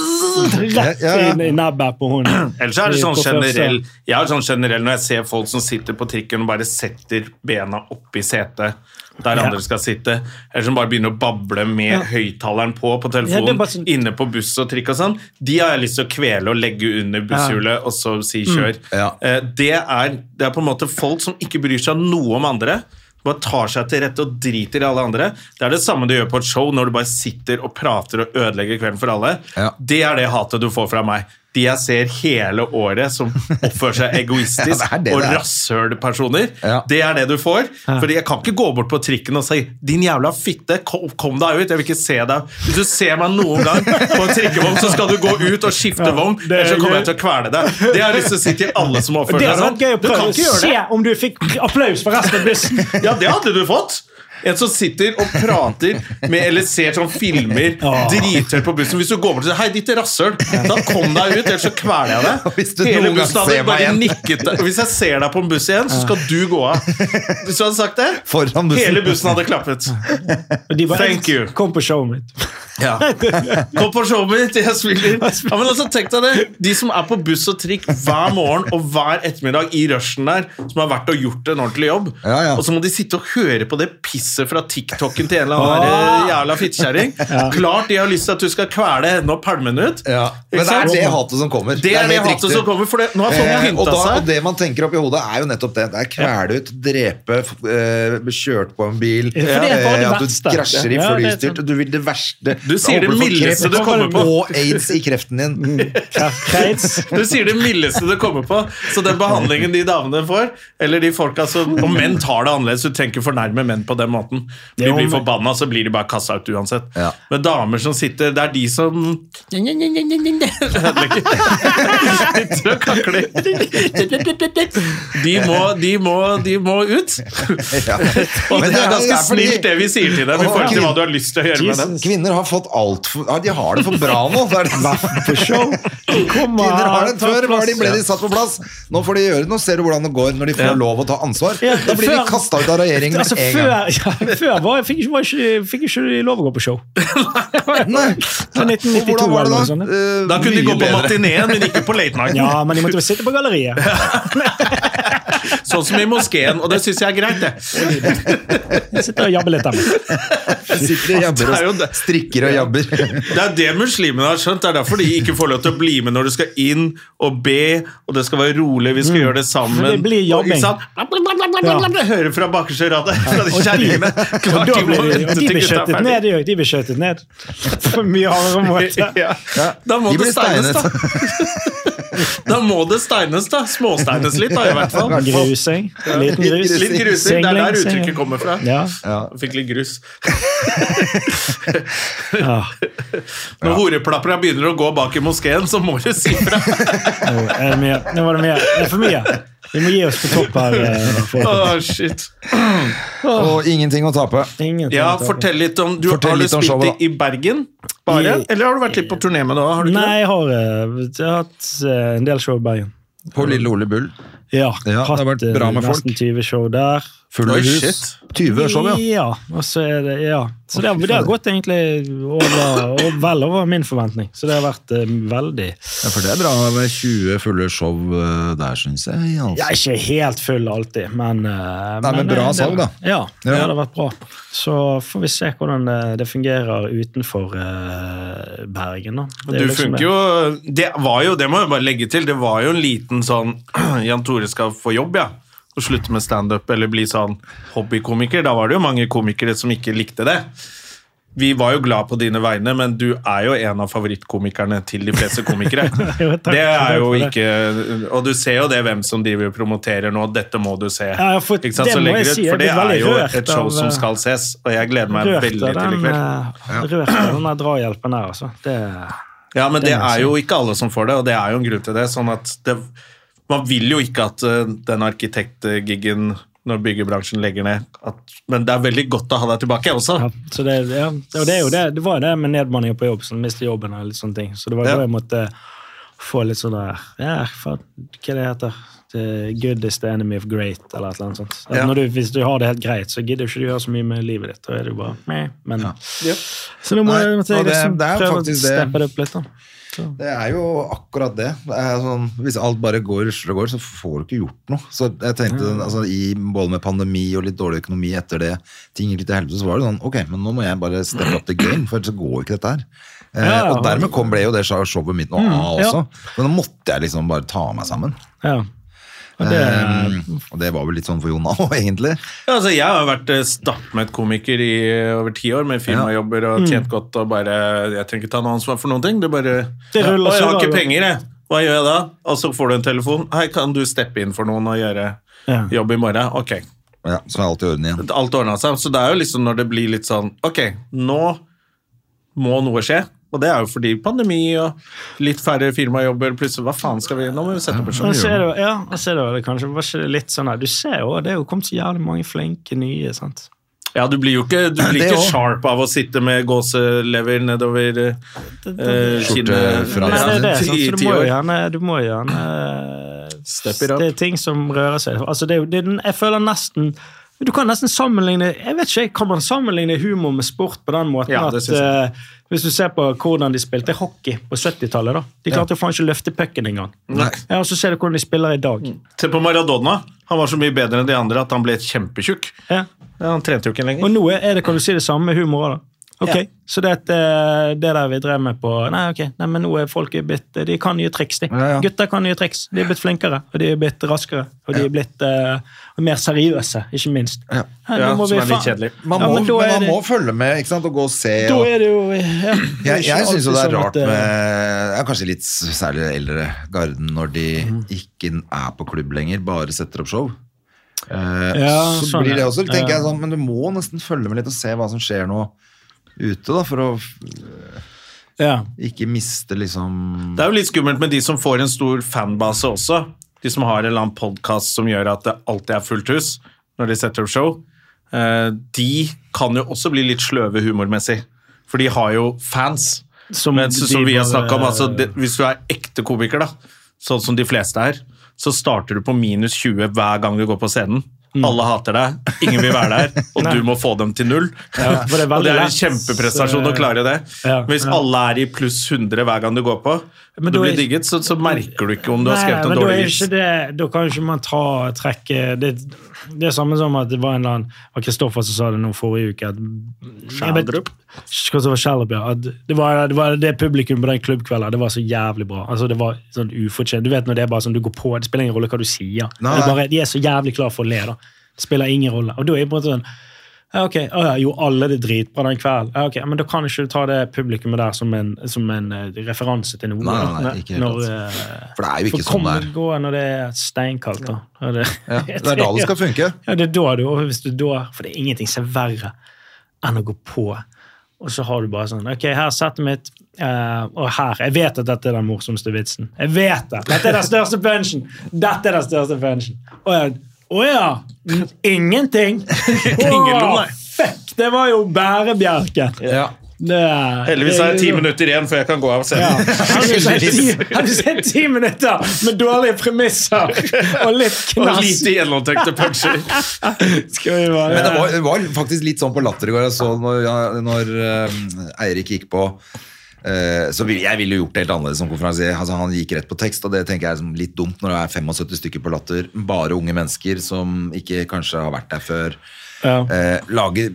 [SPEAKER 2] Ja, ja.
[SPEAKER 1] inn i nebbet på hunden.
[SPEAKER 3] Ellers er det sånn
[SPEAKER 1] På første-
[SPEAKER 3] generell Jeg er sånn generell når jeg ser folk som sitter på trikken og bare setter bena opp i setet der
[SPEAKER 1] Ja.
[SPEAKER 3] andre skal sitte, eller som bare begynner å bable med høyttaleren på på telefonen
[SPEAKER 1] Ja, det er bare sånn-
[SPEAKER 3] inne på buss og trikk og sånn, de har jeg lyst til å kvele og legge under busshjulet og så si
[SPEAKER 1] Mm.
[SPEAKER 3] kjør.
[SPEAKER 2] Ja.
[SPEAKER 3] Eh, Det, er, det er på en måte folk som ikke bryr seg noe om andre. Bare tar seg til rette og driter i alle andre. Det er det samme du gjør på et show når du bare sitter og prater og ødelegger kvelden for alle.
[SPEAKER 2] Ja.
[SPEAKER 3] Det er det hatet du får fra meg. De jeg ser hele året som oppfører seg egoistisk
[SPEAKER 2] Ja, det er det
[SPEAKER 3] og
[SPEAKER 2] det er.
[SPEAKER 3] rasshølpersoner,
[SPEAKER 2] Ja.
[SPEAKER 3] det er det du får. Fordi jeg kan ikke gå bort på trikken og si 'din jævla fitte, kom, kom deg ut'. Jeg vil ikke se deg. Hvis du ser meg noen gang på en trikkevogn, så skal du gå ut og skifte vogn,
[SPEAKER 1] det er
[SPEAKER 3] ellers så kommer jeg
[SPEAKER 1] gøy.
[SPEAKER 3] til å kvele deg. Det har jeg lyst til å si til alle som
[SPEAKER 1] Det
[SPEAKER 3] oppfører seg
[SPEAKER 1] hadde vært gøy å
[SPEAKER 3] sånn. Du kan
[SPEAKER 1] prøve.
[SPEAKER 3] ikke gjøre
[SPEAKER 1] Se
[SPEAKER 3] det.
[SPEAKER 1] om du fikk applaus fra resten av bussen!
[SPEAKER 3] Ja, det hadde du fått. En som sitter og prater med, eller ser sånn filmer drithøyt på bussen. Hvis du går bort og sier 'hei, ditt rasshøl', da kom deg ut, ellers så kveler jeg deg.
[SPEAKER 2] Og hvis du
[SPEAKER 3] Hele
[SPEAKER 2] noen gang
[SPEAKER 3] bussen hadde
[SPEAKER 2] ser meg
[SPEAKER 3] bare
[SPEAKER 2] igjen.
[SPEAKER 3] nikket deg. Og Hvis jeg ser deg på en buss igjen, så skal du gå av. Hvis du hadde sagt det,
[SPEAKER 2] Foran bussen.
[SPEAKER 3] hele bussen hadde klappet.
[SPEAKER 1] Og de bare
[SPEAKER 3] Thank you.
[SPEAKER 1] kom på showet mitt.
[SPEAKER 3] Ja. Kom på showet mitt, jeg spiller. Ja, men altså, tenk deg det. De som er på buss og trikk hver morgen og hver ettermiddag i rushen der, som har vært og gjort en ordentlig jobb,
[SPEAKER 2] Ja, ja.
[SPEAKER 3] og så må de sitte og høre på det pisset fra TikToken til en eller
[SPEAKER 2] Ah.
[SPEAKER 3] annen eh, jævla fittekjerring. Klart de har lyst til at du skal kvele henne og pælme henne ut.
[SPEAKER 2] Men
[SPEAKER 3] Ikke
[SPEAKER 2] det er
[SPEAKER 3] sant?
[SPEAKER 2] det hatet som kommer.
[SPEAKER 3] Det er det
[SPEAKER 2] helt
[SPEAKER 3] hatet
[SPEAKER 2] riktig.
[SPEAKER 3] som kommer, for det, nå har folk
[SPEAKER 2] Eh, og,
[SPEAKER 3] pynta
[SPEAKER 2] da, og
[SPEAKER 3] seg.
[SPEAKER 2] det man tenker oppi hodet, er jo nettopp det. Det er kvele ut, drepe, f- eh, bli kjørt på en bil,
[SPEAKER 1] Ja, for det er bare det
[SPEAKER 2] eh, at du
[SPEAKER 1] verste.
[SPEAKER 2] krasjer i
[SPEAKER 1] Ja, det er
[SPEAKER 2] flystyrt,
[SPEAKER 1] sant.
[SPEAKER 2] du vil det verste.
[SPEAKER 3] Du sier det
[SPEAKER 2] Jeg håper du får
[SPEAKER 3] mildeste
[SPEAKER 2] kreft,
[SPEAKER 3] det kommer på.
[SPEAKER 2] Og aids i kreften
[SPEAKER 1] Mm.
[SPEAKER 2] din.
[SPEAKER 1] Kreitz.
[SPEAKER 3] Du sier det mildeste det kommer på. Så den behandlingen de damene får, eller de folka som Og menn tar det annerledes, du trenger ikke fornærme menn på den måten. De
[SPEAKER 1] Jo,
[SPEAKER 3] blir
[SPEAKER 1] men-
[SPEAKER 3] forbanna, så blir de bare kasta ut uansett.
[SPEAKER 2] Ja.
[SPEAKER 3] Men damer som sitter Det er de som Sitter og kakler. De må, de må, de må ut.
[SPEAKER 2] Ja.
[SPEAKER 3] Og
[SPEAKER 2] Men
[SPEAKER 3] det er ganske
[SPEAKER 2] fordi-
[SPEAKER 3] snilt, det vi sier til dem, i forhold til hva du har lyst til å gjøre med dem.
[SPEAKER 2] Kvinner har fått alt for, ja, De har det for bra nå. Det er det. Kvinner har det Før var de, ble de satt på plass. Nå får de gjøre det. Nå ser du hvordan det går når de får
[SPEAKER 3] Ja.
[SPEAKER 2] lov å ta ansvar.
[SPEAKER 1] Ja,
[SPEAKER 2] Da blir de
[SPEAKER 1] før-
[SPEAKER 2] kasta ut av regjeringen
[SPEAKER 1] Altså,
[SPEAKER 2] med en gang.
[SPEAKER 1] før, ja, før var, fikk ikke, var ikke, fikk ikke de lov å gå på show.
[SPEAKER 2] Nei.
[SPEAKER 1] Fra
[SPEAKER 2] Og
[SPEAKER 1] 1992
[SPEAKER 2] hvordan
[SPEAKER 1] eller
[SPEAKER 2] var det
[SPEAKER 1] noe
[SPEAKER 2] da?
[SPEAKER 1] sånt.
[SPEAKER 2] Eh,
[SPEAKER 3] Da kunne de gå
[SPEAKER 2] mye
[SPEAKER 3] på
[SPEAKER 2] bedre.
[SPEAKER 3] matineen, men ikke på late night.
[SPEAKER 1] Ja, men de måtte jo sitte på galleriet.
[SPEAKER 3] Sånn som i moskeen, og det syns jeg er greit, det.
[SPEAKER 1] Jeg sitter og jabber litt der. borte.
[SPEAKER 2] Sitter og jabber
[SPEAKER 3] Det er jo
[SPEAKER 2] og
[SPEAKER 3] det.
[SPEAKER 2] strikker og jabber.
[SPEAKER 3] Det er det muslimene har skjønt. Det er derfor de ikke får lov til å bli med når du skal inn og be, og det skal være rolig, vi skal gjøre det sammen.
[SPEAKER 1] Men Mm. det blir
[SPEAKER 3] Og ikke
[SPEAKER 1] jobbing.
[SPEAKER 3] sant? Bla, bla, bla, bla, bla, bla, bla, Hører fra bakerste rad fra de
[SPEAKER 1] Og
[SPEAKER 3] kjerringene.
[SPEAKER 1] de- og
[SPEAKER 3] Klart
[SPEAKER 1] da
[SPEAKER 3] de må
[SPEAKER 1] blir de-
[SPEAKER 3] vente
[SPEAKER 1] og de
[SPEAKER 3] til gutta
[SPEAKER 1] blir
[SPEAKER 3] er
[SPEAKER 1] skjøttet ned,
[SPEAKER 3] ferdig.
[SPEAKER 1] de òg. De blir skjøttet ned. På en mye hardere måte.
[SPEAKER 3] Ja. Da må
[SPEAKER 2] De
[SPEAKER 3] det
[SPEAKER 2] blir
[SPEAKER 3] steines,
[SPEAKER 2] steinet.
[SPEAKER 3] da. Da må det steines, da. Småsteines litt, da, i hvert fall.
[SPEAKER 1] Grusing. Liten grus.
[SPEAKER 3] Litt grusing. Det er
[SPEAKER 1] Singling,
[SPEAKER 3] der
[SPEAKER 1] singling.
[SPEAKER 3] uttrykket kommer fra.
[SPEAKER 1] Ja.
[SPEAKER 3] Fikk litt grus.
[SPEAKER 1] ja.
[SPEAKER 3] Når horeplapperne begynner å gå bak i moskeen, så må du si fra.
[SPEAKER 1] Nå er det mye. Nå var det mye. Det er for mye. Vi må gi oss på topp her. eh, folk.
[SPEAKER 3] Åh, shit.
[SPEAKER 2] Og ingenting å tape.
[SPEAKER 1] Ingenting
[SPEAKER 3] Ja,
[SPEAKER 1] å ta på.
[SPEAKER 3] fortell litt om Du
[SPEAKER 2] Fortell
[SPEAKER 3] har du
[SPEAKER 2] litt om
[SPEAKER 3] spilt
[SPEAKER 2] showet, da.
[SPEAKER 3] i, i Bergen bare?
[SPEAKER 1] I-
[SPEAKER 3] Eller har du vært litt på turné med det? Har du ikke
[SPEAKER 1] Nei, jeg har, eh, jeg har hatt eh, en del show i Bergen.
[SPEAKER 2] På Lille Ole Bull.
[SPEAKER 1] Ja,
[SPEAKER 2] Ja, det har vært
[SPEAKER 1] eh,
[SPEAKER 2] bra med folk.
[SPEAKER 1] Nesten 20 show der.
[SPEAKER 2] Fulle
[SPEAKER 3] Oi,
[SPEAKER 2] hus.
[SPEAKER 3] shit.
[SPEAKER 2] 20 show, ja.
[SPEAKER 1] Ja, og så er det, ja. Så det, har- det har gått egentlig over, og vel over min forventning. Så det har vært eh, veldig
[SPEAKER 2] Ja, For det er bra med 20 fulle show eh, der, syns jeg. altså.
[SPEAKER 1] Jeg er ikke helt full alltid, men eh,
[SPEAKER 2] Nei, men bra
[SPEAKER 1] eh, det-
[SPEAKER 2] salg, da.
[SPEAKER 1] Ja, det
[SPEAKER 2] Ja.
[SPEAKER 1] har vært bra. Så får vi se hvordan det, det fungerer utenfor eh, Bergen, da. Det er
[SPEAKER 3] Du
[SPEAKER 1] liksom
[SPEAKER 3] funker
[SPEAKER 1] det.
[SPEAKER 3] jo Det var jo, det må jeg bare legge til, det var jo en liten sånn Jan Tore skal få jobb, ja. Og slutte med standup eller bli sånn hobbykomiker. Da var det jo mange komikere som ikke likte det. Vi var jo glad på dine vegne, men du er jo en av favorittkomikerne til de fleste komikere.
[SPEAKER 1] Jo, takk.
[SPEAKER 3] det er jo
[SPEAKER 1] Takk for det.
[SPEAKER 3] ikke Og du ser jo det hvem som driver og promoterer nå. Dette må du se.
[SPEAKER 1] Ja, jeg har fått-
[SPEAKER 3] Ikke sant?
[SPEAKER 1] det
[SPEAKER 3] Så
[SPEAKER 1] må
[SPEAKER 3] legger
[SPEAKER 1] jeg
[SPEAKER 3] du ut,
[SPEAKER 1] si, jeg
[SPEAKER 3] For det
[SPEAKER 1] blir
[SPEAKER 3] er
[SPEAKER 1] veldig
[SPEAKER 3] jo
[SPEAKER 1] rørt
[SPEAKER 3] et show
[SPEAKER 1] av,
[SPEAKER 3] som
[SPEAKER 1] eh,
[SPEAKER 3] skal ses, og jeg gleder meg
[SPEAKER 1] Rørt
[SPEAKER 3] veldig til
[SPEAKER 1] av
[SPEAKER 3] i
[SPEAKER 1] den,
[SPEAKER 3] kveld.
[SPEAKER 1] eh, rørt av den der drahjelpen her, altså. Det
[SPEAKER 3] Ja, men det
[SPEAKER 1] må jeg
[SPEAKER 3] er
[SPEAKER 1] si.
[SPEAKER 3] jo ikke alle som får det, og det er jo en grunn til det. Sånn at det, man vil jo ikke at eh, den arkitektgiggen når byggebransjen legger ned at, Men det er veldig godt å ha deg tilbake også.
[SPEAKER 1] Ja, så det, ja. Og det, er jo det, det var jo det med nedmanninger på jobb, som mistet jobben og litt sånne ting. Så det var jo
[SPEAKER 3] Ja.
[SPEAKER 1] da jeg måtte få litt sånn der ja, faen, Hva det heter det? Good is the enemy of great, eller et eller annet sånt. At
[SPEAKER 3] Ja.
[SPEAKER 1] Når du, hvis du har det helt greit, så gidder ikke du gjøre så mye med livet ditt. Da er det jo bare meh. Men, Så nå må
[SPEAKER 2] Nei,
[SPEAKER 1] jeg, måtte
[SPEAKER 2] og
[SPEAKER 1] jeg
[SPEAKER 2] det-
[SPEAKER 1] liksom
[SPEAKER 2] det er jo
[SPEAKER 1] prøve å
[SPEAKER 2] faktisk det.
[SPEAKER 1] steppe det opp litt. da.
[SPEAKER 2] Det er jo akkurat det. det er sånn, hvis alt bare går rusler og går, så får du ikke gjort noe. Så jeg tenkte, altså, i, Både med pandemi og litt dårlig økonomi etter det, ting gikk litt til helvete, så var det sånn Ok, men nå må jeg bare steppe up the game, for ellers så går ikke dette her. Eh,
[SPEAKER 1] Ja, ja.
[SPEAKER 2] og dermed kom, ble jo det show- showet mitt noe av
[SPEAKER 1] ja.
[SPEAKER 2] også. Men da måtte jeg liksom bare ta meg sammen.
[SPEAKER 1] Ja. Og det,
[SPEAKER 2] Eh, og det var vel litt sånn for Jonna òg, egentlig.
[SPEAKER 3] Ja, altså, jeg har vært eh, stappmett komiker i eh, over ti år med firmajobber og
[SPEAKER 1] Mm.
[SPEAKER 3] tjent godt og bare Jeg trenger ikke ta noe ansvar for noen ting. Det bare
[SPEAKER 1] Det
[SPEAKER 3] ja,
[SPEAKER 1] ruller
[SPEAKER 3] «Å, Jeg
[SPEAKER 1] seg,
[SPEAKER 3] har
[SPEAKER 1] da,
[SPEAKER 3] ikke
[SPEAKER 1] da.»
[SPEAKER 3] penger, jeg. Hva gjør jeg da? Og så får du en telefon. Hei, kan du steppe inn for noen og gjøre
[SPEAKER 1] Ja.
[SPEAKER 3] jobb i morgen? Ok.
[SPEAKER 2] Ja, så er alt i orden igjen.
[SPEAKER 3] alt ordna seg. Så det er jo liksom når det blir litt sånn Ok, nå må noe skje. Og det er jo fordi pandemi og litt færre firmajobber. Plutselig, hva faen skal vi Nå må vi sette opp et
[SPEAKER 2] Sånn
[SPEAKER 1] men
[SPEAKER 3] show.
[SPEAKER 1] så er det, jo- ja, og så er det jo kanskje var ikke det litt sånn her, Du ser jo, det er jo kommet så jævlig mange flinke nye. sant?
[SPEAKER 3] Ja, du blir jo ikke, du blir
[SPEAKER 2] Det
[SPEAKER 3] ikke
[SPEAKER 2] også.
[SPEAKER 3] sharp av å sitte med gåselever nedover eh,
[SPEAKER 2] Eh,
[SPEAKER 3] kinnet
[SPEAKER 2] fra-
[SPEAKER 1] Nei, det er det.
[SPEAKER 3] i-
[SPEAKER 1] Sant?
[SPEAKER 3] i
[SPEAKER 1] Sånn, Så du
[SPEAKER 3] ti
[SPEAKER 1] må
[SPEAKER 3] år.
[SPEAKER 1] jo gjerne, du må jo gjerne
[SPEAKER 3] Step it up.
[SPEAKER 1] Det er ting som rører seg. Altså, det, er jo- det, er den- jeg føler nesten du kan nesten sammenligne jeg vet ikke, kan man sammenligne humor med sport på den måten
[SPEAKER 3] Ja, det
[SPEAKER 1] at
[SPEAKER 3] synes jeg.
[SPEAKER 1] eh, Hvis du ser på hvordan de spilte hockey på 70-tallet da, De klarte jo faen ikke å løfte pucken engang.
[SPEAKER 3] Nei.
[SPEAKER 1] Ja, og så ser du hvordan de spiller i dag.
[SPEAKER 3] Se på Maradona. Han var så mye bedre enn de andre at han ble kjempetjukk.
[SPEAKER 1] Ja.
[SPEAKER 3] Ja, han trente jo ikke lenger.
[SPEAKER 1] Og nå er det, kan du si det samme med humor òg, da. Ok,
[SPEAKER 3] Ja.
[SPEAKER 1] Så det, at, eh, det der vi drev med på Nei, ok, nei, men nå er folk er blitt De kan nye triks, de.
[SPEAKER 2] Ja, ja.
[SPEAKER 1] Gutter kan nye triks. De er blitt flinkere, og de er blitt raskere. Og de er blitt eh, mer seriøse, ikke minst.
[SPEAKER 2] Ja.
[SPEAKER 1] nå
[SPEAKER 3] Ja,
[SPEAKER 1] må
[SPEAKER 3] som
[SPEAKER 1] vi
[SPEAKER 3] er litt
[SPEAKER 1] faen-
[SPEAKER 3] kjedelig.
[SPEAKER 2] Man
[SPEAKER 1] Ja,
[SPEAKER 2] må,
[SPEAKER 1] men da
[SPEAKER 2] men
[SPEAKER 1] er
[SPEAKER 2] man
[SPEAKER 1] det-
[SPEAKER 2] må følge med ikke sant? og gå og se.
[SPEAKER 1] Da
[SPEAKER 2] og,
[SPEAKER 1] er det jo ja, det er ikke
[SPEAKER 2] Jeg, jeg syns jo det
[SPEAKER 1] alltid
[SPEAKER 2] er
[SPEAKER 1] sånn at,
[SPEAKER 2] rart
[SPEAKER 1] eh,
[SPEAKER 2] med ja, kanskje litt s- særlig eldre garden når de ikke er på klubb lenger, bare setter opp show. Eh,
[SPEAKER 1] Ja,
[SPEAKER 2] så
[SPEAKER 1] sånn,
[SPEAKER 2] blir det
[SPEAKER 1] ja.
[SPEAKER 2] også, tenker
[SPEAKER 1] Ja.
[SPEAKER 2] jeg sånn, Men du må nesten følge med litt og se hva som skjer nå ute, da, for å f-
[SPEAKER 1] ja.
[SPEAKER 2] ikke miste liksom
[SPEAKER 3] Det er jo litt skummelt med de som får en stor fanbase også. De som har en eller annen podkast som gjør at det alltid er fullt hus når de setter opp show. Eh, De kan jo også bli litt sløve humormessig, for de har jo fans.
[SPEAKER 1] Som
[SPEAKER 3] Men,
[SPEAKER 1] de
[SPEAKER 3] så, som vi har
[SPEAKER 1] bare-
[SPEAKER 3] snakket om, altså, det, Hvis du er ekte komiker, da, sånn som de fleste er, så starter du på minus 20 hver gang du går på scenen.
[SPEAKER 1] Mm.
[SPEAKER 3] Alle hater deg, ingen vil være der, og du må få dem til null.
[SPEAKER 1] Ja, for det er veldig
[SPEAKER 3] og det er en
[SPEAKER 1] lett,
[SPEAKER 3] kjempeprestasjon å
[SPEAKER 1] eh,
[SPEAKER 3] klare det.
[SPEAKER 1] ja,
[SPEAKER 3] Hvis
[SPEAKER 1] ja.
[SPEAKER 3] alle er i pluss 100 hver gang du går på,
[SPEAKER 1] Men
[SPEAKER 3] du
[SPEAKER 1] da er-
[SPEAKER 3] blir digget, så, så merker du ikke om du har
[SPEAKER 1] Nei,
[SPEAKER 3] skrevet
[SPEAKER 1] men
[SPEAKER 3] en
[SPEAKER 1] da er
[SPEAKER 3] dårlig
[SPEAKER 1] jo
[SPEAKER 3] vits.
[SPEAKER 1] ikke det, da kan jo ikke man ta trekke det, det er samme som at det var en eller annen av Kristoffer som sa det nå forrige uke at, Jeg vet-
[SPEAKER 3] Schjelderup?
[SPEAKER 1] Kristoffer Schjelderup, ja, at det, var, det var det publikum på den klubbkvelden det var så jævlig bra. Altså, det var sånn ufortjent. Du vet når det er bare sånn du går på, det spiller ingen rolle hva du sier.
[SPEAKER 2] Nei,
[SPEAKER 1] Det er
[SPEAKER 2] nei.
[SPEAKER 1] bare, de er så jævlig klar for å le. da. Det spiller ingen rolle. Og da er jeg på en måte sånn ja, ok, Å ja, Jo, alle det dritbra den kvelden. Ja, ok, Men da kan ikke du ta det publikummet der som en, som en eh, referanse til noe.
[SPEAKER 2] Nei, nei,
[SPEAKER 1] da.
[SPEAKER 2] nei, ikke helt
[SPEAKER 1] når,
[SPEAKER 2] sant.
[SPEAKER 1] eh,
[SPEAKER 2] For det er jo ikke
[SPEAKER 1] for
[SPEAKER 2] sånn
[SPEAKER 1] kom
[SPEAKER 2] det
[SPEAKER 1] og
[SPEAKER 2] er.
[SPEAKER 1] gå når det er steinkaldt. da. Ja, det,
[SPEAKER 2] Ja, det er da det skal funke.
[SPEAKER 1] Ja, det er da du, og hvis du da, For det er ingenting som er verre enn å gå på, og så har du bare sånn Ok, her er settet mitt, eh, og her Jeg vet at dette er den morsomste vitsen. Jeg vet det! Dette er den største punchen! Dette er den største punchen. Og jeg, å ja! mm, Ingenting!
[SPEAKER 3] Ingen lo,
[SPEAKER 1] Å,
[SPEAKER 3] nei.
[SPEAKER 1] Fuck! Det var jo bærebjelken! Det-
[SPEAKER 3] Heldigvis er det ti
[SPEAKER 1] liksom-
[SPEAKER 3] minutter igjen før jeg kan gå av
[SPEAKER 1] ja.
[SPEAKER 3] scenen.
[SPEAKER 1] Har du sett ti minutter med dårlige premisser og litt
[SPEAKER 3] Og
[SPEAKER 1] knass?
[SPEAKER 3] lite gjennomtenkte puncher.
[SPEAKER 1] Skal vi bare-
[SPEAKER 2] Men det var, det var faktisk litt sånn på latter i går. Jeg så når, ja, når eh, Eirik gikk på eh, så ville, Jeg ville jo gjort det helt annerledes som konferansier. Altså, han gikk rett på tekst, og det tenker jeg er som litt dumt når det er 75 stykker på latter. Bare unge mennesker som ikke kanskje har vært der før.
[SPEAKER 1] Ja.
[SPEAKER 2] Eh, lage,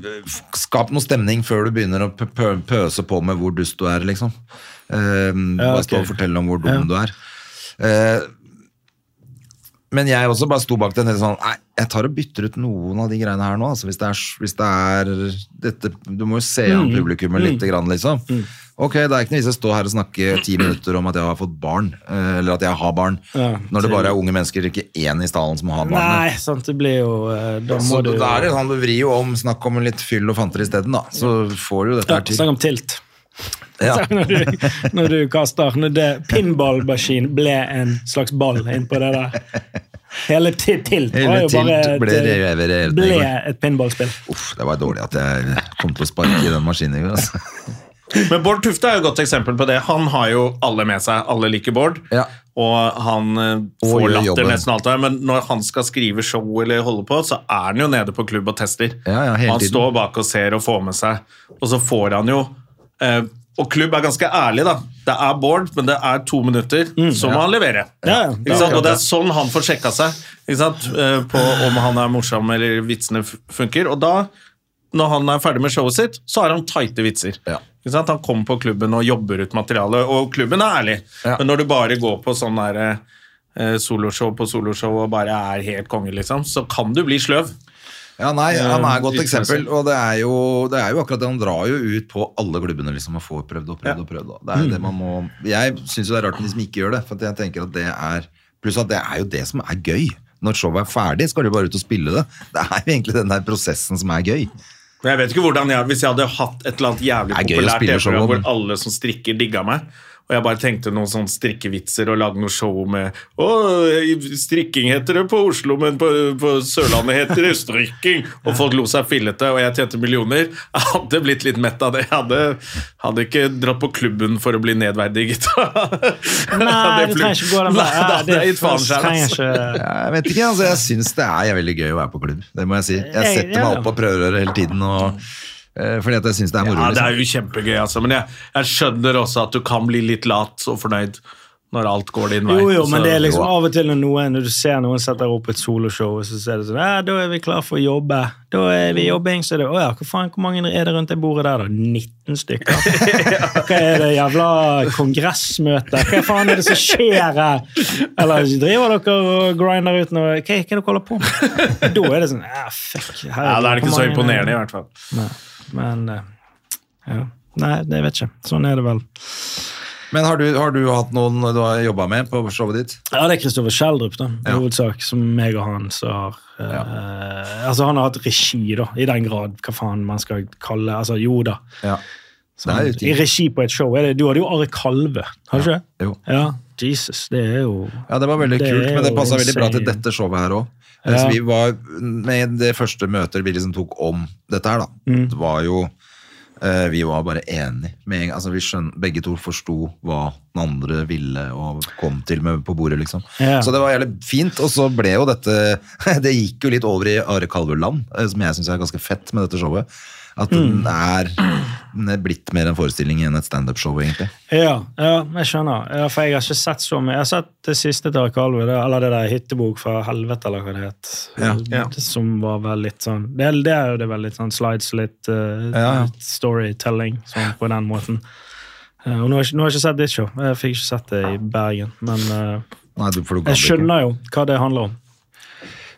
[SPEAKER 2] skap noe stemning før du begynner å p pø- pøse på med hvor dust du er, liksom. Eh,
[SPEAKER 1] Ja,
[SPEAKER 2] Bare stå
[SPEAKER 1] ok.
[SPEAKER 2] og fortelle om hvor dum du er. Eh, men jeg også bare sto bak den hele sånn Nei, jeg tar og bytter ut noen av de greiene her nå. Altså, hvis, det er, hvis det er dette Du må jo se an
[SPEAKER 1] Mm.
[SPEAKER 2] publikummet lite grann, liksom. Ok, det er ikke noe vits i å stå her og snakke ti minutter om at jeg har fått barn, eh, eller at jeg har barn,
[SPEAKER 1] Ja,
[SPEAKER 2] når det bare er unge mennesker, ikke én i stallen som har barn.
[SPEAKER 1] Nei, sant, det blir jo eh, Da
[SPEAKER 2] Så
[SPEAKER 1] må du
[SPEAKER 2] da er det sånn, du vrir jo om, snakk om litt fyll og fanter isteden, da. Så får du jo dette
[SPEAKER 1] ja,
[SPEAKER 2] her
[SPEAKER 1] Snakk
[SPEAKER 2] til.
[SPEAKER 1] om tilt.
[SPEAKER 2] Ja.
[SPEAKER 1] Når du, når du kaster Når det pinballmaskin ble en slags ball innpå det der. Hele ti- tilt
[SPEAKER 2] Hele
[SPEAKER 1] var jo
[SPEAKER 2] tilt
[SPEAKER 1] bare et, eh,
[SPEAKER 2] ble revet i
[SPEAKER 1] ble
[SPEAKER 2] går.
[SPEAKER 1] et pinballspill.
[SPEAKER 2] Uff, det var dårlig at jeg kom til å sparke i den maskinen i går, altså.
[SPEAKER 3] Men Bård Tufte er jo et godt eksempel på det. Han har jo alle med seg. Alle liker Bård.
[SPEAKER 2] Ja.
[SPEAKER 3] Og han eh,
[SPEAKER 2] Og
[SPEAKER 3] får
[SPEAKER 2] gjør
[SPEAKER 3] latter
[SPEAKER 2] jobben.
[SPEAKER 3] nesten alt der, men når han skal skrive show eller holde på, så er han jo nede på klubb og tester.
[SPEAKER 2] Ja, ja, hele
[SPEAKER 3] han
[SPEAKER 2] tiden.
[SPEAKER 3] står bak og ser og får med seg, og så får han jo eh, Og klubb er ganske ærlig, da. Det er Bård, men det er to minutter,
[SPEAKER 2] Mm,
[SPEAKER 3] så må han levere.
[SPEAKER 1] Ja, ja.
[SPEAKER 3] Ikke sant? Og det er sånn han får sjekka seg ikke sant? Eh, på om han er morsom eller vitsene f- funker. Og da, når han er ferdig med showet sitt, så har han tighte vitser.
[SPEAKER 2] Ja.
[SPEAKER 3] Ikke sant? Han kommer på klubben og jobber ut materialet, og klubben er ærlig.
[SPEAKER 2] Ja.
[SPEAKER 3] Men når du bare går på sånn der eh, soloshow på soloshow og bare er helt konge, liksom, så kan du bli sløv.
[SPEAKER 2] Ja, nei, han er et godt
[SPEAKER 3] Eh,
[SPEAKER 2] eksempel, og det er, jo, det er jo akkurat det. Han drar jo ut på alle klubbene liksom, og får prøvd og prøvd og prøvd. da. Det er jo det man må, jeg syns jo det er rart med de som ikke gjør det, for at jeg tenker at det er Pluss at det er jo det som er gøy. Når showet er ferdig, skal du bare ut og spille det. Det er jo egentlig den der prosessen som er gøy.
[SPEAKER 3] Men Jeg vet ikke hvordan jeg, Hvis jeg hadde hatt et eller annet jævlig
[SPEAKER 2] Det er gøy å
[SPEAKER 3] populært
[SPEAKER 2] spille
[SPEAKER 3] TV-program
[SPEAKER 2] show,
[SPEAKER 3] hvor
[SPEAKER 2] men-
[SPEAKER 3] alle som strikker, digga meg, og jeg bare tenkte noen sånne strikkevitser og lagde noe show med Å, strikking heter det på Oslo, men på, på Sørlandet heter det strikking. Og folk lo seg fillete, og jeg tjente millioner. Jeg hadde blitt litt mett av det. Jeg hadde, hadde ikke dratt på klubben for å bli nedverdiget.
[SPEAKER 1] Nei, du trenger ikke gå den veien. Ja,
[SPEAKER 3] Det er gitt faen selv,
[SPEAKER 1] trenger
[SPEAKER 3] altså.
[SPEAKER 1] ikke
[SPEAKER 2] Jeg vet ikke, altså, jeg syns det er veldig gøy å være på klubb. Det må jeg si. Jeg setter meg opp på prøverøret hele tiden og, eh, fordi at jeg syns det er moro.
[SPEAKER 3] Ja, det
[SPEAKER 2] Liksom.
[SPEAKER 3] er jo kjempegøy, altså. Men jeg, jeg skjønner også at du kan bli litt lat og fornøyd når alt går din vei.
[SPEAKER 1] Jo, jo, men
[SPEAKER 3] Så-
[SPEAKER 1] det er liksom
[SPEAKER 2] jo.
[SPEAKER 1] av og til når noen når du ser noen setter opp et soloshow, og så ser det sånn ja, Da er vi klar for å jobbe. Da er vi i jobbing, så er det Å ja, hva faen, hvor mange er det rundt det bordet der, da? 19 stykker? Hva er det jævla kongressmøte? Hva faen er det som skjer her? Eller driver dere og grinder ut noe? Hva, hva er det dere holder på med? Da er det sånn Ja, fuck. her
[SPEAKER 3] Ja, da er det ikke
[SPEAKER 1] hvor
[SPEAKER 3] så
[SPEAKER 1] mange-
[SPEAKER 3] imponerende, i hvert fall.
[SPEAKER 1] Nei, men eh, ja. Nei, det vet jeg ikke. Sånn er det vel.
[SPEAKER 2] Men har du, har du hatt noen du har jobba med på showet ditt?
[SPEAKER 1] Ja, det er Kristoffer Schjelderup, da, i
[SPEAKER 2] Ja.
[SPEAKER 1] hovedsak, som meg og han som har eh, Altså, han har hatt regi, da, i den grad, hva faen man skal kalle Altså, jo da.
[SPEAKER 2] Ja.
[SPEAKER 1] Sånn,
[SPEAKER 2] Det er jo ting.
[SPEAKER 1] I regi på et show. Er det, du hadde jo Are Kalve, har du ikke det?
[SPEAKER 2] Jo.
[SPEAKER 1] Ja. Jesus, det er jo
[SPEAKER 2] Ja, det var veldig
[SPEAKER 1] Det
[SPEAKER 2] kult,
[SPEAKER 1] er
[SPEAKER 2] men det
[SPEAKER 1] jo
[SPEAKER 2] passa veldig bra til
[SPEAKER 1] insane.
[SPEAKER 2] dette showet her òg.
[SPEAKER 1] Ja.
[SPEAKER 2] Vi
[SPEAKER 1] Mm.
[SPEAKER 2] var med det første møtet vi liksom tok om dette her, da. Det var jo Eh, Vi var bare enige. Med en, altså vi skjøn- begge to forsto hva den andre ville og kom til med på bordet, liksom.
[SPEAKER 1] Ja.
[SPEAKER 2] Så det var jævlig fint. Og så ble jo dette Det gikk jo litt over i Are Kalvøland, eh, som jeg syns er ganske fett med dette showet. At
[SPEAKER 1] Mm.
[SPEAKER 2] den er, den er blitt mer en forestilling enn et standup-show, egentlig.
[SPEAKER 1] Ja, ja, jeg skjønner. Ja, for jeg har ikke sett så mye. Jeg har sett det siste til Arkalve, eller det der hyttebok fra helvete, eller hva det het.
[SPEAKER 2] Ja,
[SPEAKER 3] ja.
[SPEAKER 1] Som var vel litt sånn Det, er- det er jo det vel litt sånn slides, litt eh,
[SPEAKER 2] Ja, ja.
[SPEAKER 1] storytelling, sånn på den måten. Eh, og nå har, jeg, ikke- nå har jeg ikke sett ditt show. Jeg fikk ikke sett det i Bergen. Men eh,
[SPEAKER 2] Nei, du, for du gadd
[SPEAKER 1] jeg
[SPEAKER 2] ikke.
[SPEAKER 1] skjønner jo hva det handler om.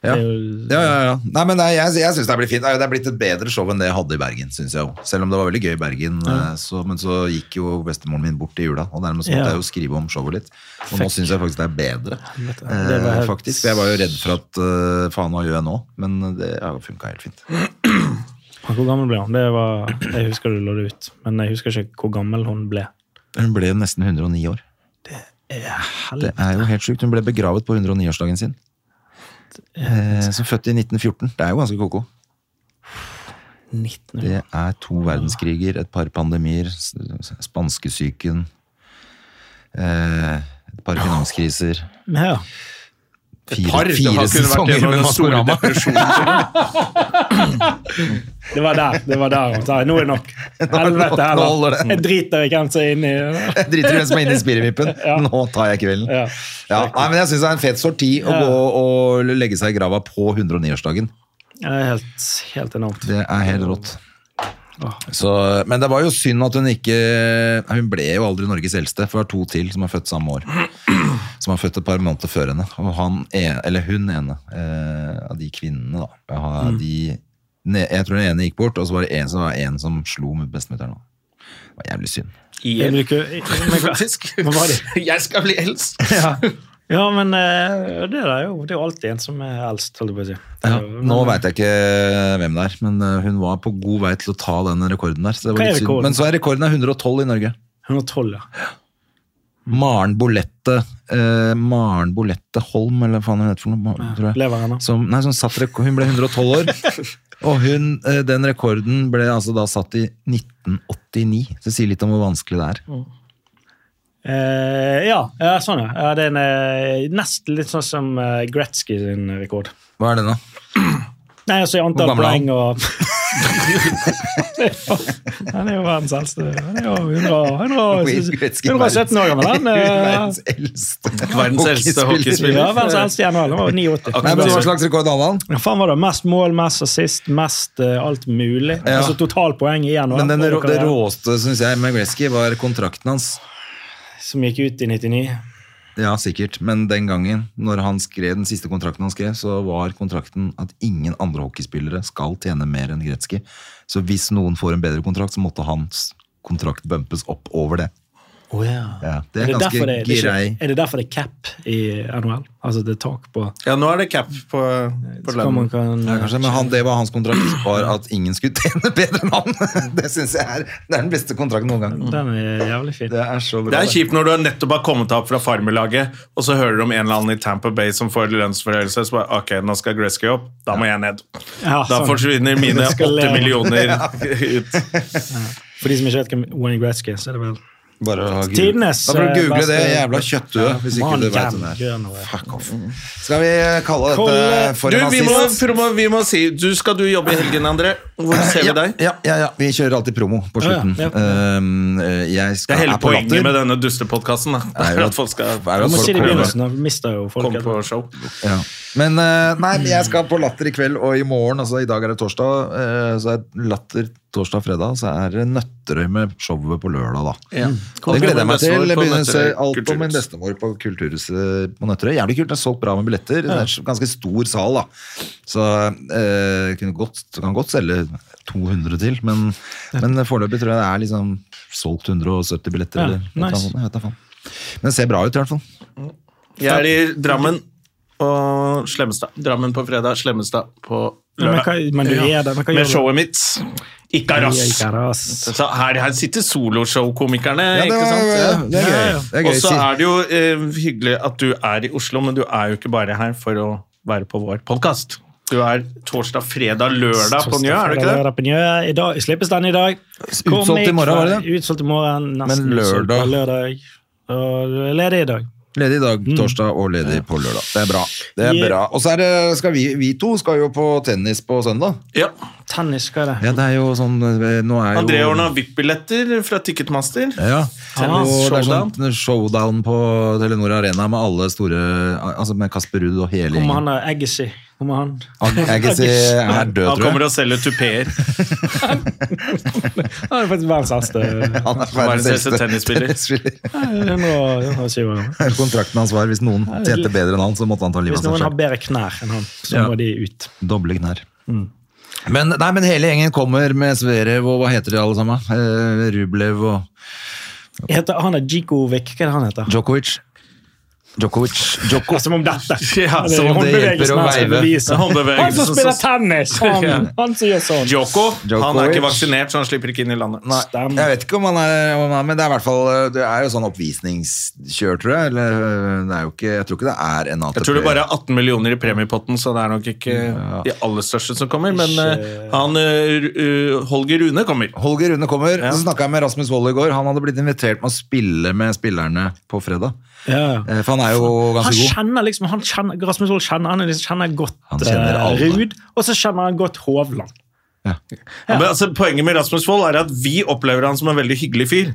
[SPEAKER 2] Ja.
[SPEAKER 1] Det er jo-
[SPEAKER 2] Ja, ja, ja. Nei, men nei, jeg, jeg synes det er blitt fint. Nei, Det er blitt et bedre show enn det jeg hadde i Bergen, synes jeg også. Selv om det var veldig gøy i Bergen, eh, så, men så gikk jo bestemoren min bort i jula, og dermed så måtte
[SPEAKER 1] Ja.
[SPEAKER 2] jeg jo skrive om showet litt. Og nå synes jeg faktisk det er bedre,
[SPEAKER 1] Helvete.
[SPEAKER 2] Eh,
[SPEAKER 1] Det var helt-
[SPEAKER 2] faktisk. For Jeg var jo redd for at eh, faen hva gjør jeg nå, men det har funket helt fint.
[SPEAKER 1] Hvor gammel ble hun? Det var, jeg husker du lå det ut, men jeg husker ikke hvor gammel hun ble. Eh,
[SPEAKER 2] Hun ble jo nesten 109 år. Det er jo helt sykt. Hun ble begravet på 109-årsdagen sin. Eh, Som født i 1914. Det er jo ganske koko. Det er to verdenskriger, et par pandemier, s- s- spanskesyken, eh, et par finanskriser,
[SPEAKER 1] Ja.
[SPEAKER 2] fire,
[SPEAKER 3] Par, det
[SPEAKER 2] fire
[SPEAKER 3] har kun vært
[SPEAKER 2] sesonger med
[SPEAKER 3] gjennom den store
[SPEAKER 2] Maskorama.
[SPEAKER 3] depresjonen.
[SPEAKER 1] Det var der. det var der. hun sa, Nå er det nok.
[SPEAKER 2] er det nok,
[SPEAKER 1] Helvete
[SPEAKER 2] nå holder
[SPEAKER 1] heller.
[SPEAKER 2] det.
[SPEAKER 1] Jeg driter i hvem som er inni det.
[SPEAKER 2] Jeg driter i hvem som er inne i spirevippen. Nå tar jeg kvelden.
[SPEAKER 1] Ja.
[SPEAKER 2] Ja. Nei, men jeg syns det er en fet sorti å gå og legge seg i grava på 109-årsdagen.
[SPEAKER 1] Det er helt, helt enormt.
[SPEAKER 2] Det er helt rått. Så, men det var jo synd at hun ikke Hun ble jo aldri Norges eldste, for det var to til som er født samme år. Som er født et par måneder før henne. Og han en, eller hun ene eh, av de kvinnene, da. Av
[SPEAKER 1] Mm.
[SPEAKER 2] de, ne, jeg tror den ene gikk bort, og så var det en som, var en som slo med bestemutteren. da. Det var jævlig synd.
[SPEAKER 1] Jeg
[SPEAKER 3] Igjen,
[SPEAKER 1] bruker, men,
[SPEAKER 3] faktisk.
[SPEAKER 1] Hva var det?
[SPEAKER 3] Jeg skal bli eldst!
[SPEAKER 1] Ja, men eh, det er jo, det er jo alltid en som er eldst, holdt jeg på å si. Det er
[SPEAKER 2] Ja,
[SPEAKER 1] jo-
[SPEAKER 2] nå veit jeg ikke hvem det er, men eh, hun var på god vei til å ta den rekorden der. Så det
[SPEAKER 1] Hva
[SPEAKER 2] var
[SPEAKER 1] er
[SPEAKER 2] litt synd.
[SPEAKER 1] rekorden?
[SPEAKER 2] Men så er rekorden er 112 i Norge.
[SPEAKER 1] 112, ja.
[SPEAKER 2] Maren Bolette eh, Maren Bolette Holm, eller hva faen hun heter for noe, ma- tror jeg.
[SPEAKER 1] Lever ennå.
[SPEAKER 2] Som, nei, som satt rek- hun ble 112 år, og hun, eh, den rekorden ble altså da satt i 1989. Så det sier litt om hvor vanskelig det er.
[SPEAKER 1] Eh, ja, ja, sånn ja. ja. Det er en, eh, nesten litt sånn som eh, Gretzky sin rekord.
[SPEAKER 2] Hva er det nå?
[SPEAKER 1] Nei, altså i antall
[SPEAKER 2] Hvor gammel er han?
[SPEAKER 1] poeng og Han er jo verdens eldste. Han er jo 100, 100, 117 år gammel, han.
[SPEAKER 2] Verdens
[SPEAKER 1] eh.
[SPEAKER 2] eldste
[SPEAKER 3] Verdens eldste hockeyspiller.
[SPEAKER 1] Ja, verdens eldste gjennom. Han var 89.
[SPEAKER 2] Nei, men Hva slags rekord hadde han?
[SPEAKER 1] Hva faen var det? Mest mål, mest assist, mest eh, alt mulig.
[SPEAKER 2] Ja.
[SPEAKER 1] Altså totalpoeng igjen. og-
[SPEAKER 2] Men den, rå-
[SPEAKER 1] og-
[SPEAKER 2] det råeste synes jeg med Gretzky var kontrakten hans.
[SPEAKER 1] Som gikk ut i 99.
[SPEAKER 2] Ja, sikkert. Men den gangen, når han skrev den siste kontrakten han skrev, så var kontrakten at ingen andre hockeyspillere skal tjene mer enn Gretzky. Så hvis noen får en bedre kontrakt, så måtte hans kontrakt bumpes opp over det. Ja, det
[SPEAKER 1] Er
[SPEAKER 2] er,
[SPEAKER 1] det, derfor
[SPEAKER 2] ganske
[SPEAKER 1] det, det er,
[SPEAKER 2] grei
[SPEAKER 1] ikke, er det derfor det er cap i NHL? Altså det er tak på,
[SPEAKER 3] Ja, nå er det cap på, på
[SPEAKER 1] så kan man
[SPEAKER 3] lønnen.
[SPEAKER 1] kan
[SPEAKER 2] ja, kanskje, men han, det var hans kontrakt, var at ingen skulle tjene bedre enn han. Det synes jeg er, det er den beste kontrakten noen gang.
[SPEAKER 1] Den er jævlig fin.
[SPEAKER 2] Det er så bra.
[SPEAKER 3] Det er
[SPEAKER 2] det.
[SPEAKER 3] kjipt når du har nettopp har kommet opp fra farmerlaget, og så hører du om en eller annen i Tampa Bay som får lønnsforhøyelse. Så bare, ok, nå skal Gretzky opp. Da må jeg ned.
[SPEAKER 1] Ja,
[SPEAKER 3] Da
[SPEAKER 1] sånn.
[SPEAKER 3] forsvinner mine
[SPEAKER 1] Det skal
[SPEAKER 3] åtte
[SPEAKER 1] leve.
[SPEAKER 3] millioner ut.
[SPEAKER 1] For de som ikke vet hvem Wayne Gretzky er, så er det vel
[SPEAKER 2] Bare å google.
[SPEAKER 1] Tidenes,
[SPEAKER 2] Da får du
[SPEAKER 1] eh,
[SPEAKER 2] google
[SPEAKER 1] beste-
[SPEAKER 2] det jævla kjøttduet, hvis ikke
[SPEAKER 1] Man,
[SPEAKER 2] du vet
[SPEAKER 1] jævlig
[SPEAKER 2] hvem det er.
[SPEAKER 1] grønn og-
[SPEAKER 2] Fuck off. Skal vi kalle dette
[SPEAKER 1] Kalle-
[SPEAKER 2] for
[SPEAKER 3] Du,
[SPEAKER 2] en
[SPEAKER 3] vi må,
[SPEAKER 2] nazist?
[SPEAKER 3] promo, vi må si du, Skal du jobbe i helgen, André? Hvor ser vi
[SPEAKER 2] ja,
[SPEAKER 3] deg?
[SPEAKER 2] Ja, ja, ja, vi kjører alltid promo på
[SPEAKER 1] Ja, ja,
[SPEAKER 2] slutten.
[SPEAKER 1] ja.
[SPEAKER 2] Ehm, eh, jeg
[SPEAKER 3] Det
[SPEAKER 2] skal,
[SPEAKER 3] er hele
[SPEAKER 2] er på
[SPEAKER 3] poenget
[SPEAKER 2] latter.
[SPEAKER 3] med denne dustepodkasten. da. Det
[SPEAKER 2] Er
[SPEAKER 3] er
[SPEAKER 2] jo
[SPEAKER 3] At folk skal
[SPEAKER 2] er jo
[SPEAKER 1] Du
[SPEAKER 2] at
[SPEAKER 1] må
[SPEAKER 2] folk
[SPEAKER 1] si det i
[SPEAKER 2] kommer.
[SPEAKER 1] begynnelsen, da mister jo folk
[SPEAKER 3] komme på show.
[SPEAKER 2] Ja. Men eh, nei, men jeg skal på latter i kveld og i morgen. Altså, I dag er det torsdag, eh, så er latter torsdag og fredag. Så er det Nøtterøy med showet på lørdag, da. Det gleder jeg meg til. Jeg begynner å se alt om min bestemor på Kulturhuset på Nøtterøy. Jævlig kult. Det er solgt bra med billetter. Det er en ganske stor sal, da. Så eh, kunne godt, kan godt selge 200 til, men, men foreløpig tror jeg det er liksom solgt 170 billetter.
[SPEAKER 1] Ja,
[SPEAKER 2] eller et eller annet
[SPEAKER 1] nice.
[SPEAKER 2] sånt. Jeg vet da faen. Men det ser bra ut, i hvert fall.
[SPEAKER 3] Jeg er i Drammen og Slemmestad. Drammen på fredag, Slemmestad på
[SPEAKER 1] Ja, men
[SPEAKER 3] lørdag.
[SPEAKER 1] hva- men du er der, men hva gjør
[SPEAKER 3] Med
[SPEAKER 1] du?
[SPEAKER 3] showet mitt. Ikaras.
[SPEAKER 1] Ikaras.
[SPEAKER 3] Så her, her sitter soloshow-komikerne,
[SPEAKER 2] Ja, det
[SPEAKER 3] ikke
[SPEAKER 2] var-
[SPEAKER 3] sant?
[SPEAKER 2] det er gøy. Det er gøy.
[SPEAKER 3] Og så
[SPEAKER 2] Si-
[SPEAKER 3] er det jo eh, hyggelig at du er i Oslo, men du er jo ikke bare her for å være på vår podkast. Du er torsdag, fredag, lørdag på Njø,
[SPEAKER 1] Torsdag,
[SPEAKER 3] er du ikke
[SPEAKER 1] fredag,
[SPEAKER 3] det?
[SPEAKER 1] lørdag på Njø. I dag, slippes den i dag. Kom
[SPEAKER 2] Utsolgt i
[SPEAKER 1] hit
[SPEAKER 2] morgen,
[SPEAKER 1] fra-
[SPEAKER 2] var det det?
[SPEAKER 1] Utsolgt i morgen, nesten
[SPEAKER 2] Men
[SPEAKER 1] utsolgt på
[SPEAKER 2] lørdag?
[SPEAKER 1] lørdag. Og det er ledig i dag.
[SPEAKER 2] Ledig i dag, torsdag og ledig på lørdag. Det er bra. Det er
[SPEAKER 1] Yeah.
[SPEAKER 2] bra. Og så er det, skal vi, vi to skal jo på tennis på søndag.
[SPEAKER 3] Ja.
[SPEAKER 1] Tennis, hva er det?
[SPEAKER 2] Ja, det er jo sånn eh, Nå er jo
[SPEAKER 3] André ordna VIP-billetter fra Ticketmaster.
[SPEAKER 2] Ja.
[SPEAKER 1] Tennis,
[SPEAKER 2] og det er
[SPEAKER 3] showdown.
[SPEAKER 2] sånn showdown på Telenor Arena med alle store Altså med Kasper Ruud og hele
[SPEAKER 1] Kommer han
[SPEAKER 2] gjengen.
[SPEAKER 1] der Agassi? Kommer han?
[SPEAKER 2] Agassi er død,
[SPEAKER 3] Han
[SPEAKER 2] tror
[SPEAKER 3] kommer
[SPEAKER 2] jeg.
[SPEAKER 3] og selger tupeer.
[SPEAKER 1] Han er faktisk verdens eldste.
[SPEAKER 2] Han er
[SPEAKER 3] Verdens beste tennisspiller.
[SPEAKER 2] tennisspiller.
[SPEAKER 1] 107 år.
[SPEAKER 2] Kontrakten hans var hvis noen tjente bedre enn han, så måtte han ta
[SPEAKER 1] Hvis
[SPEAKER 2] livet av
[SPEAKER 1] noen
[SPEAKER 2] seg
[SPEAKER 1] har
[SPEAKER 2] selv.
[SPEAKER 1] bedre knær enn han, så
[SPEAKER 2] Altså Ja.
[SPEAKER 1] må de ut.
[SPEAKER 2] Doble knær. Men, nei, men hele gjengen kommer med Sverev og hva heter de alle sammen? Eh, Rublev og
[SPEAKER 1] Heter, han er Djikovic. Hva er det han heter?
[SPEAKER 2] Djokovic. Djokovic. Djoko.
[SPEAKER 1] Som om dette!
[SPEAKER 3] Ja,
[SPEAKER 1] Det er
[SPEAKER 2] som om det
[SPEAKER 1] håndbevegelsen
[SPEAKER 2] hjelper å
[SPEAKER 1] her som
[SPEAKER 2] veive.
[SPEAKER 1] beviser.
[SPEAKER 3] Håndbevegelsen
[SPEAKER 1] Han som
[SPEAKER 3] som-
[SPEAKER 1] spiller tennis! Han, han som gjør sånn.
[SPEAKER 3] Djoko han er
[SPEAKER 2] Djokovic.
[SPEAKER 3] ikke vaksinert, så han slipper ikke inn i landet.
[SPEAKER 2] Nei,
[SPEAKER 1] Stem.
[SPEAKER 2] jeg vet ikke om han er, om han er Men det er i hvert fall Det er jo sånn oppvisningskjør, tror jeg. Eller, øh, det er jo ikke, jeg tror ikke det er en ATP.
[SPEAKER 3] Jeg tror det bare er 18 millioner i premiepotten, så det er nok ikke de aller største som kommer. Men eh, han eh, Ru- eh, Holger Rune kommer.
[SPEAKER 2] Holger Rune kommer.
[SPEAKER 3] Ja.
[SPEAKER 2] Så snakka jeg med Rasmus Wold i går. Han hadde blitt invitert med å spille med spillerne på fredag.
[SPEAKER 1] Ja.
[SPEAKER 2] Eh, For han er jo
[SPEAKER 1] Han
[SPEAKER 2] ganske god.
[SPEAKER 1] kjenner liksom, han kjenner, Rasmus Wold kjenner, han er liksom, kjenner godt
[SPEAKER 2] Han kjenner
[SPEAKER 1] eh,
[SPEAKER 2] alle.
[SPEAKER 1] Ruud, og så kjenner han godt Hovland.
[SPEAKER 3] Men, altså, poenget med Rasmus Wold er at vi opplever han som en veldig hyggelig fyr.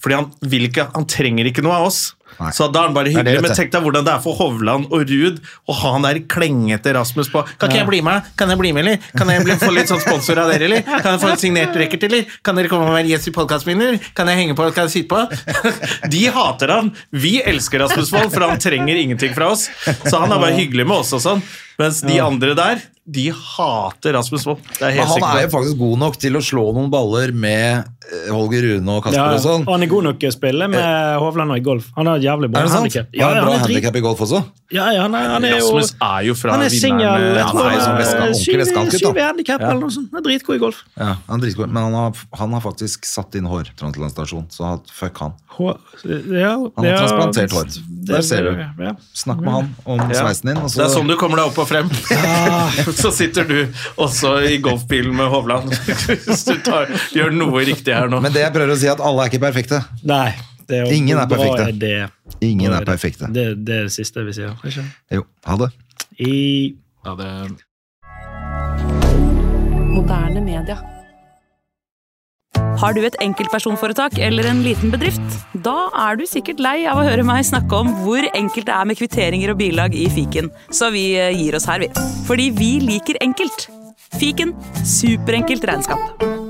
[SPEAKER 3] Fordi han, vil ikke, han trenger ikke noe av oss.
[SPEAKER 2] Nei.
[SPEAKER 3] Så da er han bare
[SPEAKER 2] Det er det,
[SPEAKER 3] hyggelig.
[SPEAKER 2] vet
[SPEAKER 3] Men
[SPEAKER 2] du.
[SPEAKER 3] tenk deg hvordan det er for Hovland og Ruud å ha han der klengete Rasmus på. Kan ikke jeg bli med? Kan jeg bli med, eller? Kan jeg bli, få litt sånn sponsor av dere, eller? Kan jeg få en signert racket, eller? Kan dere komme og være gjest i podkasten min, eller? Kan jeg henge på? Kan jeg sitte på? De hater han. Vi elsker Rasmus Wold, for han trenger ingenting fra oss. Så han er bare hyggelig med oss og sånn. Mens de andre der, de hater Rasmus Wold. Det er jeg helt
[SPEAKER 2] Men han
[SPEAKER 3] sikker på.
[SPEAKER 2] er jo faktisk god nok til å slå noen baller med eh, Holger Rune og Kasper
[SPEAKER 1] Ja,
[SPEAKER 2] og sånn.
[SPEAKER 1] og han er god nok til å spille med Hovland og i golf. Han har et jævlig bra
[SPEAKER 2] Eh. Er det sant?
[SPEAKER 1] handicap.
[SPEAKER 2] Han
[SPEAKER 1] Ja,
[SPEAKER 2] har en bra
[SPEAKER 1] han er drit-
[SPEAKER 2] handikap i golf også.
[SPEAKER 1] Ja, ja, han er, han er jo
[SPEAKER 3] Rasmus er jo fra
[SPEAKER 1] Han er
[SPEAKER 3] vinneren eh,
[SPEAKER 1] singel.
[SPEAKER 3] med-
[SPEAKER 1] Jeg
[SPEAKER 3] Ja,
[SPEAKER 1] tror
[SPEAKER 3] han er jo
[SPEAKER 2] sånn
[SPEAKER 1] han er
[SPEAKER 2] vestkant- ordentlig
[SPEAKER 1] syv
[SPEAKER 2] vestkantgutt, da.
[SPEAKER 1] syv i handicap eller noe sånt. Han er dritgod i golf.
[SPEAKER 2] Ja, han er dritgod, men han har, han har faktisk satt inn hårtransplantasjon, så fuck han.
[SPEAKER 1] Hå- Ja,
[SPEAKER 2] Han har transplantert hår. Der ser du.
[SPEAKER 1] Ja.
[SPEAKER 2] Snakk med han om
[SPEAKER 3] Ja.
[SPEAKER 2] sveisen din. Og så,
[SPEAKER 3] Det er sånn du kommer deg opp og frem. så sitter du også i golfbilen med Hovland. Hvis du tar, gjør noe riktig her nå.
[SPEAKER 2] Men det jeg prøver å si, er at alle er ikke perfekte.
[SPEAKER 1] Nei, det er jo
[SPEAKER 2] Ingen er
[SPEAKER 1] bra
[SPEAKER 2] perfekte.
[SPEAKER 1] idé.
[SPEAKER 2] Ingen
[SPEAKER 1] Bra
[SPEAKER 2] er
[SPEAKER 1] idé.
[SPEAKER 2] perfekte.
[SPEAKER 1] Det, det er det siste vi sier. Ikke?
[SPEAKER 2] Jo, ha det.
[SPEAKER 1] I
[SPEAKER 4] Moderne media.
[SPEAKER 5] Har du et enkeltpersonforetak eller en liten bedrift? Da er du sikkert lei av å høre meg snakke om hvor enkelt det er med kvitteringer og bilag i fiken, så vi eh, gir oss her, vi. Fordi vi liker enkelt. Fiken superenkelt regnskap.